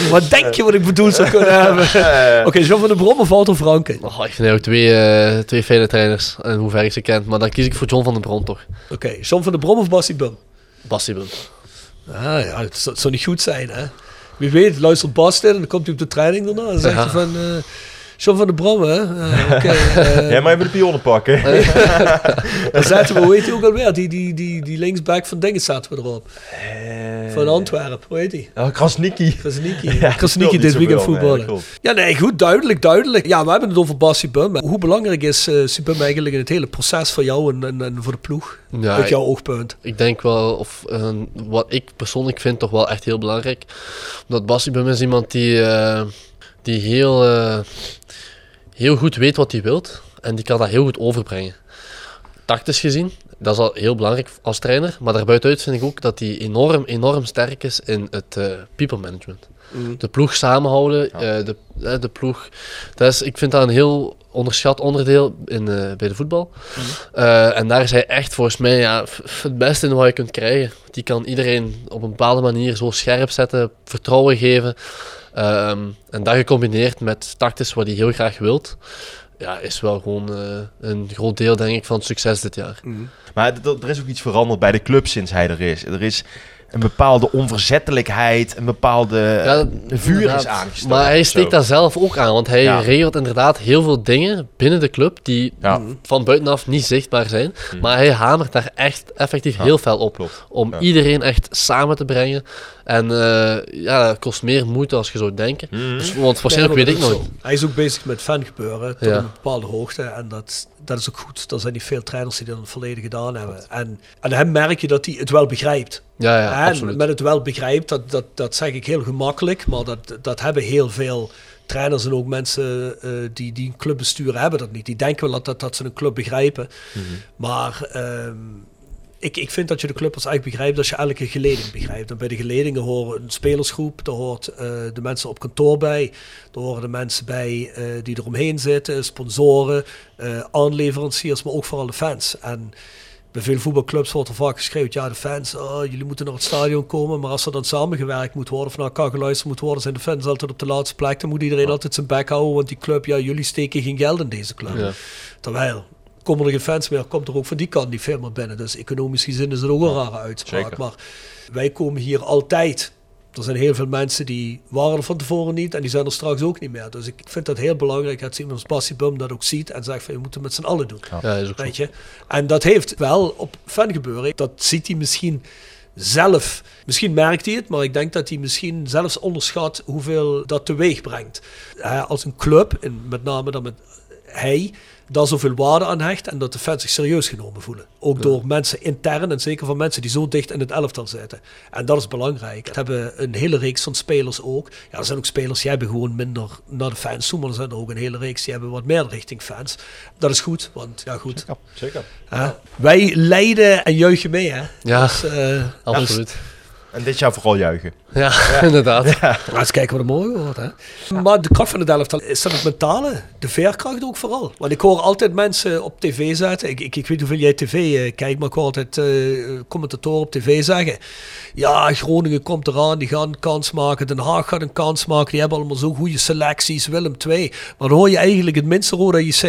wat denk je wat ik bedoeld zou kunnen hebben?
[laughs]
Eh.
Oké, John van der Brom of Wouter Franken?
Oh, ik vind ook twee, eh, twee fijne trainers, en hoe ver ik ze kent. Maar dan kies ik voor John van den Bron toch.
Oké, John van der Brom of Bassie Bum?
Bassie Bum.
Ah, ja, het zou, het zou niet goed zijn, hè? Wie weet, luistert Bas dit en dan komt hij op de training daarna en dan zegt
Ja.
hij van... eh, John van der Brouwer, hè? Eh, oké, eh,
Jij maar even de pionnen pakken.
Eh.
[laughs]
daar zaten we, hoe heet die ook alweer? Die, die, die, die linksback van Dingen zaten we erop. Van Antwerpen, hoe heet die?
Oh, Krasniki.
Krasniki.
Ja,
Krasniki
speelt
dit
niet
weekend
zoveel, nee,
voetballen.
klopt.
ja, nee, goed, duidelijk, duidelijk. Ja, we hebben het over Bas Sibum. Maar Hoe belangrijk is eh Sibum eigenlijk in het hele proces voor jou en, en, en voor de ploeg?
Ja,
Uit
ik-
jouw oogpunt.
Ik denk wel, of eh, wat ik persoonlijk vind, toch wel echt heel belangrijk. Omdat Bassi bij is iemand die, eh, die heel, eh, heel goed weet wat hij wilt. En die kan dat heel goed overbrengen. Tactisch gezien, dat is al heel belangrijk als trainer. Maar daarbuitenuit vind ik ook dat hij enorm, enorm sterk is in het eh, people management. De ploeg samenhouden, eh, de, eh, de ploeg. Dat is, ik vind dat een heel onderschat onderdeel in, eh, bij de voetbal. Eh, en daar is hij echt volgens mij ja, f- f- het beste in wat je kunt krijgen. Die kan iedereen op een bepaalde manier zo scherp zetten, vertrouwen geven. Ehm, en dat gecombineerd met tactisch wat hij heel graag wilt, ja, is wel gewoon eh, een groot deel denk ik, van het succes dit jaar.
Maar d- d- er is ook iets veranderd bij de club sinds hij er is. Er is een bepaalde onverzettelijkheid, een bepaalde
Ja,
eh, vuur
inderdaad.
is aangestoken.
Maar hij
of
steekt
zo.
daar zelf ook aan, want hij
Ja.
regelt inderdaad heel veel dingen binnen de club die
Ja. Hmm.
van buitenaf niet zichtbaar zijn. Maar hij hamert daar echt effectief heel fel op.
klopt.
Om
Ja.
iedereen echt samen te brengen. En eh, ja, dat kost meer moeite als je zou denken.
Hmm.
Dus- want waarschijnlijk
Nee,
weet
maar
ik
dat is
nooit.
zo. Hij is ook bezig met fangebeuren tot
Ja.
een bepaalde hoogte. En dat, dat is ook goed. Er zijn niet veel trainers die dat in het verleden gedaan hebben. En aan hem merk je dat hij het wel begrijpt.
Ja, ja,
en
absoluut.
met het wel begrijpt, dat, dat, dat zeg ik heel gemakkelijk. Maar dat, dat hebben heel veel trainers en ook mensen eh, die, die een clubbestuur hebben dat niet. Die denken wel dat, dat, dat ze een club begrijpen.
Mhm.
Maar... ehm, ik, ik vind dat je de club als echt begrijpt als je elke geleding begrijpt. En bij de geledingen horen een spelersgroep, daar hoort eh, de mensen op kantoor bij, daar horen de mensen bij eh, die eromheen zitten, sponsoren, eh, aanleveranciers, maar ook vooral de fans. En bij veel voetbalclubs wordt er vaak geschreven, ja de fans, oh, jullie moeten naar het stadion komen, maar als er dan samengewerkt moet worden of naar elkaar geluisterd moet worden, zijn de fans altijd op de laatste plek, dan moet iedereen altijd zijn bek houden, want die club, ja jullie steken geen geld in deze club.
Ja.
Terwijl, komen er geen fans meer, komt er ook van die kant niet veel meer binnen. Dus economisch gezien is het ook een rare uitspraak.
zeker.
Maar wij komen hier altijd. Er zijn heel veel mensen die waren er van tevoren niet en die zijn er straks ook niet meer. Dus ik vind dat heel belangrijk dat iemand als Bassie Bum dat ook ziet en zegt van je moet het met z'n allen doen.
Ja, is ook zo.
Weet je? En dat heeft wel op fan gebeuren. Dat ziet hij misschien zelf. Misschien merkt hij het, maar ik denk dat hij misschien zelfs onderschat hoeveel dat teweeg brengt. Hè, als een club, en met name dan met hij, daar zoveel waarde aan hecht en dat de fans zich serieus genomen voelen. Ook door mensen intern en zeker van mensen die zo dicht in het elftal zitten. En dat is belangrijk. Dat hebben een hele reeks van spelers ook. Ja, er zijn ook spelers die hebben gewoon minder naar de fans toe, maar er zijn er ook een hele reeks die hebben wat meer richting fans. Dat is goed, want ja goed.
Ja, zeker.
hè, wij leiden en juichen mee hè.
Ja,
Dus, eh,
absoluut.
En dit jaar vooral juichen.
Ja, [laughs] inderdaad.
Laat nou, eens kijken wat er morgen wordt. Hè? Maar de kracht van het elftal is dat het mentale, de veerkracht ook vooral. Want ik hoor altijd mensen op tv zetten. Ik, ik, ik weet hoeveel jij tv eh, kijkt, maar ik hoor altijd eh, commentatoren op tv zeggen. Ja, Groningen komt eraan, die gaan een kans maken. Den Haag gaat een kans maken. Die hebben allemaal zo'n goede selecties. Willem II. Maar dan hoor je eigenlijk het minste Roda JC.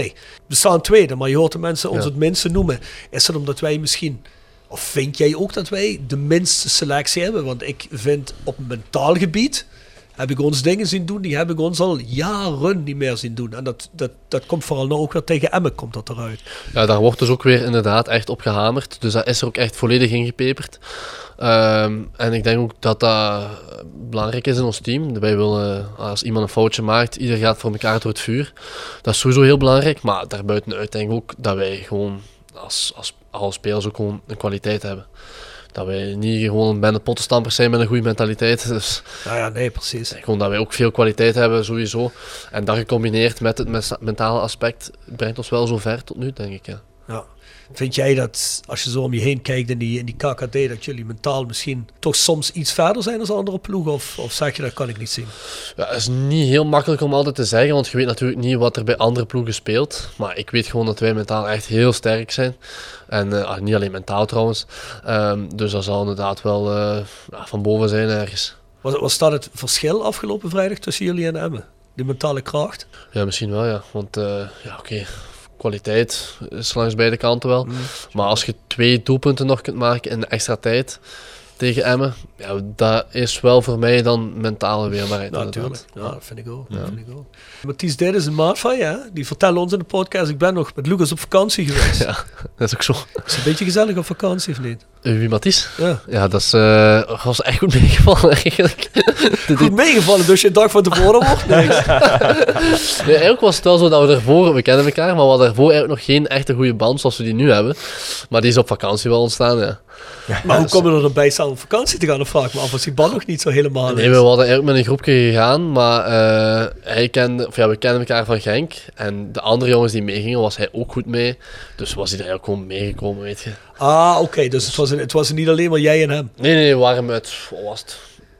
We staan tweede, maar je hoort de mensen ons
Ja.
het minste noemen. Is dat omdat wij misschien... Of vind jij ook dat wij de minste selectie hebben? Want ik vind op mentaal gebied heb ik ons dingen zien doen die heb ik ons al jaren niet meer zien doen. En dat, dat, dat komt vooral nou ook weer tegen Emmen komt dat eruit.
Ja, daar wordt dus ook weer inderdaad echt op gehamerd. Dus dat is er ook echt volledig ingepeperd. Ehm, en ik denk ook dat dat belangrijk is in ons team. Wij willen, eh, als iemand een foutje maakt, ieder gaat voor elkaar door het vuur. Dat is sowieso heel belangrijk. Maar daarbuitenuit denk ik ook dat wij gewoon als, als, als spelers ook gewoon een kwaliteit hebben. Dat wij niet gewoon bij de pottenstampers zijn met een goede mentaliteit. Dus
Nou ja, nee, precies.
gewoon dat wij ook veel kwaliteit hebben sowieso. En dat gecombineerd met het mes- mentale aspect brengt ons wel zo ver tot nu, denk ik. Ja.
Ja. Vind jij dat, als je zo om je heen kijkt in die, in die KKD, dat jullie mentaal misschien toch soms iets verder zijn dan andere ploegen? Of, of zeg je dat kan ik niet zien?
Ja, het is niet heel makkelijk om altijd te zeggen, want je weet natuurlijk niet wat er bij andere ploegen speelt. Maar ik weet gewoon dat wij mentaal echt heel sterk zijn. En eh, ah, niet alleen mentaal trouwens. Ehm, dus dat zal inderdaad wel eh, ja, van boven zijn ergens.
Was, was dat het verschil afgelopen vrijdag tussen jullie en Emmen? Die mentale kracht?
Ja, misschien wel ja. Want eh, ja, oké, kwaliteit Mm. is langs beide kanten wel. Maar als je twee doelpunten nog kunt maken in de extra tijd, tegen Emmen. Ja, dat is wel voor mij dan mentale weerbaarheid.
Ja,
inderdaad.
natuurlijk. Ja, dat Ah, vind ik ook. Dat vind ik ook. Matthijs Dit is een maat van je. hè? Die vertelde ons in de podcast, ik ben nog met Lucas op vakantie geweest.
Ja, dat is ook zo.
Is een beetje gezellig op vakantie of niet?
Eh, Wie Mathies?
Ja.
Ja, dat is, eh, was echt goed [laughs] meegevallen eigenlijk. Dit-
Goed meegevallen, dus je dag van tevoren wordt niks.
Nee, eigenlijk was het wel zo dat we daarvoor, we kennen elkaar, maar we hadden daarvoor eigenlijk nog geen echte goede band zoals we die nu hebben. Maar die is op vakantie wel ontstaan, ja.
Maar hoe komen we erbij samen op vakantie te gaan? Dan vraag ik me af, als die band nog niet zo helemaal
Nee,
is.
we hadden eigenlijk met een groepje gegaan, maar eh, hij kende, of ja, we kennen elkaar van Genk. En de andere jongens die meegingen, was hij ook goed mee. Dus was hij er eigenlijk gewoon meegekomen, weet je.
Ah, oké, dus het was, het was niet alleen maar jij en hem.
Nee, nee, we waren met, wat was het,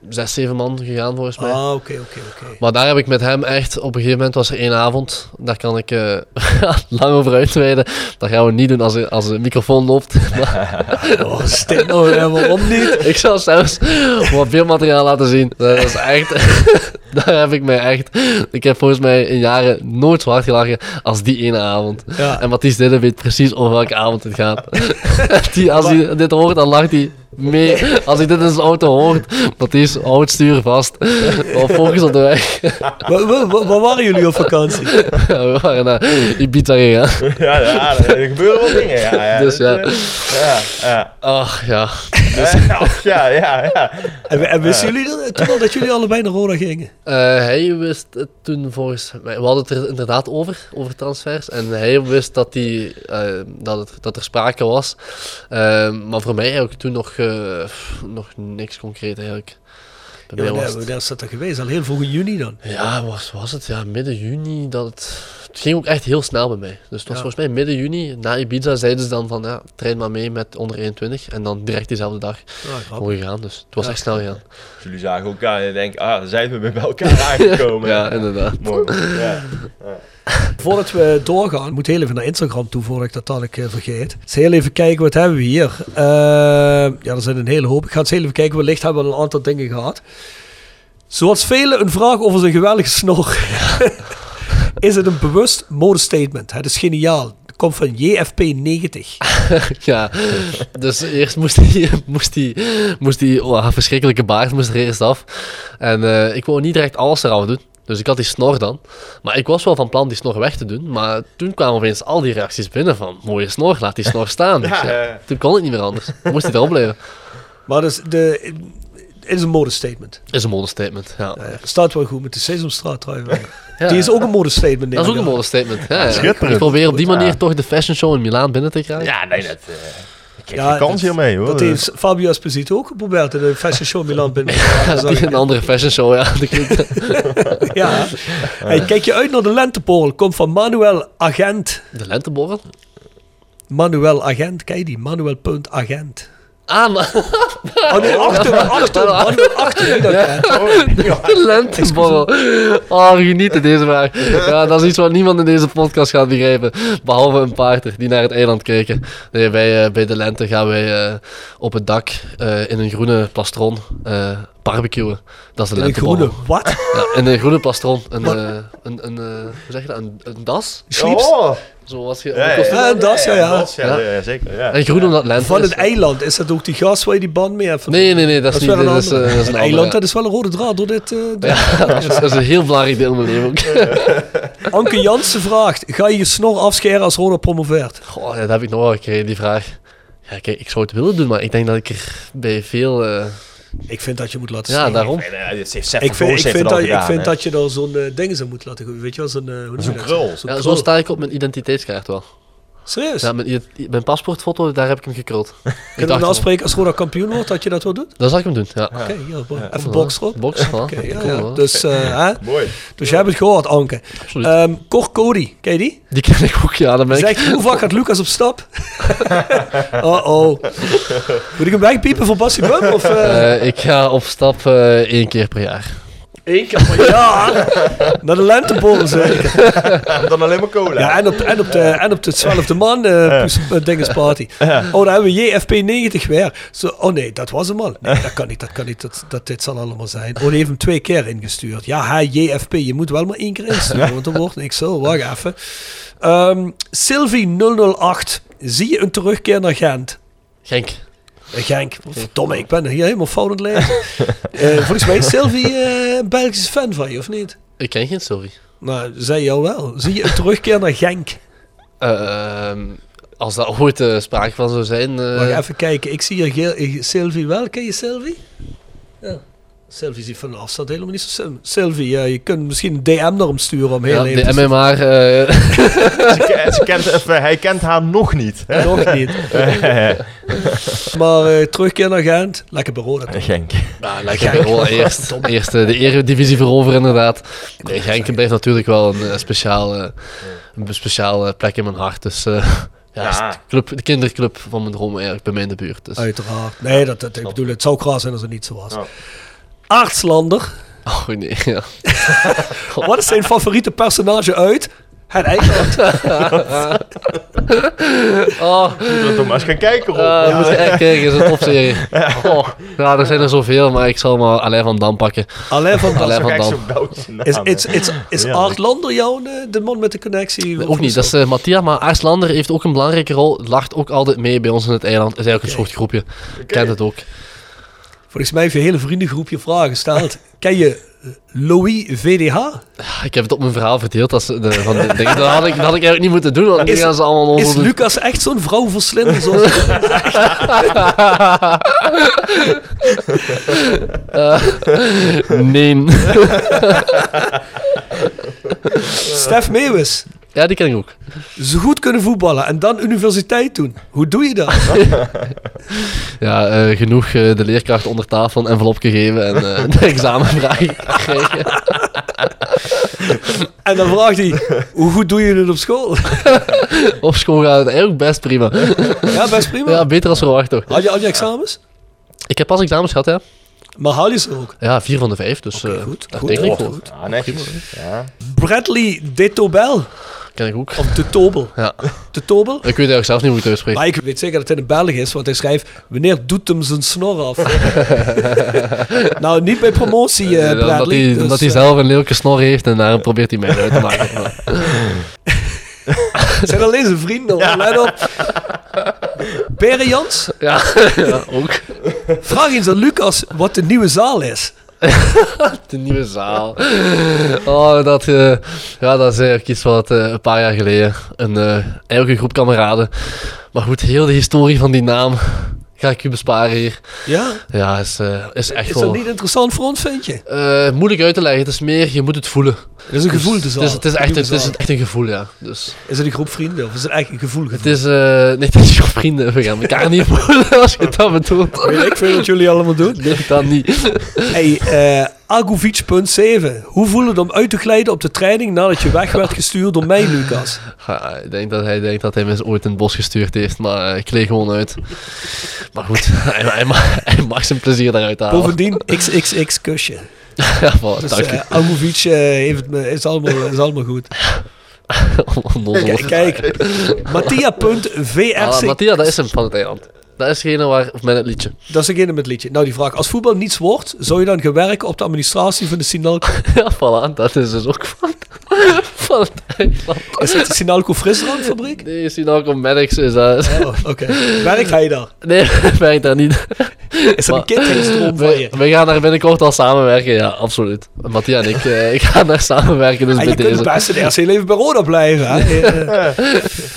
zes, zeven man gegaan volgens mij.
Ah, oké, oké, oké.
Maar daar heb ik met hem echt, op een gegeven moment was er één avond, daar kan ik eh, [laughs] lang over uitweiden. Dat gaan we niet doen als, er- als de microfoon loopt. [laughs]
Oh, stik nou, hè, waarom niet?
Ik zal zelfs wat beeldmateriaal laten zien. Dat is echt. [laughs] Daar heb ik mij echt. Ik heb volgens mij in jaren nooit zo hard gelachen als die ene avond.
Ja.
En Matthijs Didden weet precies over welke avond het gaat. [laughs] die, als hij dit hoort, dan lacht hij mee. Als hij dit in zijn auto hoort, Matthijs, houd stuur vast. Of focus op de weg. [laughs]
Waar, waar- waar- waar waren jullie op vakantie?
We waren naar Ibiza gegaan.
Ja, ja, er gebeuren wel dingen. Ja, ja.
[laughs] Dus ja.
eh, ja, ja.
Ach ja.
Eh, [laughs] ja, ja, ja.
En, en wisten jullie dat- toen al dat jullie allebei naar Roda gingen?
Eh, hij wist het toen volgens mij. We hadden het er inderdaad over, over transfers. En hij wist dat, die, eh, dat, het, dat er sprake was. Eh, maar voor mij eigenlijk toen nog, eh, pff, nog niks concreet eigenlijk. Bij
Ja,
mij
daar,
was het,
daar is dat dan geweest, al heel vroeg in juni dan.
ja, was, was het ja, midden juni dat het. Het ging ook echt heel snel bij mij. Dus het was volgens mij midden juni. Na Ibiza zeiden ze dan van ja, train maar mee met onder 21. En dan direct diezelfde dag
Ja, grappig.
gewoon gegaan. Dus het was echt snel gegaan.
Jullie zagen elkaar en denken, ah, dan zijn we weer bij [laughs] elkaar aangekomen.
Ja, inderdaad.
Mooi. Ja.
Voordat we doorgaan, moet heel even naar Instagram toe, voordat ik dat dadelijk eh, vergeet. Dus heel even kijken, wat hebben we hier? Eh, ja, er zijn een hele hoop. Ik ga eens heel even kijken, wellicht hebben we al een aantal dingen gehad. Zoals velen een vraag over zijn geweldige snor. [laughs] is het een bewust modestatement? Het is geniaal. Het komt van JFP90.
Ja, dus eerst moest hij, moest hij, moest hij oh, haar verschrikkelijke baard moest er eerst af. En eh, ik wou niet direct alles eraf doen. Dus ik had die snor dan. Maar ik was wel van plan die snor weg te doen. Maar toen kwamen opeens al die reacties binnen van... Mooie snor, laat die snor staan. Dus ja,
ja.
Toen kon het niet meer anders. Moest hij erop blijven.
Maar dus de, het is een modestatement.
Is een modestatement, ja.
Eh, staat wel goed met de Sesamstraat trui. wel.
Ja.
Die is ook een modestatement.
Dat is ook een
inderdaad.
modestatement. Ja, ja.
Schitterend.
Ik probeer op die
Goed, ja.
manier toch de fashion show in Milaan binnen te krijgen.
Ja, nee, dat... eh ik heb
Ja,
geen kans
dat-
hiermee, hoor.
Dat heeft Fabio Esposito ook geprobeerd in de Fashion Show Milan binnen. Ja, dat is
Die, een andere fashion show, ja. Dat klinkt-
wel- [laughs] ja. Hey,
Eh.
kijk je uit naar de lenteporrel. Komt van Manuel Agent.
De lenteborrel?
Manuel Agent, kijk die. Manuel.agent.
Ah, maar
Oh nee, achter,
[laughs]
achter. Manuel achter. wie dat kent.
De lenteborrel. Oh, genieten deze vraag.
[laughs]
Ja, dat is iets wat niemand in deze podcast gaat begrijpen. Behalve een paarder die naar het eiland keken. Nee, wij, eh, bij de lente gaan wij eh, op het dak eh, in een groene plastron eh barbecuen. Dat is de
In een
lenteborrel.
groene. Wat?
Ja, in een groene plastron. Een, eh, een, een, eh, hoe zeg je dat? Een, een das?
Sleeps?
Oh,
Zo was je.
ja,
Ja, een das, Eh, ja, ja.
das, ja, ja, zeker. Ja.
En groen omdat lente
Van
is.
het eiland. Is dat ook die gast waar je die band mee hebt?
Nee, nee, nee, dat is,
Dat is
niet.
wel een
dat is, eh,
andere.
dat is
Een
een
eiland,
andere.
dat is wel een rode draad door dit. eh, door-
[laughs] Dat is een heel belangrijk deel in mijn leven ook.
Anke Jansen vraagt: ga je je snor afscheren als Roda promoveert?
Goh, dat heb ik nog wel gekregen, die vraag. Ja, kijk, ik zou het willen doen, maar ik denk dat ik er bij veel... eh,
Ik vind dat je moet laten
ja,
zien.
daarom.
En, eh, dit heeft Seth
Ik
van
vind,
Goos
ik
heeft
vind, dat,
het al
ik
gedaan,
vind
hè.
dat je dan zo'n eh, ding zou moeten laten groeien. Weet je wel, zo'n... eh, hoe noem
Zo'n
je dat?
krul.
Zo'n
Ja, zo
krul.
sta ik op mijn identiteitskaart wel.
Serieus?
Ja, mijn, ident- mijn paspoortfoto, daar heb ik hem gekruld. Ik
[laughs] Kunnen
dacht
we
al,
afspreken als Roda kampioen wordt dat je dat wel doet?
Dat zal ik hem doen, ja.
Oké, ja, bo- even box erop.
Box, voilà.
Oké, ja,
Cool,
ja.
hoor.
Dus, eh, hè?
Mooi.
dus jij hebt het gehoord, Anke.
Absoluut.
Ehm Cor Cody, ken je die?
Die ken ik ook, ja. Dan ben
Die
ik...
zegt, hoe vaak gaat Lucas op
[laughs]
stap? Oh-oh. Moet ik hem wegpiepen voor Bassie Bum? Of,
[laughs]
eh
Eh, ik ga op stap eh, één keer per jaar.
Eén keer per jaar. Naar de lenteborrel zeker.
En dan alleen maar cola.
Ja, en op, en op de, en op de 12e man, eh poes- eh, dinges party. Oh, daar hebben we JFP90 weer. Zo, oh nee, dat was hem al. Nee, dat kan niet, dat kan niet, dat, dat, dit zal allemaal zijn. Oh, die heeft hem twee keer ingestuurd. Ja, hij, JFP, je moet wel maar één keer insturen, want er wordt niks zo. Wacht even. Ehm Sylvie008, zie je een terugkeer naar Gent?
Genk.
Genk. Verdomme, ik ben hier helemaal fout aan het lezen. Eh, volgens mij is Sylvie eh, een Belgische fan van je, of niet?
Ik ken geen Sylvie.
Nou, zij jou wel. Zie je een terugkeer naar Genk?
Ehm, als daar ooit eh, sprake van zou zijn. eh,
Wacht even kijken, ik zie hier geel- eh, Sylvie wel. Ken je Sylvie? Ja. Sylvie ziet van de afstand helemaal niet zo slim. Sylvie, eh, je kunt misschien een DM naar hem sturen om heel
ja,
even...
de MMA. eh, [laughs]
Ze ke- ze kent, of, eh, hij kent haar nog [laughs] niet. hè?
Nog niet. maar eh, terugkeer naar Gent. Lekker bij Roda.
[laughs] Genk.
nou, lekker rol eerst. Eerst eh, de eredivisie veroveren, inderdaad. Nee, Genk blijft natuurlijk wel een, eh, speciaal, eh, een speciale plek in mijn hart. Dus eh, [laughs] ja,
Ja.
is de, club, de kinderclub van mijn droom eigenlijk bij mij in de buurt.
Oh,
Dus.
Uiteraard. Nee, dat, dat, ik bedoel, het zou kraas zijn als het niet zo was.
Ja.
Aartslander.
Oh nee,
[laughs]
ja.
Wat is zijn favoriete personage uit? Het
[laughs]
Eiland.
Oh,
Thomas, gaan kijken, Rob.
eh,
Ja.
moet je echt kijken, is een topserie.
[laughs]
Oh, ja, er zijn er zoveel, maar ik zal maar Alain van Dam pakken.
Alleen van
Alain van
Kijk,
Dam.
zo'n Belgische naam,
Is,
hè.
is, is, is
Ja,
Aartslander jou eh, de man met de connectie?
Ook niet, dat is eh, Mattia, maar Aarslander heeft ook een belangrijke rol. Lacht ook altijd mee bij ons in het eiland. Is eigenlijk een soort groepje. Kent het ook.
Volgens mij heeft je hele vriendengroep je vragen
[laughs]
gesteld. Ken je Louis VDH?
Ik heb het op mijn verhaal verdeeld. Dat, ze de, van de, dingen. dat, had ik, dat had ik eigenlijk niet moeten doen, want nu
Is-
gaan ze allemaal
Is
onder de-
Lucas echt zo'n vrouw
[laughs]
verslinder? Zoals...
Nee. [laughs]
Stef Meeuwis.
ja, die ken ik ook.
Zo goed kunnen voetballen en dan universiteit doen. Hoe doe je dat?
Ja, eh, genoeg eh, de leerkracht onder tafel een envelop gegeven en eh, [laughs] de examenvragen krijgen.
En dan vraagt
[laughs]
hij, hoe goed doe je het op school?
Op school gaat het eigenlijk best prima.
Ja, best prima.
Ja, beter als verwacht toch.
Had je al je examens?
Ik heb pas examens gehad, hè.
Maar haal je ze ook?
Ja, vier van de vijf, dus eh
goed,
daar
goed,
denk ik
goed,
voor.
goed.
Ja, netjes. Ja.
Bradley de Tobel.
Ken ik ook.
Of de Tobel.
Ja.
De Tobel?
Ik weet eigenlijk zelf niet hoe ik het uitspreek.
Maar ik weet zeker dat het een Belg is, want hij schrijft... Wanneer doet hem zijn snor
[laughs]
af? nou, niet bij promotie, eh,
Eh, omdat,
Bradley.
hij,
dus,
omdat hij
eh,
zelf een lelijke snor heeft en daarom probeert hij mij uit te maken. Maar-
[laughs] het zijn alleen zijn vrienden, hoor. Let op. Pere Jans,
ja, [laughs] ja, ook.
vraag eens aan Lucas wat de nieuwe zaal is.
De nieuwe zaal. [laughs] Oh, dat, eh, ja, dat is eigenlijk iets wat eh, een paar jaar geleden een eh eigen groep kameraden. Maar goed, heel de historie van die naam ga ik u besparen hier.
Ja?
Ja, is, eh, is echt
Is
wel
dat niet interessant voor ons, vind je?
eh, moeilijk uit te leggen. Het is meer, je moet het voelen. Dus
Het is een gevoel, de
Het
zaal.
is, het is,
De
echt,
nieuwe
het is
zaal.
echt een gevoel, ja. Dus.
Is het een groep vrienden of is het echt een gevoel?
Het is, eh nee, [laughs] het is je vrienden. We gaan elkaar niet voelen als je dat bedoelt.
Weet ik veel wat jullie allemaal doen.
[laughs] Nee, dat niet.
Hey, eh Agovic.7. Hoe voelde het om uit te glijden op de training nadat je weg werd gestuurd door mij, Lucas?
Ja, ik denk dat hij denkt dat hij me ooit in het bos gestuurd heeft, maar eh, ik kleed gewoon uit. Maar goed, [laughs] hij, hij, mag, hij mag zijn plezier daaruit halen.
Bovendien, XXX kusje.
[laughs] Ja, voilà,
Dus
dank je.
eh Agovic eh, heeft het me, is, allemaal, is allemaal goed.
[laughs] Onnozel.
Kijk, kijk.
Ah,
Mattia.vrc.
Mattia, dat is hem van het eiland. Dat is degene waar, of met het liedje. [laughs]
Dat is degene met het liedje. Nou, die vraag. Als voetbal niets wordt, zou je dan gaan werken op de administratie van de Sinalco?
Ja, voilà, dat is dus ook van, [laughs] van het eiland.
Is dat de Sinalco Frisdrankfabriek?
Nee, is die nou ook op medics? Is dat...
Oh, oké. Werkt hij daar?
[laughs] Nee, [laughs] werkt dat niet.
Is dat een
Maar-
kettingsdroom van je?
We, we gaan daar binnenkort al samenwerken, ja, absoluut. Mattia en ik, eh, [laughs] ik ga daar samenwerken,
En
dus bij
Ah, je kunt
deze.
best het eerste leven bij Roda blijven. Hè? Eh,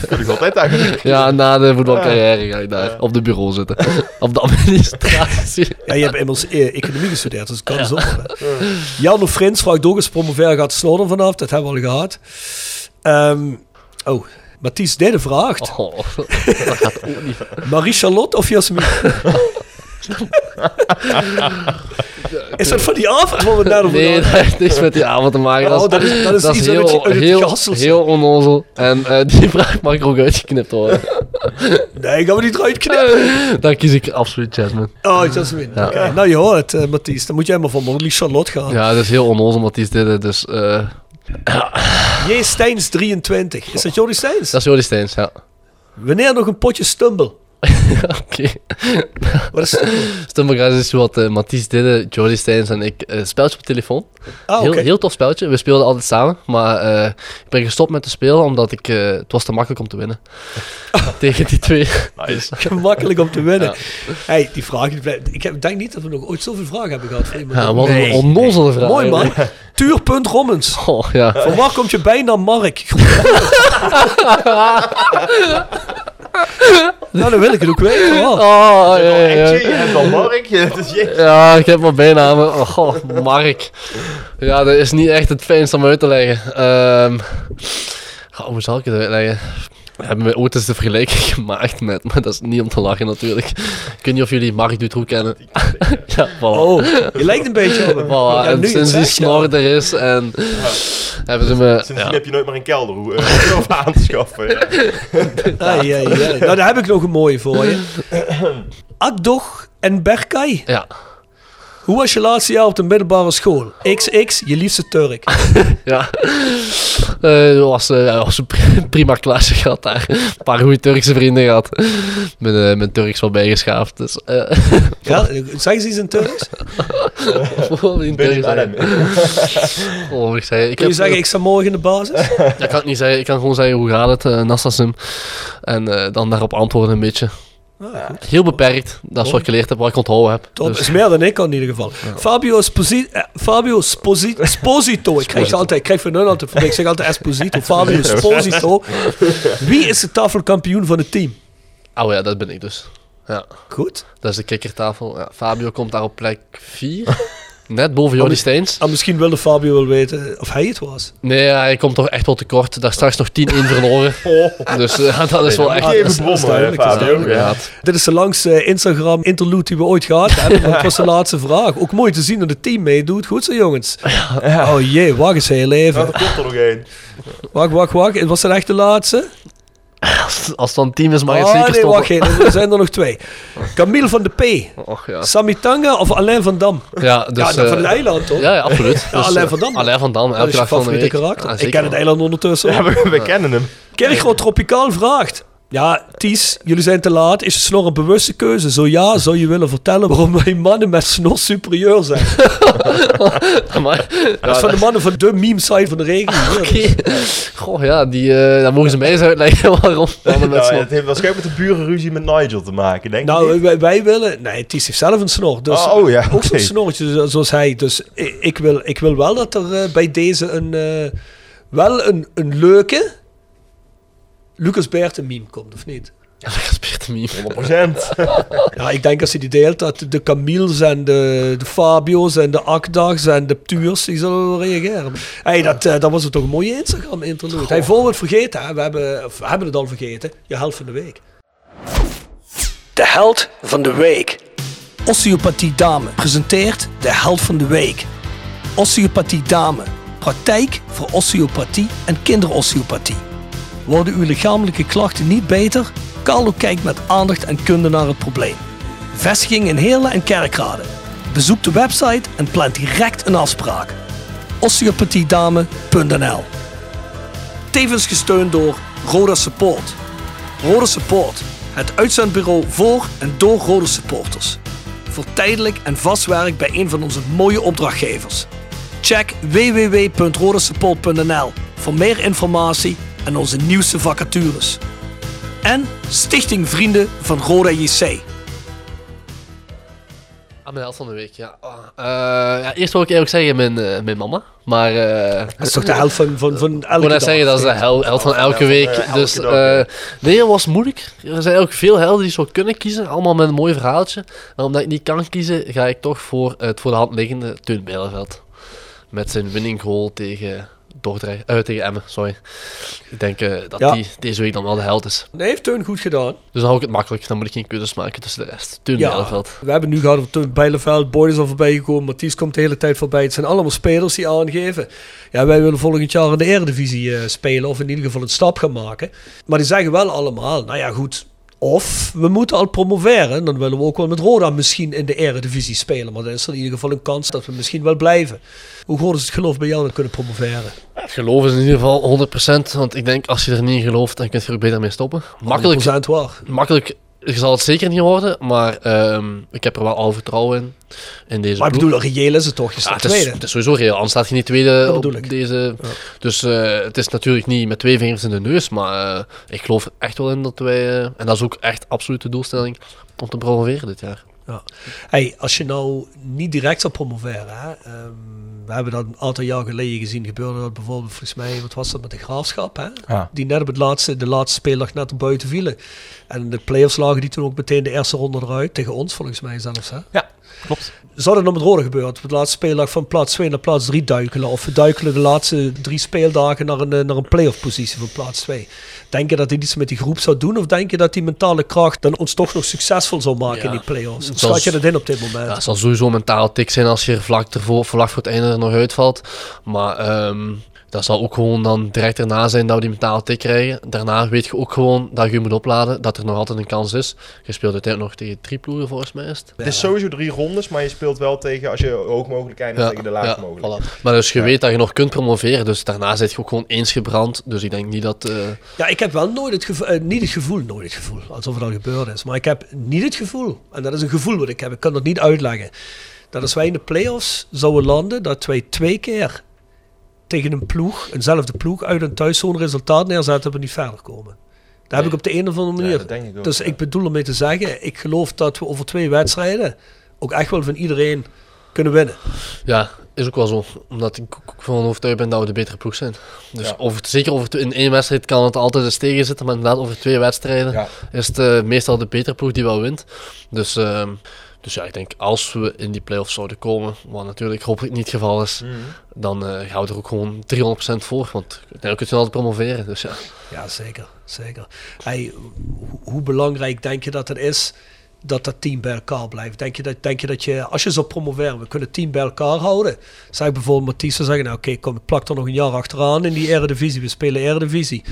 Dat is altijd eigenlijk.
Ja, na de
Ah.
voetbalcarrière ga ik daar op de bureau zitten. op de
[laughs]
administratie.
Ja, je hebt immers eh, economie gestudeerd, dus het kan zo. hè. Jan of Frins vraagt ook eens promoveren gaat Snowden vanaf. Dat hebben we al gehad. Ehm, oh, Mathies Dede vraagt.
[laughs] Oh, dat gaat ook niet.
Marie-Charlotte of
[laughs]
Jasmin? is dat van die avond waar we het net over
Nee,
hadden?
dat heeft niks met die avond te maken.
Oh, dat is- dat is iets uit het-
heel,
uit het
heel,
gehasselt.
heel onnozel. En eh, die vraag mag er ook uitgeknipt worden.
[laughs] Nee, gaan we niet eruit knippen.
Dan kies ik absoluut Jasmine.
Oh, Jasmin. Oké, nou je hoort het, eh, Mathies. Dan moet jij maar van Marie-Charlotte gaan.
Ja, dat is heel onnozel, Mathies Didde. Dus eh,
J. Steins 23. Is dat Jordi Steins?
dat is Jordi Steins, ja. [laughs]
Wanneer nog een potje stumble?
Oké. [laughs] Stumpergraas is wat eh, Mathies Didde, Jordi Steins en ik. eh speltje op telefoon.
Ah, oké.
Heel, heel tof spelletje. We speelden altijd samen. Maar eh, ik ben gestopt met te spelen omdat ik, eh, het was te makkelijk om te
[laughs]
winnen. Tegen die twee.
Nice.
Gemakkelijk om te winnen. Hey, die vraag, die blijft- ik heb- denk niet dat we nog ooit zoveel vragen hebben gehad. van iemand.
Ja, wat een onnozele vraag.
[laughs] Mooi man. Tuur.rommens.
Oh, [laughs] ja.
Van waar komt je bijnaam Mark? [laughs] nou, dan wil ik het ook weten. hoor.
[laughs] Oh, ja, ja, ja.
Etje, je hebt al Mark. je- dus je-
Ja, ik heb mijn bijnamen. Oh, goh, Mark. Ja, dat is niet echt het fijnst om uit te leggen. Ehm goh, hoe zal ik het uitleggen? We hebben me ooit eens de vergelijking [laughs] gemaakt met, maar dat is niet om te lachen natuurlijk. Ik weet niet of jullie Mark Dutroux kennen. [laughs] ja, voilà.
Oh, je lijkt een beetje op hem.
Voilà,
Ja,
en
nu je het
sinds die
zegt, ja.
snor er is en hebben ze me...
Sindsdien
ja.
heb je nooit meer een kelder hoe eh, [laughs] om aan te schaffen. Ja.
Ai, ai, ai. [laughs] Nou, daar heb ik nog een mooie voor [coughs] je. Akdog en Berkay.
Ja,
Hoe was je laatste jaar op de middelbare school? XX, je liefste Turk.
ja. Eh, dat was, eh, ja, dat was een pri- [laughs] prima klasje gehad daar. Een paar goede Turkse vrienden gehad. Mijn, eh, mijn Turks wel bijgeschaafd, dus...
[laughs]
eh, [laughs]
Ja, zeg eens iets in [laughs] Turks.
Bijvoorbeeld in
Ben je
Turkije.
Adem?
Oh, ik zei, ik
Kun
heb,
je zeggen, ik sta morgen in de basis?
[laughs] ik kan het niet zeggen. Ik kan gewoon zeggen, hoe gaat het, eh Nassasim? En eh, dan daarop antwoorden een beetje.
Ah,
Heel beperkt. Dat is wat ik geleerd heb, wat ik onthouden heb.
Dat
Dus,
is meer dan ik kan in ieder geval. Fabio, Esposi eh, Fabio Sposi- Esposito. Ik krijg, het altijd, ik krijg van hun altijd voor. Ik zeg altijd Esposito. [laughs] Fabio Esposito. Wie is de tafelkampioen van het team?
oh ja, dat ben ik dus. Ja,
Goed.
dat is de kikkertafel. Ja, Fabio komt daar op plek
[laughs]
4. Net boven Jordi Steins.
Ah, misschien wilde Fabio wel weten of hij het was. Ah,
Nee, ja, hij komt toch echt wel tekort. Daar straks nog 10-1
[laughs]
verloren.
Oh.
Dus eh, [laughs] dat is wel
Moet
echt...
je even
dat is
brommen,
duidelijk, dat is
Fabio. Ja.
inderdaad.
Dit is de langste eh, Instagram interlude die we ooit gehad
[laughs]
hebben. want Het was de laatste vraag. Ook mooi te zien dat het team meedoet. Goed zo, jongens. Oh jee, wacht eens heel
Ja,
even.
er komt er nog één.
Wacht, wacht, wacht. Was dat echt de laatste?
Als, als het dan team is, mag je het
oh
zeker
nee, wacht
stoppen.
even. Er zijn er nog
[laughs]
twee. Camille van de P.
Och, ja.
Samitanga of Alain van Dam?
ja, dus...
ja, dat van
eh,
Leiland toch?
Ja, ja, absoluut. Dus, eh,
Ja, Alain van Dam.
Alain van Dam,
dat
elke
is je
dag van de
favoriete
week.
karakter.
Ja,
ik
zeker
ken het
wel.
eiland ondertussen.
Ja,
al.
[laughs] we, we kennen hem.
Kerkro Tropicaal vraagt. Ja, Ties, jullie zijn te laat. Is de snor een bewuste keuze? Zo ja, zou je willen vertellen waarom wij mannen met snor superieur zijn?
Maar, [laughs]
Dat is van de mannen van de meme site van de regio.
Ah,
hier.
Goh, ja, die, eh, dan mogen ze mij eens uitleggen [laughs]
[laughs]
waarom. Mannen met
Nou,
snor.
het heeft waarschijnlijk met de burenruzie met Nigel te maken, denk ik.
Nou, wij, wij willen... Nee, Ties heeft zelf een snor. Dus
Oh, oh ja,
Ook zo'n
oké.
snorretje zo- zoals hij. Dus ik, ik wil, ik wil wel dat er eh, bij deze een... eh, wel een, een leuke... Lucas Berten meme komt, of niet?
Ja, dat is Peert de Meme.
100%.
Ja, ik denk als hij die deelt dat de Camille's en de, de Fabio's en de Akdags en de Tuurs, die zullen wel reageren. hey, dat, eh, dat was het toch een mooie Instagram-interlude. Hey, voor we het vergeten, hè, we hebben, of we hebben het al vergeten, je held van de week. De held van de week. Osteopathie Dame presenteert de held van de week. Osteopathie Dame, praktijk voor osteopathie en kinderosteopathie. Worden uw lichamelijke klachten niet beter? Carlo kijkt met aandacht en kunde naar het probleem. Vestiging in Heerlen en Kerkrade. Bezoek de website en plan direct een afspraak. osteopathiedame.nl Tevens gesteund door Roda Support. Roda Support, het uitzendbureau voor en door Roda supporters. Voor tijdelijk en vast werk bij een van onze mooie opdrachtgevers. Check www.rodasupport.nl voor meer informatie en onze nieuwste vacatures. En Stichting Vrienden van Roda JC.
Ah, mijn held van de week, ja. Ah, eh, ja eerst wil ik eerlijk zeggen, mijn, eh, mijn mama. Maar... eh
Dat is toch de helft van, van, van
ik
elke
wil net zeggen, dat is de hel, held van elke week.
elke
Dus,
dag,
eh,
ja.
nee, dat was moeilijk. Er zijn ook veel helden die zo kunnen kiezen. Allemaal met een mooi verhaaltje. En omdat ik niet kan kiezen, ga ik toch voor het voor de hand liggende Teun Bijleveld. Met zijn winning goal tegen Dordrecht. eh, tegen Emmen, sorry. Ik denk eh, dat
Ja.
die deze week dan wel de held is.
Nee, heeft Teun goed gedaan.
Dus dan hou ik het makkelijk. Dan moet ik geen keuzes maken tussen de rest. Teun
Ja,
Bijleveld.
we hebben nu gehad op Teun Bijleveld, Boyd is al voorbij gekomen, Mathies komt de hele tijd voorbij. Het zijn allemaal spelers die aangeven. Ja, wij willen volgend jaar in de Eredivisie eh, spelen, of in ieder geval een stap gaan maken. Maar die zeggen wel allemaal, nou ja goed, of we moeten al promoveren, dan willen we ook wel met Roda misschien in de Eredivisie spelen. Maar dan is er in ieder geval een kans dat we misschien wel blijven. Hoe groot is het geloof bij jou dat we kunnen promoveren?
Geloof is in ieder geval 100%. Want ik denk, als je er niet in gelooft, dan kun je er ook beter mee stoppen. Makkelijk,
100% waar.
makkelijk je zal het zeker niet worden, maar ehm, ik heb er wel al vertrouwen in. in deze
Maar ik
ploeg.
bedoel, reëel is het toch? Je
Ja,
staat
Ah, het, is,
tweede.
het is sowieso reëel, anders staat je niet tweede
Dat bedoel
op
ik.
deze. Dus eh, het is natuurlijk niet met twee vingers in de neus, maar eh, ik geloof er echt wel in dat wij, eh, en dat is ook echt absoluut de doelstelling, om te promoveren dit jaar.
Hey, als je nou niet direct zou promoveren, hè, ehm, we hebben dat een aantal jaar geleden gezien gebeuren. Dat bijvoorbeeld, volgens mij, wat was dat met de graafschap? Hè?
Ja.
Die net op het laatste, de laatste speeldag net buiten vielen. En de players lagen die toen ook meteen de eerste ronde eruit. Tegen ons, volgens mij zelfs. Hè?
Ja, klopt.
Zou dat nog met Rode gebeuren? Dat we de laatste speeldag van plaats 2 naar plaats 3 duikelen? Of we duikelen de laatste drie speeldagen naar een, eh, naar een play-off positie van plaats 2? Denk je dat hij iets met die groep zou doen? Of denk je dat die mentale kracht dan ons toch nog succesvol zou maken
Ja.
in die play-offs? Of
Zoals-
schat je dat in op dit moment?
Ja, het zal sowieso een mentaal tik zijn als je er vlak, ervoor, vlak voor het einde er nog uitvalt. Maar ehm, dat zal ook gewoon dan direct daarna zijn dat we die mentaal tik krijgen. Daarna weet je ook gewoon dat je je moet opladen, dat er nog altijd een kans is. Je speelt uiteindelijk nog tegen drie ploegen volgens mij. Is het.
[laughs] Het is sowieso drie rondes, maar je speelt wel tegen, als je hoog mogelijk eindigt, tegen de laagst mogelijk.
voilà. Maar dus je weet dat je nog kunt promoveren, dus daarna zit je ook gewoon eens gebrand. Dus ik denk niet dat... eh,
Ja, ik heb wel nooit het gevoel, eh, niet het gevoel, nooit het gevoel, alsof het al gebeurd is. Maar ik heb niet het gevoel, en dat is een gevoel wat ik heb, ik kan dat niet uitleggen. Dat als wij in de play-offs zouden landen, dat wij twee keer tegen een ploeg, eenzelfde ploeg, uit een thuiszone resultaat neerzetten en niet verder komen. Daar heb ik op de een of andere
Ja,
manier.
dat denk ik ook,
dus
ja.
ik bedoel ermee te zeggen, ik geloof dat we over twee wedstrijden ook echt wel van iedereen kunnen winnen.
Ja, is ook wel zo. Omdat ik ook ook van overtuigd ben dat we de betere ploeg zijn. Dus
Ja.
over, zeker over, in één wedstrijd kan het altijd eens tegen zitten. Maar inderdaad, over twee wedstrijden
Ja.
is het eh, meestal de betere ploeg die wel wint. Dus, ehm, dus ja, ik denk als we in die play-offs zouden komen, wat natuurlijk hopelijk niet het geval is, dan eh, gaan we er ook gewoon 300% voor. Want uiteindelijk kun je altijd promoveren. Dus ja.
Ja, zeker. zeker. Hey, ho- hoe belangrijk denk je dat het is dat dat team bij elkaar blijft? Denk je dat, denk je, dat je, als je zou promoveren, we kunnen het team bij elkaar houden? Zeg bijvoorbeeld Mathies zou zeggen, nou oké, kom, ik plak er nog een jaar achteraan in die eredivisie. We spelen eredivisie.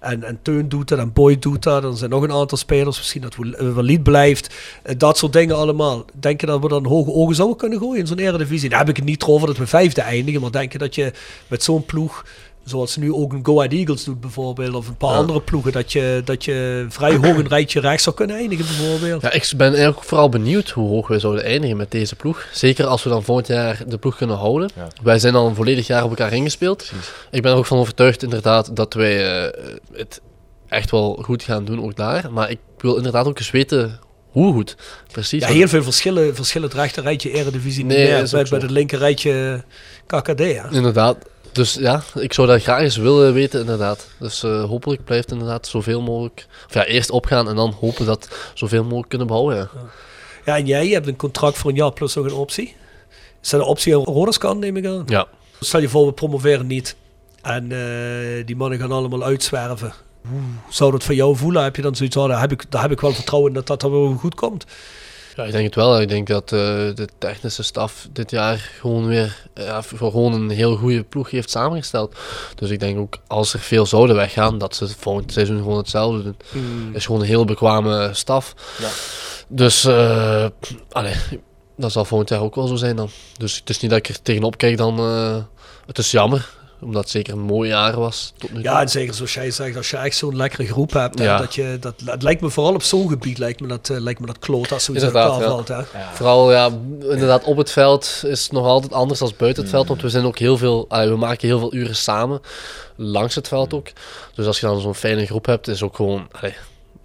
En, en Teun doet dat, en Boy doet dat, en er zijn nog een aantal spelers, misschien dat Wel- eh, Walid blijft. Eh, Dat soort dingen allemaal. Denk je dat we dan hoge ogen zouden kunnen gooien in zo'n eredivisie? Daar heb ik het niet over dat we vijfde eindigen, maar denk je dat je met zo'n ploeg Zoals nu ook een Go Ahead Eagles doet bijvoorbeeld. Of een paar andere ploegen. Dat je, dat je vrij hoog een rijtje rechts zou kunnen eindigen bijvoorbeeld.
Ja, ik ben eigenlijk vooral benieuwd hoe hoog wij zouden eindigen met deze ploeg. Zeker als we dan volgend jaar de ploeg kunnen houden.
Ja.
Wij zijn al een volledig jaar op elkaar ingespeeld. Ik ben er ook van overtuigd inderdaad dat wij eh, het echt wel goed gaan doen, ook daar. Maar ik wil inderdaad ook eens weten hoe goed. Precies.
Ja, heel veel verschillen. Verschillen het rechter rijtje Eredivisie
Nee,
niet meer.
is ook
Bij,
zo.
bij het linker rijtje KKD. Hè?
Inderdaad. Dus ja, ik zou dat graag eens willen weten, inderdaad. Dus eh, hopelijk blijft inderdaad zoveel mogelijk... Of ja, eerst opgaan en dan hopen dat zoveel mogelijk kunnen behouden. ja.
Ja, en jij hebt een contract voor een jaar plus nog een optie. Is dat een optie aan Roders kan, neem ik aan?
ja.
Stel je voor, we promoveren niet. En eh, die mannen gaan allemaal uitzwerven. Hoe zou dat voor jou voelen? Heb je dan zoiets van, ah, daar heb ik, daar heb ik wel vertrouwen in dat dat dan wel goed komt?
Ja, ik denk het wel. Ik denk dat eh, de technische staf dit jaar gewoon weer eh, ja, voor gewoon een heel goede ploeg heeft samengesteld. Dus ik denk ook als er veel zouden weggaan, dat ze het volgend seizoen gewoon hetzelfde doen. Het is gewoon een heel bekwame staf. Dus eh, allee, dat zal volgend jaar ook wel zo zijn dan. Dus het is niet dat ik er tegenop kijk dan. eh, het is jammer, omdat het zeker een mooi jaar was tot nu toe.
Ja, en zeker zoals jij zegt, als je echt zo'n lekkere groep hebt, hè,
Ja.
dat je, dat, het lijkt me vooral op zo'n gebied, lijkt me dat, eh, lijkt me dat kloot als zoiets uit
Inderdaad,
elkaar
ja.
valt. Hè.
Vooral ja, inderdaad op het veld is het nog altijd anders dan buiten het veld. Want we zijn ook heel veel, allee, we maken heel veel uren samen langs het veld ook. Dus als je dan zo'n fijne groep hebt, is ook gewoon, allee,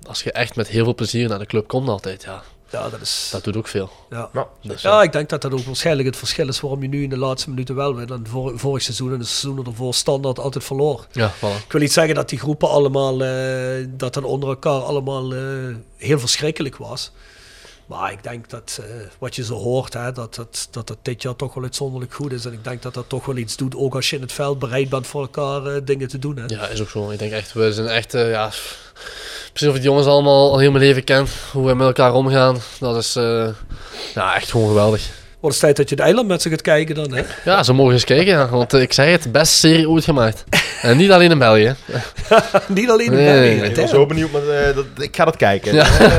als je echt met heel veel plezier naar de club komt altijd, ja,
Ja, dat is,
dat doet ook veel.
ja.
Ja,
Dus,
ja, ik denk dat dat ook waarschijnlijk het verschil is waarom je nu in de laatste minuten wel wint. En vor, vorig seizoen en de seizoenen ervoor standaard altijd verloor.
ja, voilà.
Ik wil niet zeggen dat die groepen allemaal, eh, dat dan onder elkaar allemaal eh, heel verschrikkelijk was. Maar ik denk dat eh, wat je zo hoort, hè, dat, dat, dat dat dit jaar toch wel uitzonderlijk goed is. En ik denk dat dat toch wel iets doet, ook als je in het veld bereid bent voor elkaar eh, dingen te doen. Hè.
Ja, is ook zo. Ik denk echt, we zijn echt, eh, ja, precies of ik die jongens allemaal al heel mijn leven ken, hoe we met elkaar omgaan, dat is eh, ja, echt gewoon geweldig.
Wordt het tijd dat je het eiland met ze gaat kijken dan, hè?
Ja, ze mogen eens kijken, ja, want eh, ik zeg het, beste serie ooit gemaakt. En niet alleen in België. hè.
[laughs] Niet alleen in
Nee,
België.
nee, nee.
Ik
het
ben
is
zo benieuwd, maar eh, dat, ik ga dat kijken.
Ja.
Eh,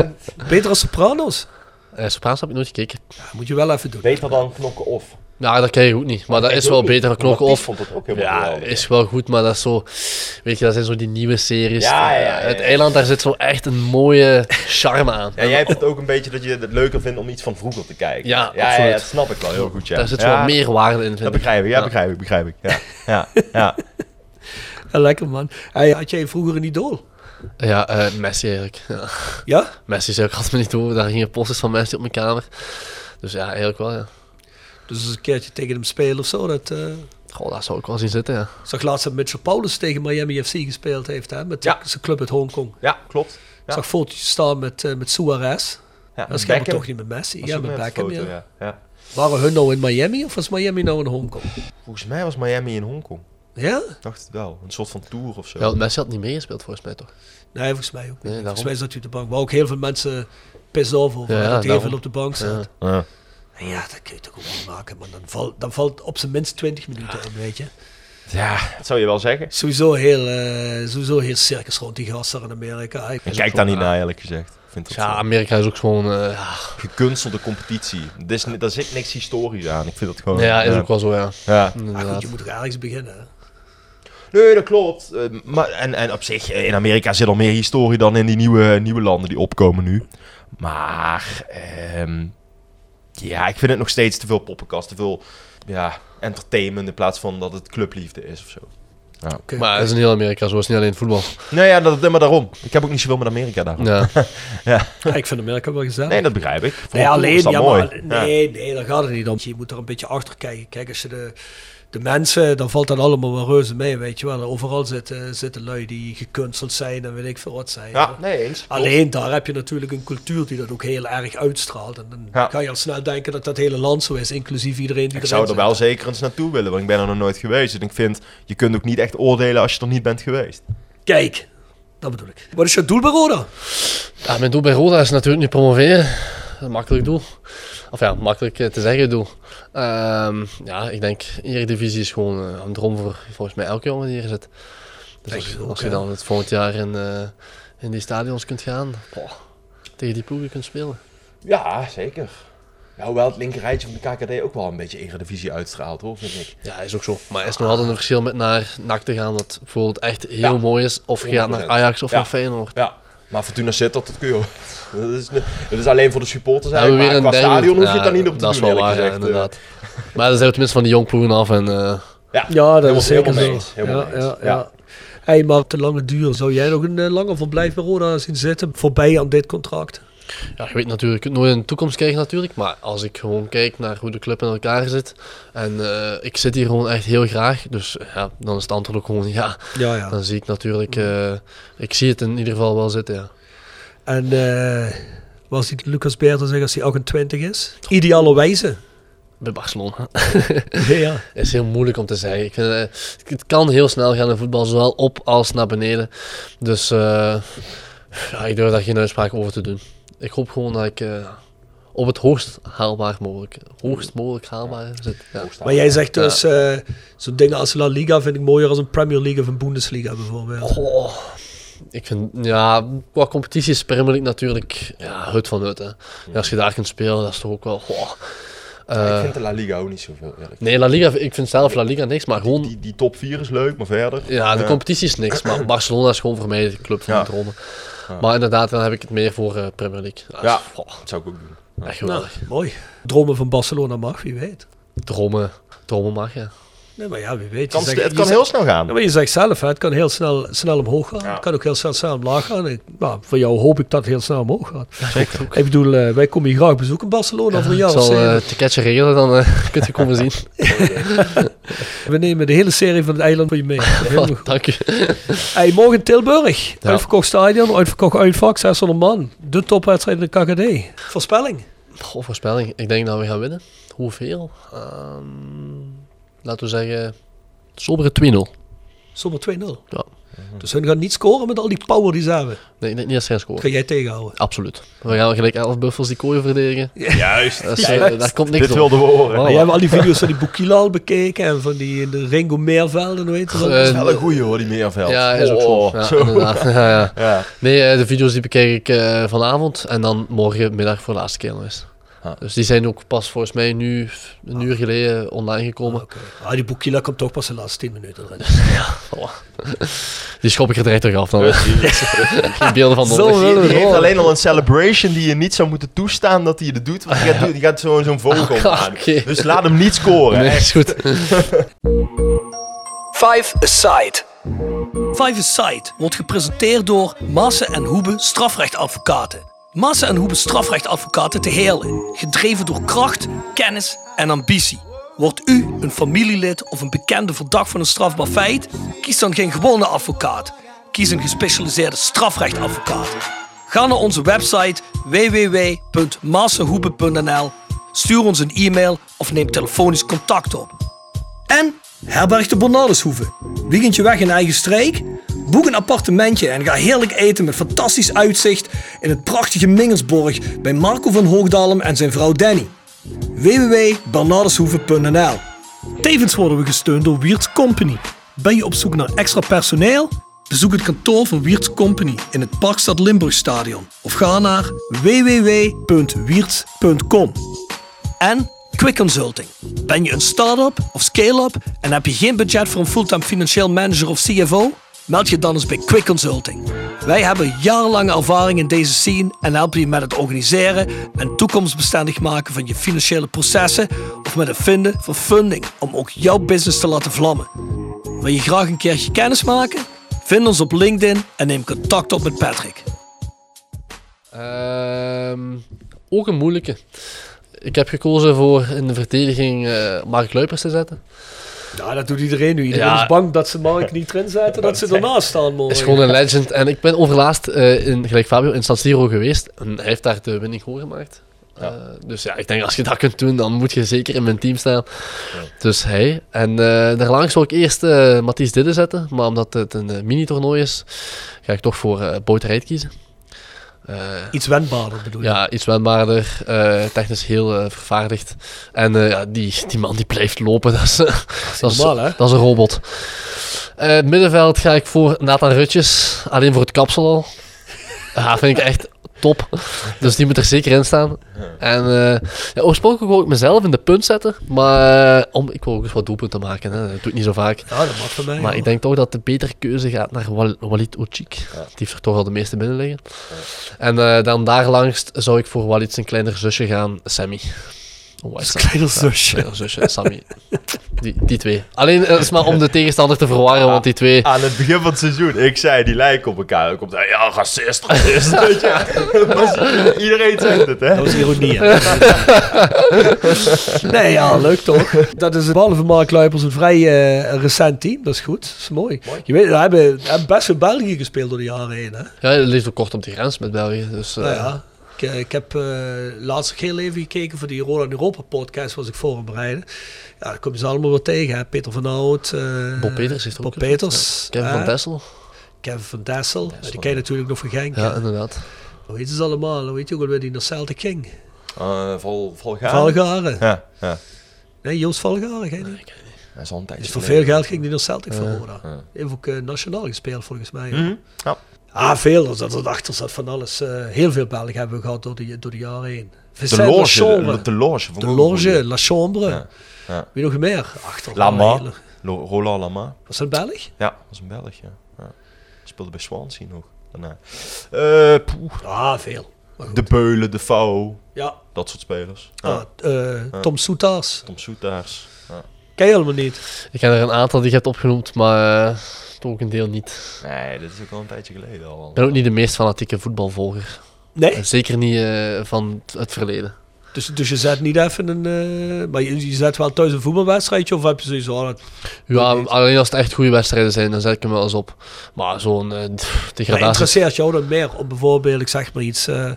Beter als Sopranos.
Eh Sopranos heb ik nooit gekeken.
Ja, moet je wel even doen.
beter dan knokken of.
Ja, Nou, dat kan je goed niet. Maar dat is wel beter dan knokken
Piet
of.
vond dat ook helemaal
Ja,
geweldig.
is wel goed, maar dat is zo. Weet je, dat zijn zo die nieuwe series. Eh,
Ja, ja, ja, ja.
Het eiland, daar zit zo echt een mooie charme aan.
Ja, jij hebt het ook een beetje dat je het leuker vindt om iets van vroeger te kijken.
Ja,
ja,
absoluut.
dat snap ik wel heel goed. Ja.
Daar zit
ja,
wel meer waarde in, vind
Dat
ik.
begrijp ik, ja, begrijp ik, begrijp ik. Ja, ja, ja.
Ja, lekker man. Hey, had jij vroeger een idool?
Ja, eh, Messi eigenlijk. Ja.
Ja?
Messi zei ik altijd me niet door. Daar gingen posters van Messi op mijn kamer. Dus ja, eigenlijk wel, ja.
Dus eens een keertje tegen hem spelen of zo. Dat, eh,
Goh, daar zou ik wel zien zitten, ja.
Ik zag laatst dat Mitchell Paulus tegen Miami FC gespeeld heeft. Hè, met
Ja.
zijn club uit Hongkong.
ja klopt.
Ik
Ja.
zag foto's staan met, eh, met Suarez.
Ja,
Dat is schijnbaar
Beckham
toch niet met Messi.
was
Ja,
ook
met
een
Beckham.
foto,
ja.
ja. Ja.
Waren hun nou in Miami of was Miami nou in Hongkong?
Volgens mij was Miami in Hongkong.
Ja?
Ik dacht het wel. Een soort van tour of zo.
ja want Messi had niet meegespeeld, volgens mij, toch?
Nee, volgens mij ook niet.
daarom.
volgens mij zat hij op de bank. Waar ook heel veel mensen pissed off over.
Ja,
dat hij heel
daarom.
veel op de bank zat.
Ja.
Ja, dat kun je toch ook wel maken. Maar dan, valt dan valt op zijn minst 20 minuten in, weet je.
Ja, dat zou je wel zeggen.
Sowieso heel, eh, sowieso heel circus rond die gasten in Amerika. Hij- Ah,
Ik kijk daar niet naar, eerlijk gezegd. Ik vind dat
Ja,
zo'n
Amerika is ook gewoon... eh, ja.
gekunstelde competitie. Dit is ni- Daar zit niks historisch aan. Ik vind dat gewoon...
ja, is ook wel zo, ja.
Ja.
Maar goed,
Inderdaad.
je moet toch ergens beginnen. hè?
Nee, dat klopt. Eh, maar, en, en op zich, eh, in Amerika zit al meer historie dan in die nieuwe, nieuwe landen die opkomen nu. Maar, ehm, ja, ik vind het nog steeds te veel poppenkast. Te veel, ja, entertainment in plaats van dat het clubliefde is of zo.
Oké.
Maar het is in heel Amerika zo, het is niet alleen voetbal.
Nou ja, dat, maar daarom. Ik heb ook niet zoveel met Amerika daarom.
Ja.
Ja, Ah, ik vind Amerika wel gezellig.
Nee, dat begrijp ik.
Nee, alleen,
Is dat
ja,
mooi.
maar, nee, nee, daar gaat het niet om. Je moet er een beetje achter kijken. Kijk, als je de, de mensen, dan valt dat allemaal wel reuze mee, weet je wel. Overal zitten, zitten lui die gekunsteld zijn en weet ik veel wat zijn.
Ja, nee, eens.
Alleen daar heb je natuurlijk een cultuur die dat ook heel erg uitstraalt. En dan
Ja.
kan je al snel denken dat dat hele land zo is, inclusief iedereen die
Ik zou er
zit.
wel zeker eens naartoe willen, want ik ben er nog nooit geweest. En ik vind, je kunt ook niet echt oordelen als je er niet bent geweest.
Kijk, dat bedoel ik. Wat is je doel bij Roda?
Ja, Ah, mijn doel bij Roda is natuurlijk niet promoveren. Dat is Een makkelijk doel. Of ja, makkelijk eh, te zeggen doel. Ehm, ja, ik denk, Eredivisie is gewoon eh, een droom voor volgens mij elke jongen die hier zit. Dus
Denk
als,
ik ook,
als
ja.
je dan het volgend jaar in, eh, in die stadions kunt gaan, boah, tegen die ploegen kunt spelen.
Ja, zeker. Ja, hoewel het linkerrijtje van de KKD ook wel een beetje eredivisie uitstraalt, hoor, vind ik.
Ja, is ook zo. Maar er is nog altijd een verschil met naar NAC te gaan, wat bijvoorbeeld echt heel
Ah. Ja.
mooi is. Of je gaat naar
100%.
Ajax of
Ja.
naar Feyenoord.
Ja, maar Fortuna Sittard, dat kun je wel. [laughs] dat is, dat is alleen voor de supporters
hebben
eigenlijk, maar qua
derby.
stadion hoef je het
Ja,
daar niet op te
Dat is
doen,
wel waar,
eerlijk
ja,
gezegd. eh.
inderdaad. Maar dan zijn we tenminste van die jong ploegen af en... eh,
Ja,
Ja, dat
helemaal-
is zeker
helemaal mee
zo.
eens, helemaal
ja,
mee eens.
ja, ja. Hey, maar op de lange duur, zou jij nog een eh, langer verblijf bij Roda zien zitten? Voorbij aan dit contract?
Ja, je weet natuurlijk nooit in de toekomst kijken natuurlijk, maar als ik gewoon kijk naar hoe de club in elkaar zit en eh, ik zit hier gewoon echt heel graag, dus ja, dan is het antwoord ook gewoon ja.
Ja, ja.
Dan zie ik natuurlijk, eh, ik zie het in ieder geval wel zitten, ja.
En eh, wat ziet Lucas Beerta zeggen als hij 28 is? Ideale wijze.
Bij Barcelona. [laughs]
ja.
is heel moeilijk om te zeggen. Ik vind, eh, het kan heel snel gaan in voetbal, zowel op als naar beneden. Dus eh, ja, ik durf daar geen uitspraak over te doen. Ik hoop gewoon dat ik eh, op het hoogst haalbaar mogelijk, hoogst mogelijk haalbaar zit. Ja.
Maar jij zegt dus, eh, zo'n dingen als La Liga vind ik mooier als een Premier League of een Bundesliga bijvoorbeeld.
Goh. Ik vind, ja, qua competitie is Premier League natuurlijk ja, hut van hut. Hè. En als je daar kunt spelen, dat is toch ook wel... goh.
Ik
Eh,
vind de La Liga ook niet zoveel, eerlijk.
nee, La Liga, ik vind zelf La Liga niks, maar gewoon...
Die, die top 4 is leuk, maar verder...
Ja, de
eh,
competitie is niks, maar Barcelona is gewoon voor mij de club van
Ja.
de dromen. Maar inderdaad, dan heb ik het meer voor eh, Premier League. Dat is,
Ja.
goh,
Dat zou ik ook doen.
echt
Nou,
geweldig.
mooi. Dromen van Barcelona mag, wie weet.
Dromen, dromen mag, ja.
Nee, maar ja, wie weet. Je
Kan-
zegt-
het
je
kan
zegt-
heel snel gaan.
Ja, maar je zegt zelf, hè, het kan heel snel, snel omhoog gaan. Het kan ook heel snel, snel omlaag gaan. Ik, nou, voor jou hoop ik dat het heel snel omhoog gaat. Ik bedoel, eh, wij komen je graag bezoeken in Barcelona voor een
ik
jaar of
zal eh
zeven.
het ticketje regelen, dan eh [laughs] kunt je komen zien.
We nemen de hele serie van het eiland voor je mee. Helemaal goed.
Dank je.
Hey, morgen in Tilburg. Uitverkocht stadion, uitverkocht uitvak, 600 man. De topwedstrijd in de KKD. Voorspelling.
Goh, voorspelling. Ik denk dat we gaan winnen. Hoeveel? Ehm, laten we zeggen... Sobere 2-0.
Zomaar 2-0.
Ja. Oh.
Dus hun gaan niet scoren met al die power die ze hebben.
Nee, ik denk niet dat zij
Dat
scoren.
ga jij
Oh,
tegenhouden.
Absoluut. We gaan gelijk 11 buffels die kooi verdedigen.
Juist.
Dat is, eh,
Juist.
daar komt niks
Dit
op.
wilden we horen.
Oh,
Jij hebt al die video's van die Bukila al bekeken en van die de Ringo Meerveld en hoe heet dat?
Eh,
Wel een goeie hoor, die Meerveld.
ja, is ook zo.
Oh,
Ja, inderdaad. [laughs] Ja, ja.
Ja.
Nee, eh, de video's die bekijk ik eh, vanavond en dan morgenmiddag voor de laatste keer nog eens.
Ah.
Ja.
Dus die zijn ook pas volgens mij nu een uur geleden online gekomen.
Ah, die Boekila komt toch pas de laatste 10 minuten erin.
Die schop ik er direct terug af dan. [laughs] Geen beelden van
Zo
nodig.
willen we
Die
het
heeft
horen.
alleen al een celebration die je niet zou moeten toestaan dat hij het doet. Want die gaat, doen- die gaat zo'n zo'n vogel
Ah,
maken.
oké.
Dus laat hem niet scoren.
Nee,
hè.
is goed.
Five Aside. Five Aside wordt gepresenteerd door Maassen en Hoebe strafrechtadvocaten. Maassen en Hoebe strafrechtadvocaten te Heerlen, gedreven door kracht, kennis en ambitie. Wordt u een familielid of een bekende verdacht van een strafbaar feit? Kies dan geen gewone advocaat. Kies een gespecialiseerde strafrechtadvocaat. Ga naar onze website www.massenhoepen.nl, stuur ons een e-mail of neem telefonisch contact op. En herberg de Bernardeshoeve. Weekendje weg in eigen streek? Boek een appartementje en ga heerlijk eten met fantastisch uitzicht in het prachtige Mingelsborg bij Marco van Hoogdalem en zijn vrouw Danny. www.bernardeshoeve.nl Tevens worden we gesteund door Wiert's Company. Ben je op zoek naar extra personeel? Bezoek het kantoor van Wiert's Company in het Parkstad Limburgstadion of ga naar www.wiertz.com en Quick Consulting. Ben je een start-up of scale-up en heb je geen budget voor een fulltime financieel manager of CFO? Meld je dan eens bij Quick Consulting. Wij hebben jarenlange ervaring in deze scene en helpen je met het organiseren en toekomstbestendig maken van je financiële processen of met het vinden van funding om ook jouw business te laten vlammen. Wil je graag een keertje kennis maken? Vind ons op LinkedIn en neem contact op met Patrick.
Ehm, ook een moeilijke. Ik heb gekozen voor in de verdediging eh, Mark Luipers te zetten.
Ja, dat doet iedereen nu.
Iedereen is
bang dat ze Mark niet erin zetten, dat ze ernaast staan
Hij is gewoon een legend. En ik ben overlaatst, eh, in, gelijk Fabio, in San Siro geweest. En hij heeft daar de winning hoor gemaakt. Eh, dus ja, ik denk als je dat kunt doen, dan moet je zeker in mijn team staan. Dus hij. En eh daarlangs wil ik eerst eh Matthijs Didde zetten. Maar omdat het een eh, mini-toernooi is, ga ik toch voor eh Bout Rijt kiezen. Eh,
Iets wendbaarder bedoel je?
Ja, iets wendbaarder, eh, technisch heel eh, vervaardigd. En eh, ja, die, die man die blijft lopen, [laughs] dat is, eh, dat is,
normaal, hè?
dat is een robot. Eh, middenveld ga ik voor Nathan Rutjes, alleen voor het kapsel al. Ja, vind ik echt top. Dus die moet er zeker in staan. En eh, ja, oorspronkelijk wil ik mezelf in de punt zetten, maar eh, om, ik wil ook eens wat doelpunten maken. Hè. Dat doe ik niet zo vaak.
Ja, dat mag van mij.
Maar
hoor.
ik denk toch dat de betere keuze gaat naar Wal- Walid Ochik. Die heeft er toch al de meeste binnen liggen. En eh, dan daarlangs zou ik voor Walid zijn kleiner zusje gaan, Sammy. Oh, is dat?
Kleiner zusje.
Kleiner zusje, Sammy. Die, die twee. Alleen eh, het is maar om de tegenstander te verwarren, want die twee...
Aan het begin van het seizoen, ik zei, die lijken op elkaar. Dan komt hij, ja, racist, racist, [laughs] weet je. Dat was- Iedereen zegt het, hè.
Dat was ironie.
[laughs]
hè? nee, ja, leuk toch? Dat is behalve Mark Luipers een vrij eh, recent team. Dat is goed. Dat is mooi. Je weet, we hebben, we hebben best veel België gespeeld door de jaren heen. Hè?
Ja, het ligt ook kort op de grens met België. Dus, eh,
Nou ja. Ik, eh, ik heb eh, laatst ook heel even gekeken voor die Roland Europa podcast was ik voorbereiden. Ja, daar kom je ze allemaal weer tegen. Hè? Peter van Hout. eh,
Bob Peters heeft ook
Bob
een-
Peters.
Kevin
hè?
van Tessel.
Kevin van Dessel. Ja, die ken je natuurlijk nog van Genk.
Ja,
hè?
inderdaad.
Hoe heet ze allemaal? Hoe heet je ook alweer die naar Celtic ging?
Eh, vol, vol gaan.
Valgaren.
Ja, ja.
Nee, Joost Valgaren, geen idee.
Dat is al een tijdje
Dus voor
geleden.
veel geld ging die naar Celtic van Roda. Heeft ook eh, nationaal gespeeld volgens mij. hè.
Ja.
Ah, veel. Dus dat achter zat van alles. Eh, heel veel Belgen hebben we gehad door, die, door de jaren heen.
De
Vincent
loge,
La
de,
Chambre.
de loge.
De Loge, La Chambre.
ja.
Wie nog meer? Achter.
Lama.
Hele-
Lo- Roland Lama.
Was dat Belg?
Ja, dat was een Belg, ja. ja. Speelde bij Swansea nog, daarna. Eh, poeh,
Ah, veel. Maar goed.
de Beulen, de Vouw,
Ja.
dat soort spelers. Ja.
Ah, eh, Tom Soetaars.
Tom Soetaars. Ja.
Ken je helemaal niet.
Ik ken er een aantal die je hebt opgenoemd, maar eh, toch ook een deel niet.
Nee, dit is ook al een tijdje geleden al.
Ik ben ook niet de meest fanatieke voetbalvolger.
Nee?
Zeker niet eh, van het verleden.
Dus, dus je zet niet even een... eh, maar je, je zet wel thuis een voetbalwedstrijdje of heb je ah, sowieso al het...
Ja, alleen als het echt goede wedstrijden zijn, dan zet ik hem wel eens op. Maar zo'n eh, pff,
Maar
degradatie.
interesseert jou dan meer om bijvoorbeeld, ik zeg maar iets, eh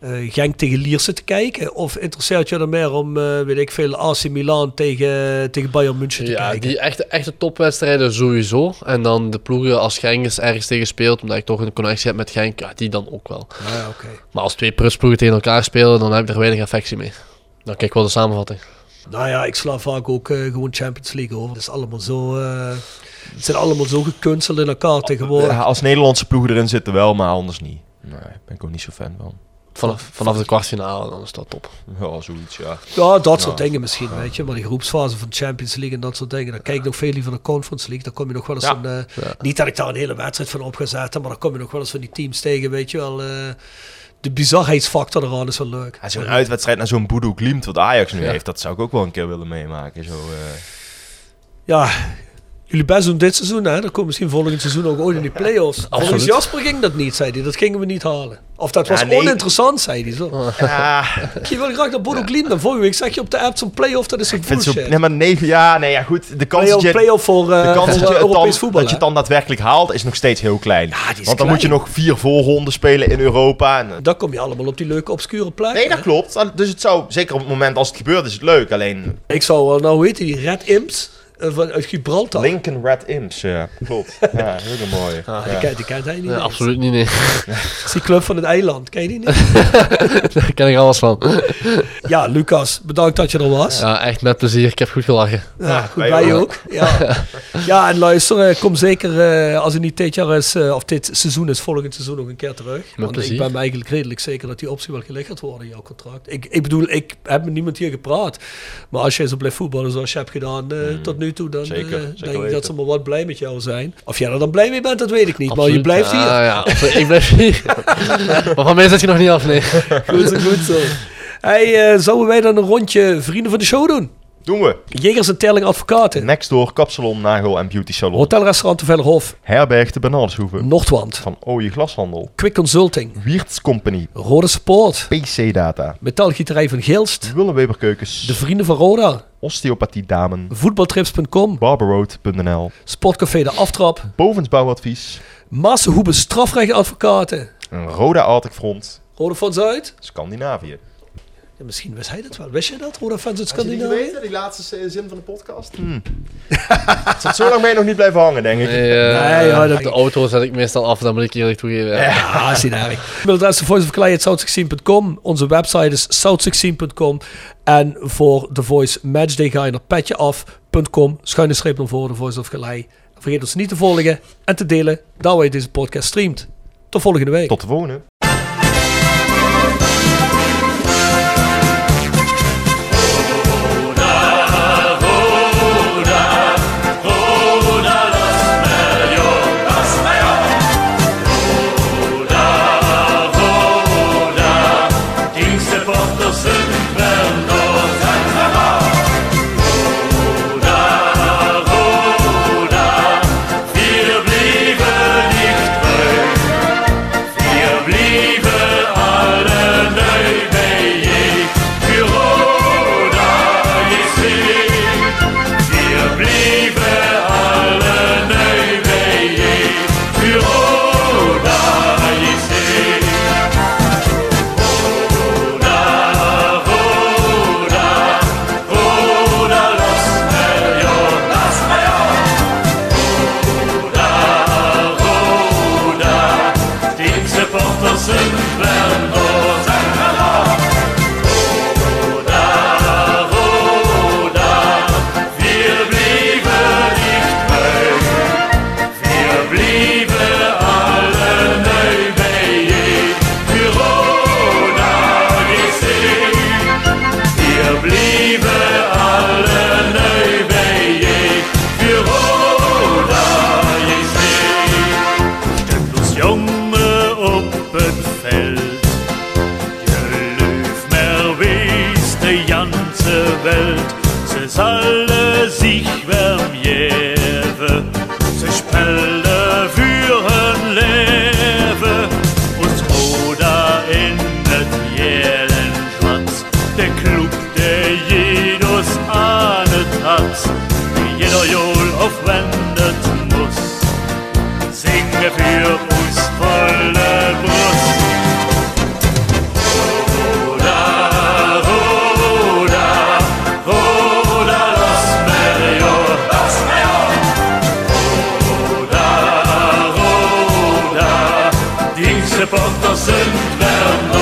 eh, Genk tegen Lierse te kijken? Of interesseert jou dan meer om, eh, weet ik veel, AC Milan tegen, tegen Bayern München te
Ja,
kijken?
die echte, echte topwedstrijden sowieso. En dan de ploegen als Genk is ergens tegen speelt, omdat ik toch een connectie heb met Genk, ja, die dan ook wel.
Ah, ja, oké.
Maar als twee prusploegen tegen elkaar spelen, dan heb ik er weinig affectie mee. Dan kijk ik wel de samenvatting.
Nou ja, ik sla vaak ook eh, gewoon Champions League over. Het is allemaal zo... eh, het zijn allemaal zo gekunsteld in elkaar tegenwoordig.
Ja, als Nederlandse ploegen erin zitten wel, maar anders niet. Nee, daar ben ik ook niet zo fan van.
Vanaf, vanaf de kwartfinale, dan is dat top.
Ja, zoiets, ja.
Ja, dat soort dingen misschien, weet je. Maar die groepsfase van de Champions League en dat soort dingen. Dan kijk ik nog veel liever naar Conference League. Dan kom je nog wel eens
Ja.
een... eh, Niet dat ik daar een hele wedstrijd van op ga zetten, maar dan kom je nog wel eens van die teams tegen, weet je wel. eh, de bizarheidsfactor eraan is wel leuk.
Ja, zo'n uitwedstrijd naar zo'n Boedoe Klimt, wat Ajax nu
Ja.
heeft, dat zou ik ook wel een keer willen meemaken. Zo, eh.
Ja, jullie best doen dit seizoen, hè. Dan komt misschien volgend seizoen ook ooit in die
[laughs]
play-offs. Volgens Jasper ging dat niet, zei hij. Dat gingen we niet halen. Of dat was
nee.
oninteressant, zei hij zo.
[laughs] Ja,
Je wil graag naar Bodo Glimt. Dan vorige week zeg je op de app zo'n play-off, dat is een
ik vind
bullshit.
zo, nee, maar negen, ja, nee, ja, goed. De kans dat
Play-off
je,
play voor, eh,
de kans
voor,
dat, je
eh,
het
Europees
dan,
voetbal.
dat je
hè.
het dan daadwerkelijk haalt, is nog steeds heel klein.
die is
Want dan
klein.
moet je nog vier voorronden spelen in Europa. En,
Dan kom je allemaal op die leuke obscure plekken.
nee, dat klopt. Dus het zou, zeker op het moment als het gebeurt, is het leuk. Alleen
Ik zou wel, nou hoe heet die, Red Imps eh, van, uit Gibraltar.
Lincoln Red Imps, ja. Klopt. [laughs] Ja, heel een mooie.
Die,
Ja.
kent, die kent hij niet.
Ja,
meer.
absoluut niet, nee. [laughs]
Dat is die club van het eiland, ken je die
[laughs]
niet?
Daar ken ik alles van.
ja, Lucas, bedankt dat je er was. Ja,
Ja, echt met plezier. Ik heb goed gelachen.
goed,
wij
wij
ook.
ook. Ja.
[laughs]
ja, en luister, eh, kom zeker eh, als het niet dit jaar is, eh, of dit seizoen is, volgend seizoen nog een keer terug. Want ik
plezier.
ben me eigenlijk redelijk zeker dat die optie wel gelegd gaat worden in jouw contract. Ik, ik bedoel, ik heb met niemand hier gepraat. Maar als jij zo blijft voetballen zoals je hebt gedaan eh, tot nu toe, dan
Hmm. zeker,
eh,
zeker
denk ik
weten.
dat ze maar wat blij met jou zijn. Of jij er dan blij mee bent, dat weet ik niet. Maar je
Absoluut.
blijft
Ja,
hier.
ja, absoluut. ik blijf hier.
[laughs]
maar van mij zit je nog niet af, nee.
Goed zo, goed zo. Hey, eh, zouden wij dan een rondje vrienden van de show doen?
Doen we.
Jegers en Terling Advocaten.
Next door Kapsalon, Nagel en Beauty Salon.
Hotelrestaurant de Vellerhof.
Herberg de Bernardshoeve.
Noordwand.
Van Ooie Glashandel.
Quick Consulting.
Wiertz Company.
Rode Support.
PC Data.
Metaalgieterij van Geelst.
Willeweber Keukens.
De Vrienden van Roda.
Osteopathie Damen.
Voetbaltrips.com.
Barbaroad.nl.
Sportcafé De Aftrap.
Bovensbouwadvies.
Massenhoeben Strafrechtadvocaten.
En Roda Arctic Front.
Rode van Zuid.
Scandinavië.
Ja, misschien wist hij dat wel. Wist je dat? Rode fans uit Scandinavië?
die laatste zin van de podcast? [laughs] Het zat Hmm. zo lang mee nog niet blijven hangen, denk ik.
Nee, eh,
Nee, ja, dat-
De auto zet ik meestal af, dat moet ik eerlijk toegeven. ja.
Ja, Ah, is niet erg. Mailadres de Voice of Calais, south16.com. Onze website is south16.com. En voor de Voice Matchday ga je naar petjeaf.com. Schuine streep naar voren, de Voice of Calais. Vergeet ons niet te volgen en te delen daar waar je deze podcast streamt. Tot volgende week.
Tot de volgende.
Als jongen op het veld. Je leuf maar wees de ganze Welt. Ze zullen zich wel jeven. Ze spelen voor hun leven. Ons Roda in het jelen schwarz. Der Club, der jedes ahnet hat. die Jeder Jol aufwendet muss singe für uns volle Brust. Roda, Roda, Roda, los Merio, los Merio. Roda, Roda, die Supporters sind Werner.